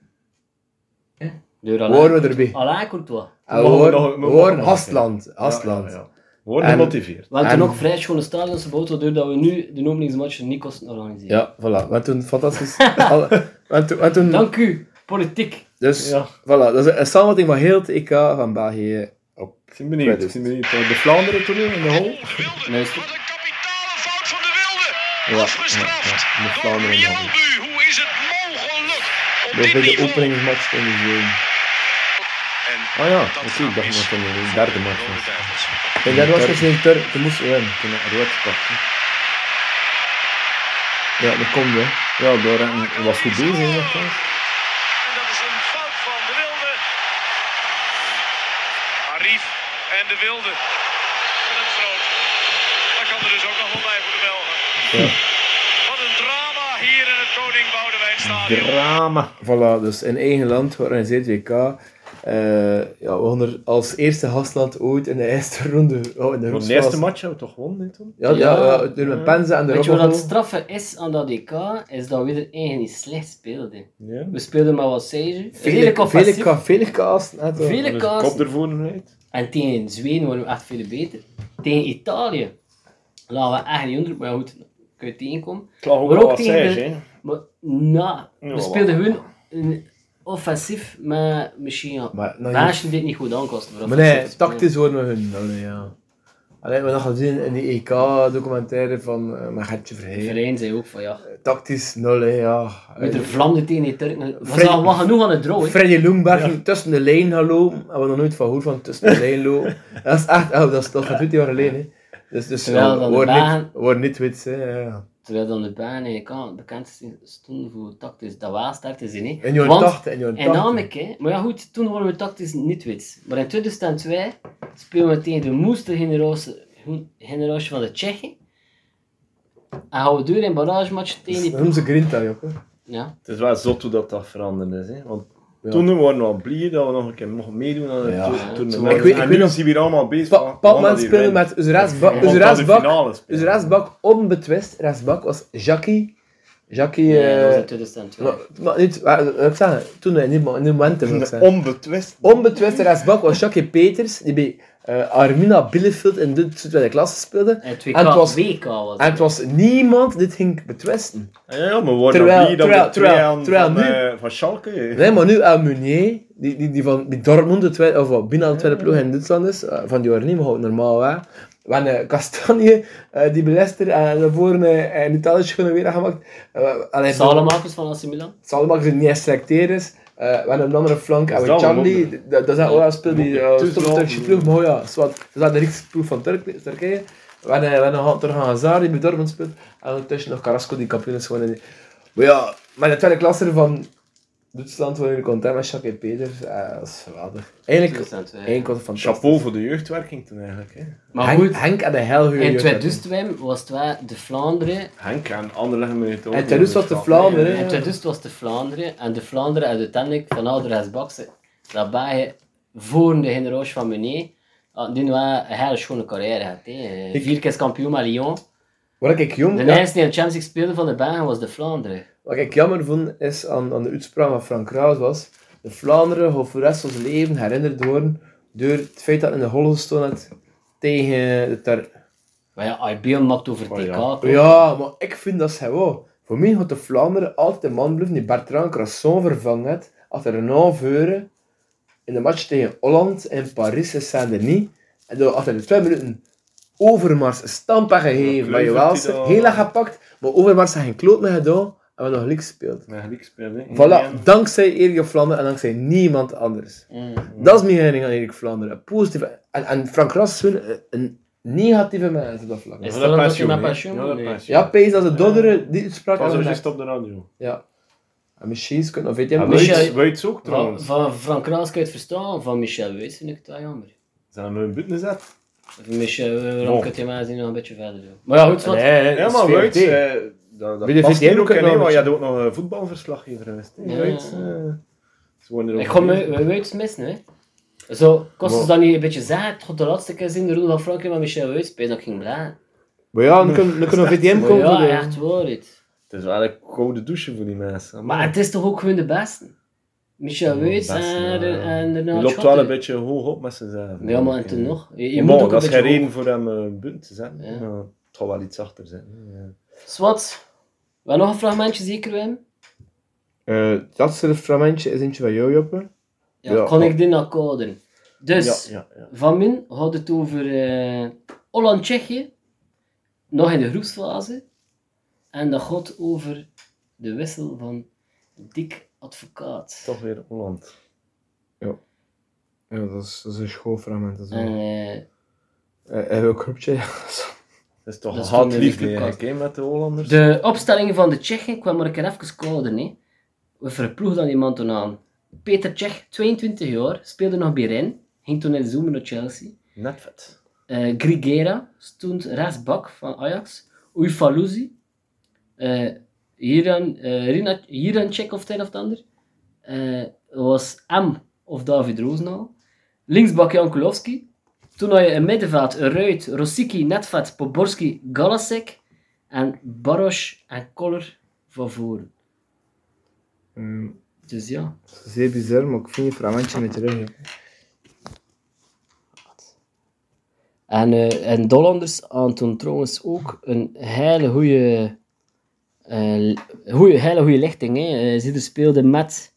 S3: Deur aan
S2: worden we erbij.
S3: Alain Courtois.
S2: En we
S4: Ah, Mogen we
S2: worden-
S4: nog-
S2: we
S4: mogen we
S2: worden
S4: nog-
S2: Hastland.
S4: Ja, ja,
S2: Hastland.
S4: ja. Worden
S2: En-
S4: gemotiveerd.
S3: We hadden toen
S2: En-
S3: ook vrij schone stadions gebouwd, waardoor dat we nu de openingsmatch niet kosten organiseren.
S2: Ja, voilà. Want toen,
S3: [laughs]
S2: fantastisch. Alle- want toen, want toen-
S3: Dank u, politiek.
S2: dus,
S4: Ja.
S2: voilà. Dat is een samenvatting van heel het EK van België.
S4: Ik ben benieuwd. Ik ben benieuwd. Eh, De Vlaanderen toen in de hol.
S5: Oeh, Wilde. Wat
S3: Luister.
S5: een kapitale fout van de Wilde.
S4: ja,
S5: Afgestraft
S4: ja. Moet
S5: door
S4: Vlaanderen nog.
S5: Mjelbu. Hoe is het mogelijk op
S2: Dat is
S5: dit
S2: bij de
S5: niveau?
S2: openingsmatch van de zoon.
S5: En
S4: Ah ja,
S5: dat
S4: oké, ik dacht
S5: is
S4: dat het een
S5: voor
S4: derde
S5: de
S4: match
S5: Rode
S4: was.
S5: Duivels.
S2: En daar was het geen Turk, toen moesten we winnen.
S4: Toen had rood gepakt. hè.
S2: Ja, dat komt hè.
S4: Ja, door en was goed eh, bezig. hè, nogthans.
S5: en de Wilde. Willem Groot. Dat kan er dus ook nog wel bij voor de Belgen. Wat een drama hier in het Koning Boudewijn Stadion.
S4: Drama.
S2: Voilà, dus in eigen land georganiseerd WK. Eh, ja, we gaan er als eerste gastland ooit in de eerste ronde. Oh, in de
S4: Voor de
S2: groepsfase.
S4: eerste match hebben we toch gewonnen, hè, Tom?
S2: Ja, ja,
S3: Ja.
S2: ja, door mijn pensen en de
S3: Weet je wat
S2: robbel.
S3: het straffe is aan dat EK? Is dat we er eigenlijk niet slecht speelden.
S4: Ja.
S3: We speelden maar wat sage.
S2: Vele,
S3: Redelijk
S2: vele,
S3: offensief.
S2: ka- vele kaas. net wel.
S3: Vele
S4: Dus
S3: kaas.
S4: Kop ervoor uit.
S3: En tegen Zweden waren we echt veel beter. Tegen Italië laten we echt niet onder, maar goed, kun je tegenkomen.
S4: Ik lag ook
S3: Maar
S4: wel
S3: ook
S4: wat
S3: tegen
S4: zijs,
S3: de-
S4: hè.
S3: Maar na, we
S4: Jawel.
S3: speelden gewoon een offensief, maar misschien ja.
S2: Maar nou,
S3: Mensen dit niet goed aankosten. voor
S2: Maar
S3: offensief eh,
S2: nee,
S3: te spelen.
S2: tactisch worden we hun. Allee, ja. Allee, we hebben gezien in die EK-documentaire van eh mijn Gertje
S3: De
S2: Verheyen.
S3: Verein zei ook van ja.
S2: Tactisch nul, hè, ja.
S3: Met de vlamde tegen die Turken. We
S2: Fred-
S3: zagen wel genoeg aan het droog. hè.
S2: Freddy Loemberg ging tussen de lijn gaan lopen. Hebben we nog nooit van gehoord van tussen de lijn
S3: [laughs]
S2: lopen. Dat is echt, oh, dat is toch 20 jaar geleden. Hè. Dus, dus
S3: Terwijl
S2: ja,
S3: dan
S2: we
S3: de
S2: worden
S3: Belgen-
S2: niet, we worden niet wits. Hè, ja.
S3: Terwijl dan de baan in Kaan bekend stonden voor tactisch. Dat was tactisch niet.
S2: In jaren
S3: Want
S2: 80, in jaren
S3: En
S2: 80.
S3: namelijk, hè, maar ja goed, toen waren we tactisch niet wit. Maar in 2002 spelen we tegen de moestergeneratie van de Tsjechen. En gaan we door in barragematch tegen die...
S2: Dat noemen ze Grinta, joh.
S3: Ja,
S4: Het is wel zot hoe dat, dat veranderd is. Hè? Want toen waren we al blij dat we nog een keer mochten meedoen aan het
S2: Ja.
S4: toer- toernooi.
S2: Ik weet- ik
S4: en
S2: weet
S4: nu
S2: nog-
S4: zien we hier allemaal bezig.
S2: Pa
S4: van, mannen
S2: Patman
S4: die
S2: speelde
S4: winnen.
S2: met dus Uzraas Bak.
S3: Ja.
S2: Uzraas
S4: Want dat de
S2: Bak.
S4: finale spelen.
S2: Uzraas Bak onbetwist. Raas Bak was Jackie. Jackie...
S3: nee, dat was
S2: eh,
S3: in 2002.
S2: Maar, maar niet, maar, dat wil ik zeggen, toen in die, mo- in die momenten wil ik
S4: Een
S2: zeggen.
S4: Onbetwist.
S2: Onbetwiste rechtsbak was Jacques Peters, die bij eh, Armina Bielefeld in de tweede klasse speelde.
S3: En het
S2: En het was-
S3: WK, WK was
S2: En het was niemand dit ging betwisten.
S4: Ah, Ja, ja, maar we worden
S2: Terwijl-
S4: terwijl, blij dat
S2: terwijl-
S4: we twee
S2: terwijl-
S4: aan
S2: terwijl
S4: van,
S2: nu-
S4: eh, van Schalke. hè.
S2: Nee, maar nu El Meunier, die, die, die van die Dortmund, de tweede, of wat, bijna de tweede ploeg in Duitsland is, eh, van die Arnhem houdt normaal hè. We hebben eh, Kastanje, eh, die belester, en daarvoor een, een Italisch kunnen weer gemaakt. Eh, allee,
S3: Salemakers van AC Milan.
S2: Salmak die niet geselecteerd is. Eh, we hebben een andere flank en
S4: Dat is
S2: we
S4: dan
S2: Charlie.
S4: een
S2: Dat, dat is een
S3: Ja.
S2: oh ja, speel die eh,
S4: Dus
S2: stomme
S4: dan-
S2: Turkse ploeg. Maar oh ja, zwart. Dat is wel de Griekse ploeg van Turk- Turkije. We hebben, we hebben nog Torgan Hazard die bij Dortmund speelt. En ondertussen nog Carrasco die kampioen is geworden. in die- Maar ja, maar de tweede klasser van Duitsland worden jullie content met Jacques Peters. Eh, dat is geweldig. Eigenlijk,
S3: 2002.
S2: één kant van
S4: Chapeau voor de jeugdwerking toen eigenlijk. Hè.
S3: Maar
S2: Henk,
S3: goed,
S2: Henk en de heel goede
S3: in
S2: jeugd hebben.
S3: 2002 was het wel de Vlaanderen
S4: Henk en Anderlecht met het
S2: En Toulouse was de Vlaanderen.
S3: En
S2: hè.
S3: toen dus was de Vlaanderen. En de Vlaanderen had uiteindelijk van ouder als baksen. Dat bij voor de generatie van meneer. ah, Die wel een hele schone carrière had. hè.
S2: Ik-
S3: Vier keer kampioen met Lyon.
S2: Wat ik jong...
S3: De
S2: ja.
S3: eerste die in de Champions League speelde van de Belgen was de Vlaanderen.
S2: Wat ik jammer vond is aan, aan de uitspraak van Frank Kraus was de Vlaanderen gaat voor de rest van zijn leven herinnerd worden door het feit dat in de Holland stond het tegen de ter...
S3: Maar ja, IBM maakt over
S4: Oh ja.
S3: TK. toch?
S2: Ja, maar ik vind dat ze wel. Voor mij gaat de Vlaanderen altijd de man blijven die Bertrand Crasson vervangen heeft achter een veuren in de match tegen Holland in Paris en Saint-Denis. En door achter de twee minuten Overmars een stampen gegeven van je
S4: Kluivert die
S2: Waalse.
S4: dan-
S2: Heel erg gepakt, maar Overmars heeft geen kloot meer gedaan en we hebben nog gelijk gespeeld.
S4: Met Griek speelde. hè.
S2: Voilà,
S4: Ja.
S2: dankzij Erik Vlaanderen en dankzij niemand anders.
S3: Mm.
S2: Dat is mijn mening aan Erik Vlaanderen. Een Positieve. En, en Frank Ras is een, een negatieve mens op dat vlak.
S3: Is
S4: Ja,
S3: dat
S4: dat
S3: omdat
S4: pensioen,
S3: hij met
S4: hè.
S3: pensioen
S4: Ja,
S3: moet?
S4: dat
S3: Nee.
S4: pensioen.
S2: Ja, Pees, dat is de dodderen die sprak. aan
S4: Pas als
S2: de
S4: je
S2: nek.
S4: stopt de radio.
S2: Ja. En misschien is het nog weet je
S4: En
S2: hem.
S3: Michel-
S4: Wuits- Wuits ook
S3: Van,
S4: trouwens.
S3: van Frank Raas kan je het verstaan, van Michel Wees vind ik het wel jammer.
S4: Zijn we een buiten gezet?
S3: Van Michel, eh,
S4: Oh.
S3: waarom kan je mij zien nog een beetje verder doen? Maar ja, goed, wat?
S2: Nee,
S4: Ja,
S2: dat is
S4: maar Wuits,
S2: VRT.
S4: eh, dat,
S2: Bij de
S4: dat past
S2: VTM
S4: hier ook
S2: kunnen
S4: in,
S2: we
S4: hè,
S2: nog
S4: want je
S2: eens-
S4: had ook nog een voetbalverslaggever geweest. hè,
S3: Ja.
S4: Wuits, eh, ze worden er
S3: Ik
S4: ook
S3: ga
S4: bij.
S3: me we weten het missen, hè. Zo, kost het dan niet een beetje zaad? Het gaat de laatste keer zien, de rol van Frankrijk met Michel Weus, ben dat ik ging blazen.
S2: Maar ja, dan kunnen dan kunnen we VTM
S3: Maar
S2: komen. voor
S3: ja,
S2: de-
S3: echt waar, dit.
S4: Het is wel een koude douche voor die mensen.
S3: Maar het is toch ook gewoon de beste? Michel Weus
S4: beste,
S3: en,
S4: ja.
S3: en daarna
S4: Je loopt
S3: Schotten.
S4: wel een beetje hoog op met zijn zaken.
S3: Nou, Ja, maar en toen nog. Je, je
S4: Je
S3: moet ook
S4: dat
S3: een
S4: is geen
S3: beetje
S4: reden
S3: reden.
S4: voor hem eh bunt te zetten.
S3: Ja.
S4: maar het zal wel iets achter zijn. Ja.
S3: Swat, we hebben nog een fragmentje zeker, Wim?
S2: Eh, Het laatste fragmentje is eentje van jou, Joppe.
S3: Ja,
S2: Ja,
S3: kon
S2: ja.
S3: ik dit nou coden? Dus,
S4: oh. Ja, ja, ja.
S3: van min had het over eh, Holland-Tsjechië, nog in de groepsfase. En dat gaat over de wissel van Dick Advocaat.
S4: Toch weer Holland.
S2: Ja, dat is, dat is een schoolfragment. Dat is
S3: En,
S2: wel-
S3: eh,
S2: Eh, eh, welk groepje? Ja,
S4: Dat is toch
S3: Dat is
S4: een
S3: toen
S4: hard
S3: in de
S4: liefde
S3: clubkast.
S4: eigenlijk, hè, met de Hollanders.
S3: de opstellingen van de Tsjechen kwam maar een keer even kouder. Nee. We verploegen dan iemand toen aan. Peter Tsjech, 22 jaar, speelde nog bij Rennes, ging toen in de zomer naar Chelsea.
S4: Net vet.
S3: Eh Grigera stond rechtsbak van Ajax. Uifaluzi. Eh Hiran, eh Rina- Hiranchek of het een of het ander. Eh, was M of David Rozenal. Linksbak Jan Kulowski. Toen had je een middenveld Ruit, Rosicki, Netvet, Poborski, Galasek. En Baros en Koller van voren.
S2: Ehm,
S3: Dus ja.
S2: zeer bizar, maar ik vind je fragmentje met terug. joh.
S3: En, eh en Dollanders aan toen trouwens ook een eh, hele goede goede hele goede lichting. Hè. Eh, Zieder speelde met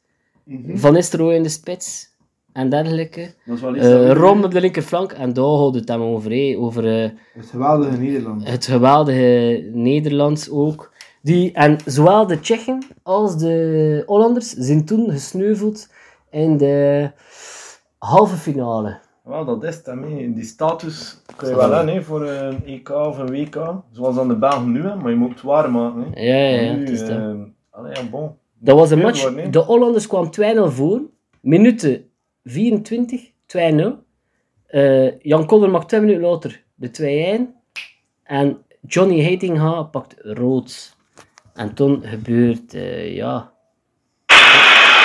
S3: Van Nistelrooy in de spits en dergelijke.
S6: Dat Mhm. is wel iets dat
S3: Eh
S6: we-
S3: Rom op de linkerflank en daar houdt het hem over. hè. Over eh,
S6: Het geweldige Nederland.
S3: het geweldige Nederlands ook. Die, en zowel de Tsjechen als de Hollanders zijn toen gesneuveld in de halve finale.
S4: Wel, dat is het. hè, mee. Die status kun je wel hebben hè, voor een EK of een WK. Zoals aan de Belgen nu, hè, maar je moet het waar maken. Hè.
S3: Ja, ja, ja.
S4: nu,
S3: het is dat.
S4: eh, allee, ja, bon.
S3: Dat was een
S4: Heel
S3: match.
S4: mooi, nee?
S3: De Hollanders kwam 2-0 voor. Minuten 24, 2-0. Eh, Jan Koller maakt twee minuten later de 2-1. En Johnny Heitinga pakt rood. En toen gebeurt, eh, ja...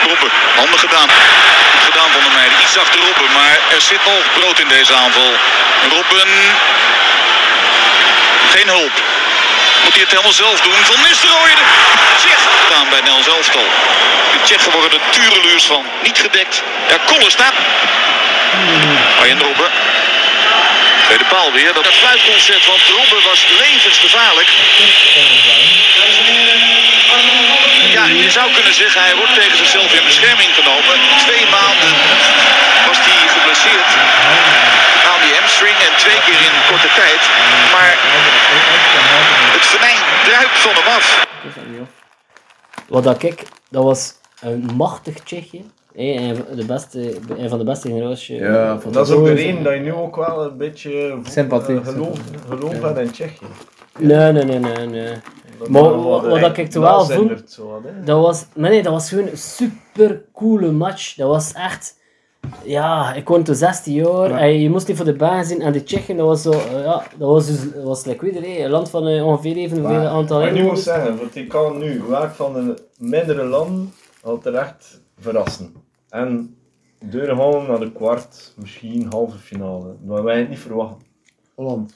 S7: Robben, handig gedaan. Goed gedaan van de meiden. Iets achter Robben, maar er zit nog brood in deze aanval. Robben... Geen hulp. Moet hij het helemaal zelf doen. Van Nistelrooy, de Tsjech. Gedaan bij Nel Zelftal. De Tsjechen worden er tureluurs van. Niet gedekt. Ja, Koller staat. Arjen Robben. Tweede paal weer. Dat fluitconcert van Robben was levensgevaarlijk. Ja, je zou kunnen zeggen, hij wordt tegen zichzelf in bescherming genomen. Twee maanden was hij geblesseerd aan die hamstring en twee keer in korte tijd. Maar het venijn druipt van hem af.
S3: Wat dat ik... Dat was een machtig Tsjechië. Hé, een van de beste, een van de beste generatie.
S2: Ja, van
S4: Dat is ook de reden dat je nu ook wel een beetje eh,
S2: Sympathie.
S4: eh, geloof, geloof hebt in Tsjechië.
S3: Nee, nee, nee, nee, nee.
S4: Dat
S3: Maar
S4: dat
S3: wat- wat
S4: eh,
S3: dat ik er wel voel-
S4: zindert zo wat, hè.
S3: Dat was, maar nee, dat was gewoon een super coole match. Dat was echt. Ja, ik woon toen 16 jaar en je moest niet voor de baan zien. En de Tsjechen, dat was zo. eh, ja, dat was dus. dat was like, weet je, een land van eh, ongeveer evenveel
S2: Maar-
S3: aantal
S4: Maar ik moet
S3: inwoners.
S4: zeggen, want ik kan nu werk van de mindere landen al terecht verrassen. En deuren halen naar de kwart, misschien halve finale. Maar wij het niet verwachten.
S2: Holland.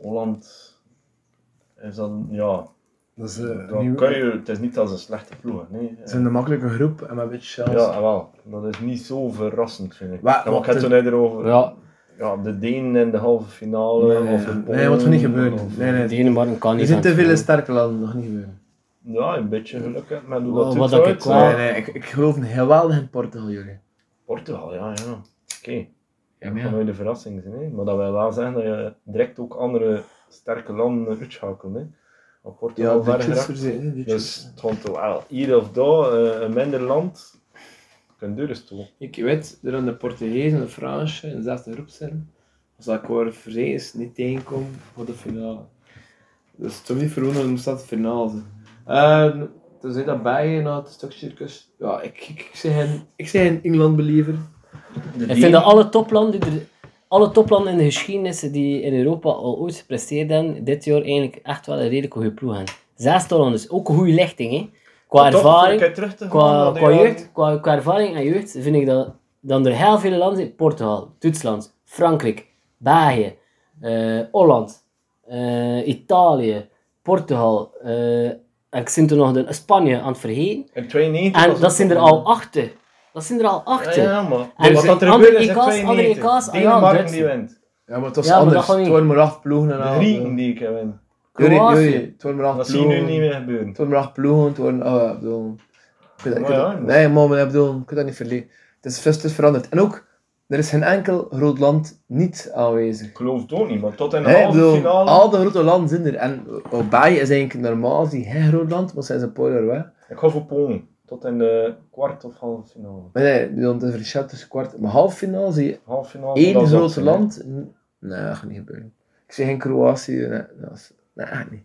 S4: Holland is dan, ja,
S2: Dat is, eh,
S4: dan
S2: nieuw-
S4: kan je, het is niet als een slechte ploeg. Nee.
S2: Het is een makkelijke groep en met een beetje chance.
S4: Ja, wel. Dat is niet zo verrassend, vind ik.
S2: Wa-
S4: Ja, maar ik
S2: wat
S4: had
S2: de-
S4: toen net erover. Ja.
S3: Ja,
S4: de Denen in de halve finale.
S2: Nee,
S4: eh, of de
S2: nee,
S4: Polen,
S2: wat er niet
S4: of-
S2: gebeurt. Nee, nee.
S3: Denemarken kan niet.
S2: Er zijn
S3: aan
S2: te
S3: het
S2: veel
S3: spelen.
S2: sterke landen, nog niet gebeuren.
S4: Ja, een beetje geluk. hè. Maar doe
S3: Wat-
S4: dat
S3: wat
S4: doet
S3: ik
S4: uit,
S3: wel-
S4: hè.
S2: Nee, nee, eh, ik, ik geloof een geweldig in Portugal, jullie.
S4: Portugal, ja, ja. Oké.
S2: Ja,
S4: Dat kan nooit de verrassing zijn. Hè? Maar dat wil wel zeggen dat je direct ook andere sterke landen uitschakelt. Hè?
S2: Ja,
S4: Op Portugal
S2: de
S4: verder
S2: Tsjechers
S4: geraakt.
S2: zijn, hè, de
S4: Dus
S2: Tsjechers.
S4: het komt toch wel hier of daar, eh, een minder land, kan deuren toe.
S8: Ik weet dat aan de Portugezen en de Fransen in dezelfde groep zijn. Als dat ik hoor vrees niet tegenkom voor de finale. Dus het is niet verwonderlijk moest dat de finale zijn. En toen zei dat België na het stuk circus. Ja, ik, ik, ik zeg een, ik zeg een Engeland-believer.
S3: Ik vind dat alle toplanden, die er- alle toplanden in de geschiedenissen die in Europa al ooit gepresteerd hebben, dit jaar eigenlijk echt wel een redelijk goede ploeg hebben. Zes Hollanders, ook een goede lichting, hè? Qua
S4: Maar toch,
S3: ervaring.
S4: een keer terug te gaan
S3: qua,
S4: naar de
S3: qua,
S4: jaren-
S3: jeugd, qua, qua ervaring en jeugd vind ik dat dan er heel veel landen zijn. Portugal, Duitsland, Frankrijk, België, eh, Holland, eh, Italië, Portugal. eh, en ik zit er nog de, Spanje aan het vergeten.
S4: In 92 was
S3: En dat
S4: het
S3: zijn er
S4: toch
S3: al
S4: een-
S3: achter. Dat zijn er al achter.
S4: Ja, ja, maar.
S3: En
S4: wat
S3: ze-
S4: dat er
S3: andere
S4: gebeurde is in
S3: EK's, andere
S4: 92.
S3: EK's, ah ja,
S4: Denemarken die
S3: Duitsland.
S4: wint.
S2: Ja, maar het was
S3: Ja, maar dat
S2: anders.
S3: gaat niet.
S2: Het waren maar acht ploegen en
S4: De
S2: al.
S4: Grieken die ik win.
S2: Jullie,
S3: Kroatië.
S2: jullie, het waren maar acht
S4: Dat zie je nu
S2: ploegen.
S4: niet meer gebeuren.
S2: Het waren maar acht ploegen, het waren... Oh ja, ik bedoel... Ik weet dat, ik
S4: Maar
S2: weet
S4: ja,
S2: dat-
S4: dat-
S2: nee, maar ik bedoel, ik kan dat niet verliezen. Het is vast veranderd. En ook, er is geen enkel groot land niet aanwezig.
S4: Ik geloof het ook niet, maar tot in de
S2: Hey, ik
S4: halve
S2: bedoel,
S4: finale.
S2: al de grote landen zijn er. En Albanië is eigenlijk normaal, die geen groot land, maar zijn ze een paar jaar weg.
S4: Ik ga voor Polen. Tot in de kwart of halve finale.
S2: Maar nee, ik bedoel, het is een verschil tussen kwart... Maar half finale zie je
S4: Halve finale. dat
S2: één
S4: is
S2: groot
S4: opzien, hè.
S2: land... N- Nee, dat gaat niet gebeuren. Ik zie geen Kroatië, nee, dat is... Nee, echt niet.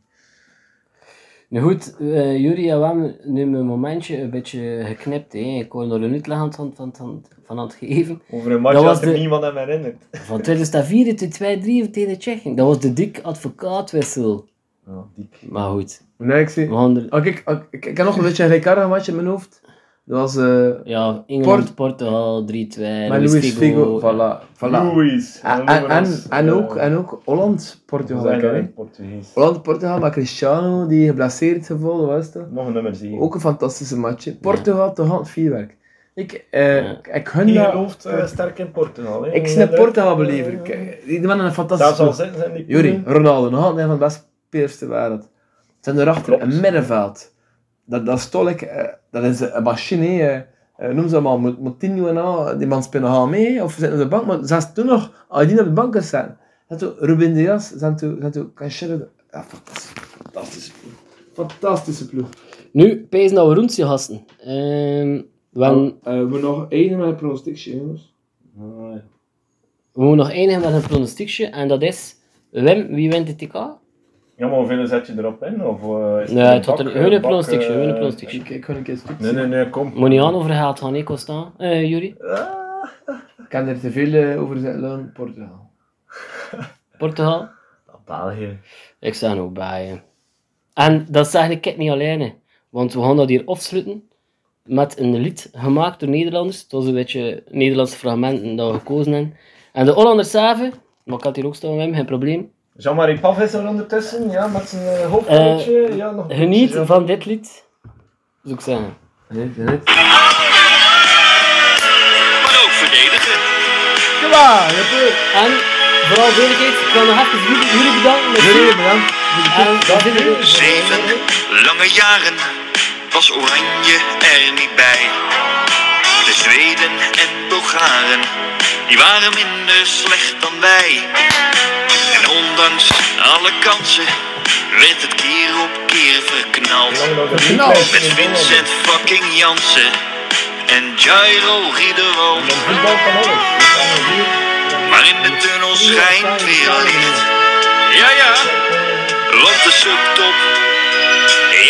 S3: Nu goed, eh Juri en Wam, nu mijn momentje een beetje geknipt. Hè. Ik kon er een aan van, van, van, van aan het geven.
S6: Over een match
S3: Dat was
S6: had er
S3: de-
S6: niemand aan me herinnerd.
S3: Van 2004 tot 2003 tegen Tsjechië. Dat was de dik advocaatwissel.
S6: Ja, diep.
S3: Maar goed,
S2: Nee, ik zie...
S3: we gaan er-
S2: Oh, kijk, oh, ik, ik heb nog een beetje een Ricardo match in mijn hoofd. Dat was eh
S3: ja,
S2: Port-
S3: Engeland, Portugal, 3-2.
S2: met Luis Figo. Voilà, voilà.
S6: Louis.
S2: En, en, en,
S6: eh,
S2: en ook, en ook Holland, Portugal. ik ken, hè.
S6: Portugees.
S2: Holland, Portugal, maar Cristiano die geblesseerd gevallen was. Dat.
S6: Nog een nummer 7.
S2: Ook een fantastische match. hè. Portugal, toch aan het vierwerk. Ik, eh,
S3: Ja.
S2: ik gun
S6: Die
S2: dat-
S6: gelooft eh, sterk in Portugal. hè.
S2: Ik snap
S6: Inderdaad,
S2: Portugal
S6: eh,
S2: believer. Kijk, Die mannen een fantastische
S6: Zelfs al
S2: ploeg.
S6: zitten ze in die
S2: Jury,
S6: poelen.
S2: Ronaldo, nog altijd een van de beste spelers ter wereld. Ze zijn erachter
S6: Klopt.
S2: een middenveld. Dat, dat is Tolik, eh, dat is een machine. hè. Eh, noem ze allemaal, Mot- Moutinho en al, die man spelen al mee. hè. Of ze zitten op de bank, maar zelfs toen nog, als die op de banken staan. Zijn toen Ruben Diaz, zijn toen, zijn toen Cancelo. Ja, fantastisch. Fantastische ploeg. Fantastische ploeg.
S8: Eh,
S3: Nu, pees dat we rond zijn gasten. Ehm, we, hebben-
S2: Oh.
S8: we nog één met een pronostiekje, jongens.
S6: Ah, ja.
S3: we moeten nog eindigen met een pronostiekje. En dat is, Wim, wie wint de TK?
S6: Ja, maar hoeveel zet je erop in? Of, eh, is
S3: Nee,
S6: het
S3: het had er- hun
S6: eh,
S3: een pronostiekje,
S6: eh,
S3: hun een pronostiekje.
S2: Ik, ik ga een keer goed.
S6: Nee, nee, nee, kom.
S3: Moet niet aan overhaald gaan, ik staan. Eh, Juri,
S2: Ik kan er te veel eh, over zijn, Loon, Portugal.
S3: Portugal.
S6: België.
S3: Ik sta ook bij je. En dat zeg ik niet alleen, hè. want we gaan dat hier afsluiten met een lied gemaakt door Nederlanders. Het was een beetje Nederlandse fragmenten dat we gekozen hebben. En de Hollanders zelf, maar ik had hier ook staan met hem, geen probleem.
S6: Jean-Marie Paf is er ondertussen, ja, met zijn eh, hoofdpuntje. ja, nog een
S3: Geniet
S6: beetje, ja.
S3: van dit lied, zou ik zeggen.
S2: Nee, nee.
S7: Maar ook verdedigen.
S3: En vooral duidelijkheid, ik wil nog even jullie, jullie bedanken. met
S2: Jullie bedankt.
S3: En we zitten nu-
S7: Zeven lange jaren was Oranje er niet bij. De Zweden en Bulgaren, die waren minder slecht dan wij. En ondanks alle kansen werd het keer op keer verknald. Met Vincent fucking Jansen en Jairo Riederoos. Maar in de tunnel schijnt weer licht. Ja, ja. Want de subtop,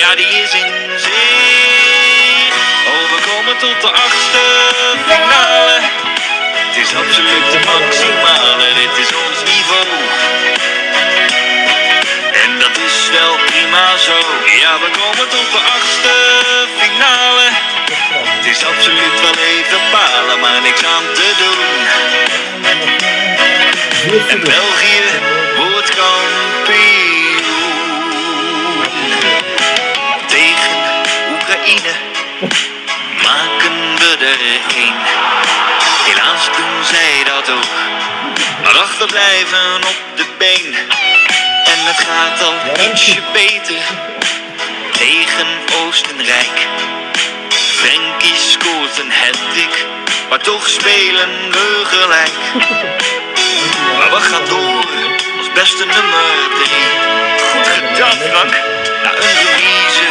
S7: ja die is in zee. Oh, we komen tot de achtste finale. Het is absoluut de maximale, dit is ons niveau. En dat is wel prima zo. Ja, we komen tot de achtste finale. Het is absoluut wel even palen, maar niks aan te doen. En België wordt kampioen. Tegen Oekraïne maken we er één. Helaas doen zij dat ook. Maar achterblijven op de been. En het gaat al ietsje beter. Tegen Oostenrijk. Frenkie scoort een hat Maar toch spelen we gelijk. Maar we gaan door als beste nummer 3. Goed gedaan, Frank. Na een remise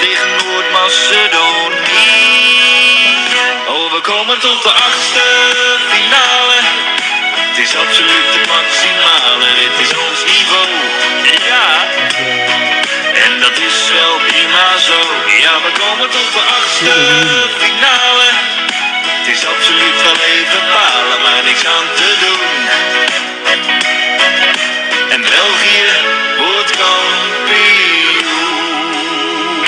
S7: tegen Noord-Macedonië. Oh, we komen tot de achtste finale. Het is absoluut het maximale, dit is ons niveau. Ja, en dat is wel prima zo. Ja, we komen tot de achtste finale. Het is absoluut wel even balen, maar niks aan te doen. En België wordt kampioen.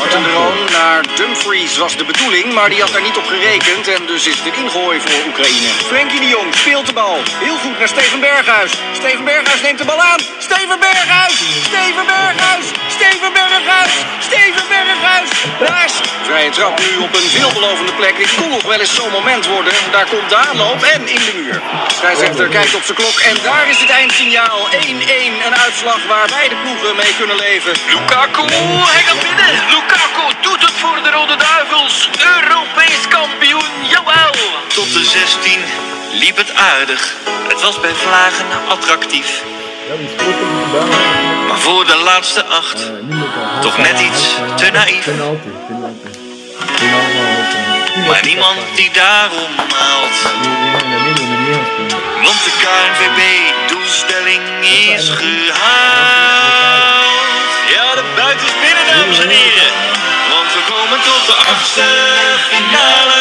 S9: Wat een droom naar Dumfries was de bedoeling, maar die had daar niet op gerekend en dus is het een ingooi voor Oekraïne. Frenkie de Jong speelt de bal. Heel goed naar Steven Berghuis. Steven Berghuis neemt de bal aan. Steven Berghuis! Steven Berghuis! Steven Berghuis! Steven Berghuis! Daar is vrije trap nu op een veelbelovende plek. Dit kon nog wel eens zo'n moment worden. Daar komt de aanloop en in de muur. Scheidsrechter kijkt op zijn klok en daar is het eindsignaal. 1-1, een uitslag waar beide ploegen mee kunnen leven.
S7: Lukaku, hij gaat binnen. Lukaku doet het voor de Rode Duivels. Europees kampioen, jawel. Tot de 16 liep het aardig. Het was bij vlagen attractief. Maar voor de laatste acht, toch net iets te naïef.
S2: Penalty, penalty.
S7: Maar niemand die daarom haalt. Want de KNVB-doelstelling is gehaald. Ja, Buiten is binnen, dames en heren. Want we komen tot de achtste finale.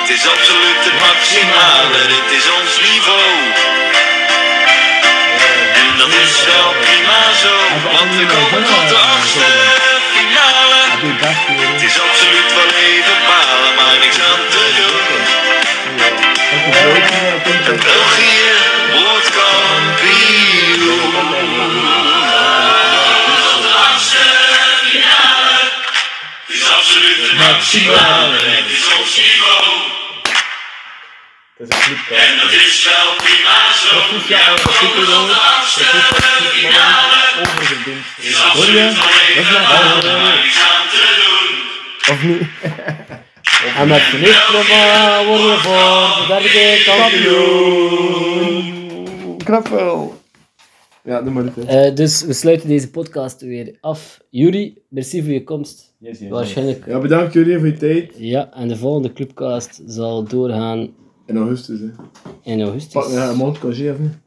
S7: Het is absoluut het maximale, dit is ons niveau. En dat is wel prima zo, want we komen tot de achtste finale. Het is absoluut wel even balen, maar niks aan te doen. België wordt kampioen. is absoluut de maximale. Het is ons niveau. En dat is wel prima zo. Ja, we komen tot de achtste finale. Het is absoluut nog even halen, maar niks aan te doen.
S2: Of niet?
S3: En met de lichtkloppa worden we voor de derde keer kampioen.
S8: Knap wel. Ja, doe maar dit. hè.
S3: Eh, dus we sluiten deze podcast weer af. Juri, merci voor je komst. Waarschijnlijk.
S8: Ja, bedankt jullie voor je tijd.
S3: Ja, en de volgende clubcast zal doorgaan
S8: In augustus, hè.
S3: in
S8: Pak
S3: augustus.
S8: ja, een maand congé, of niet?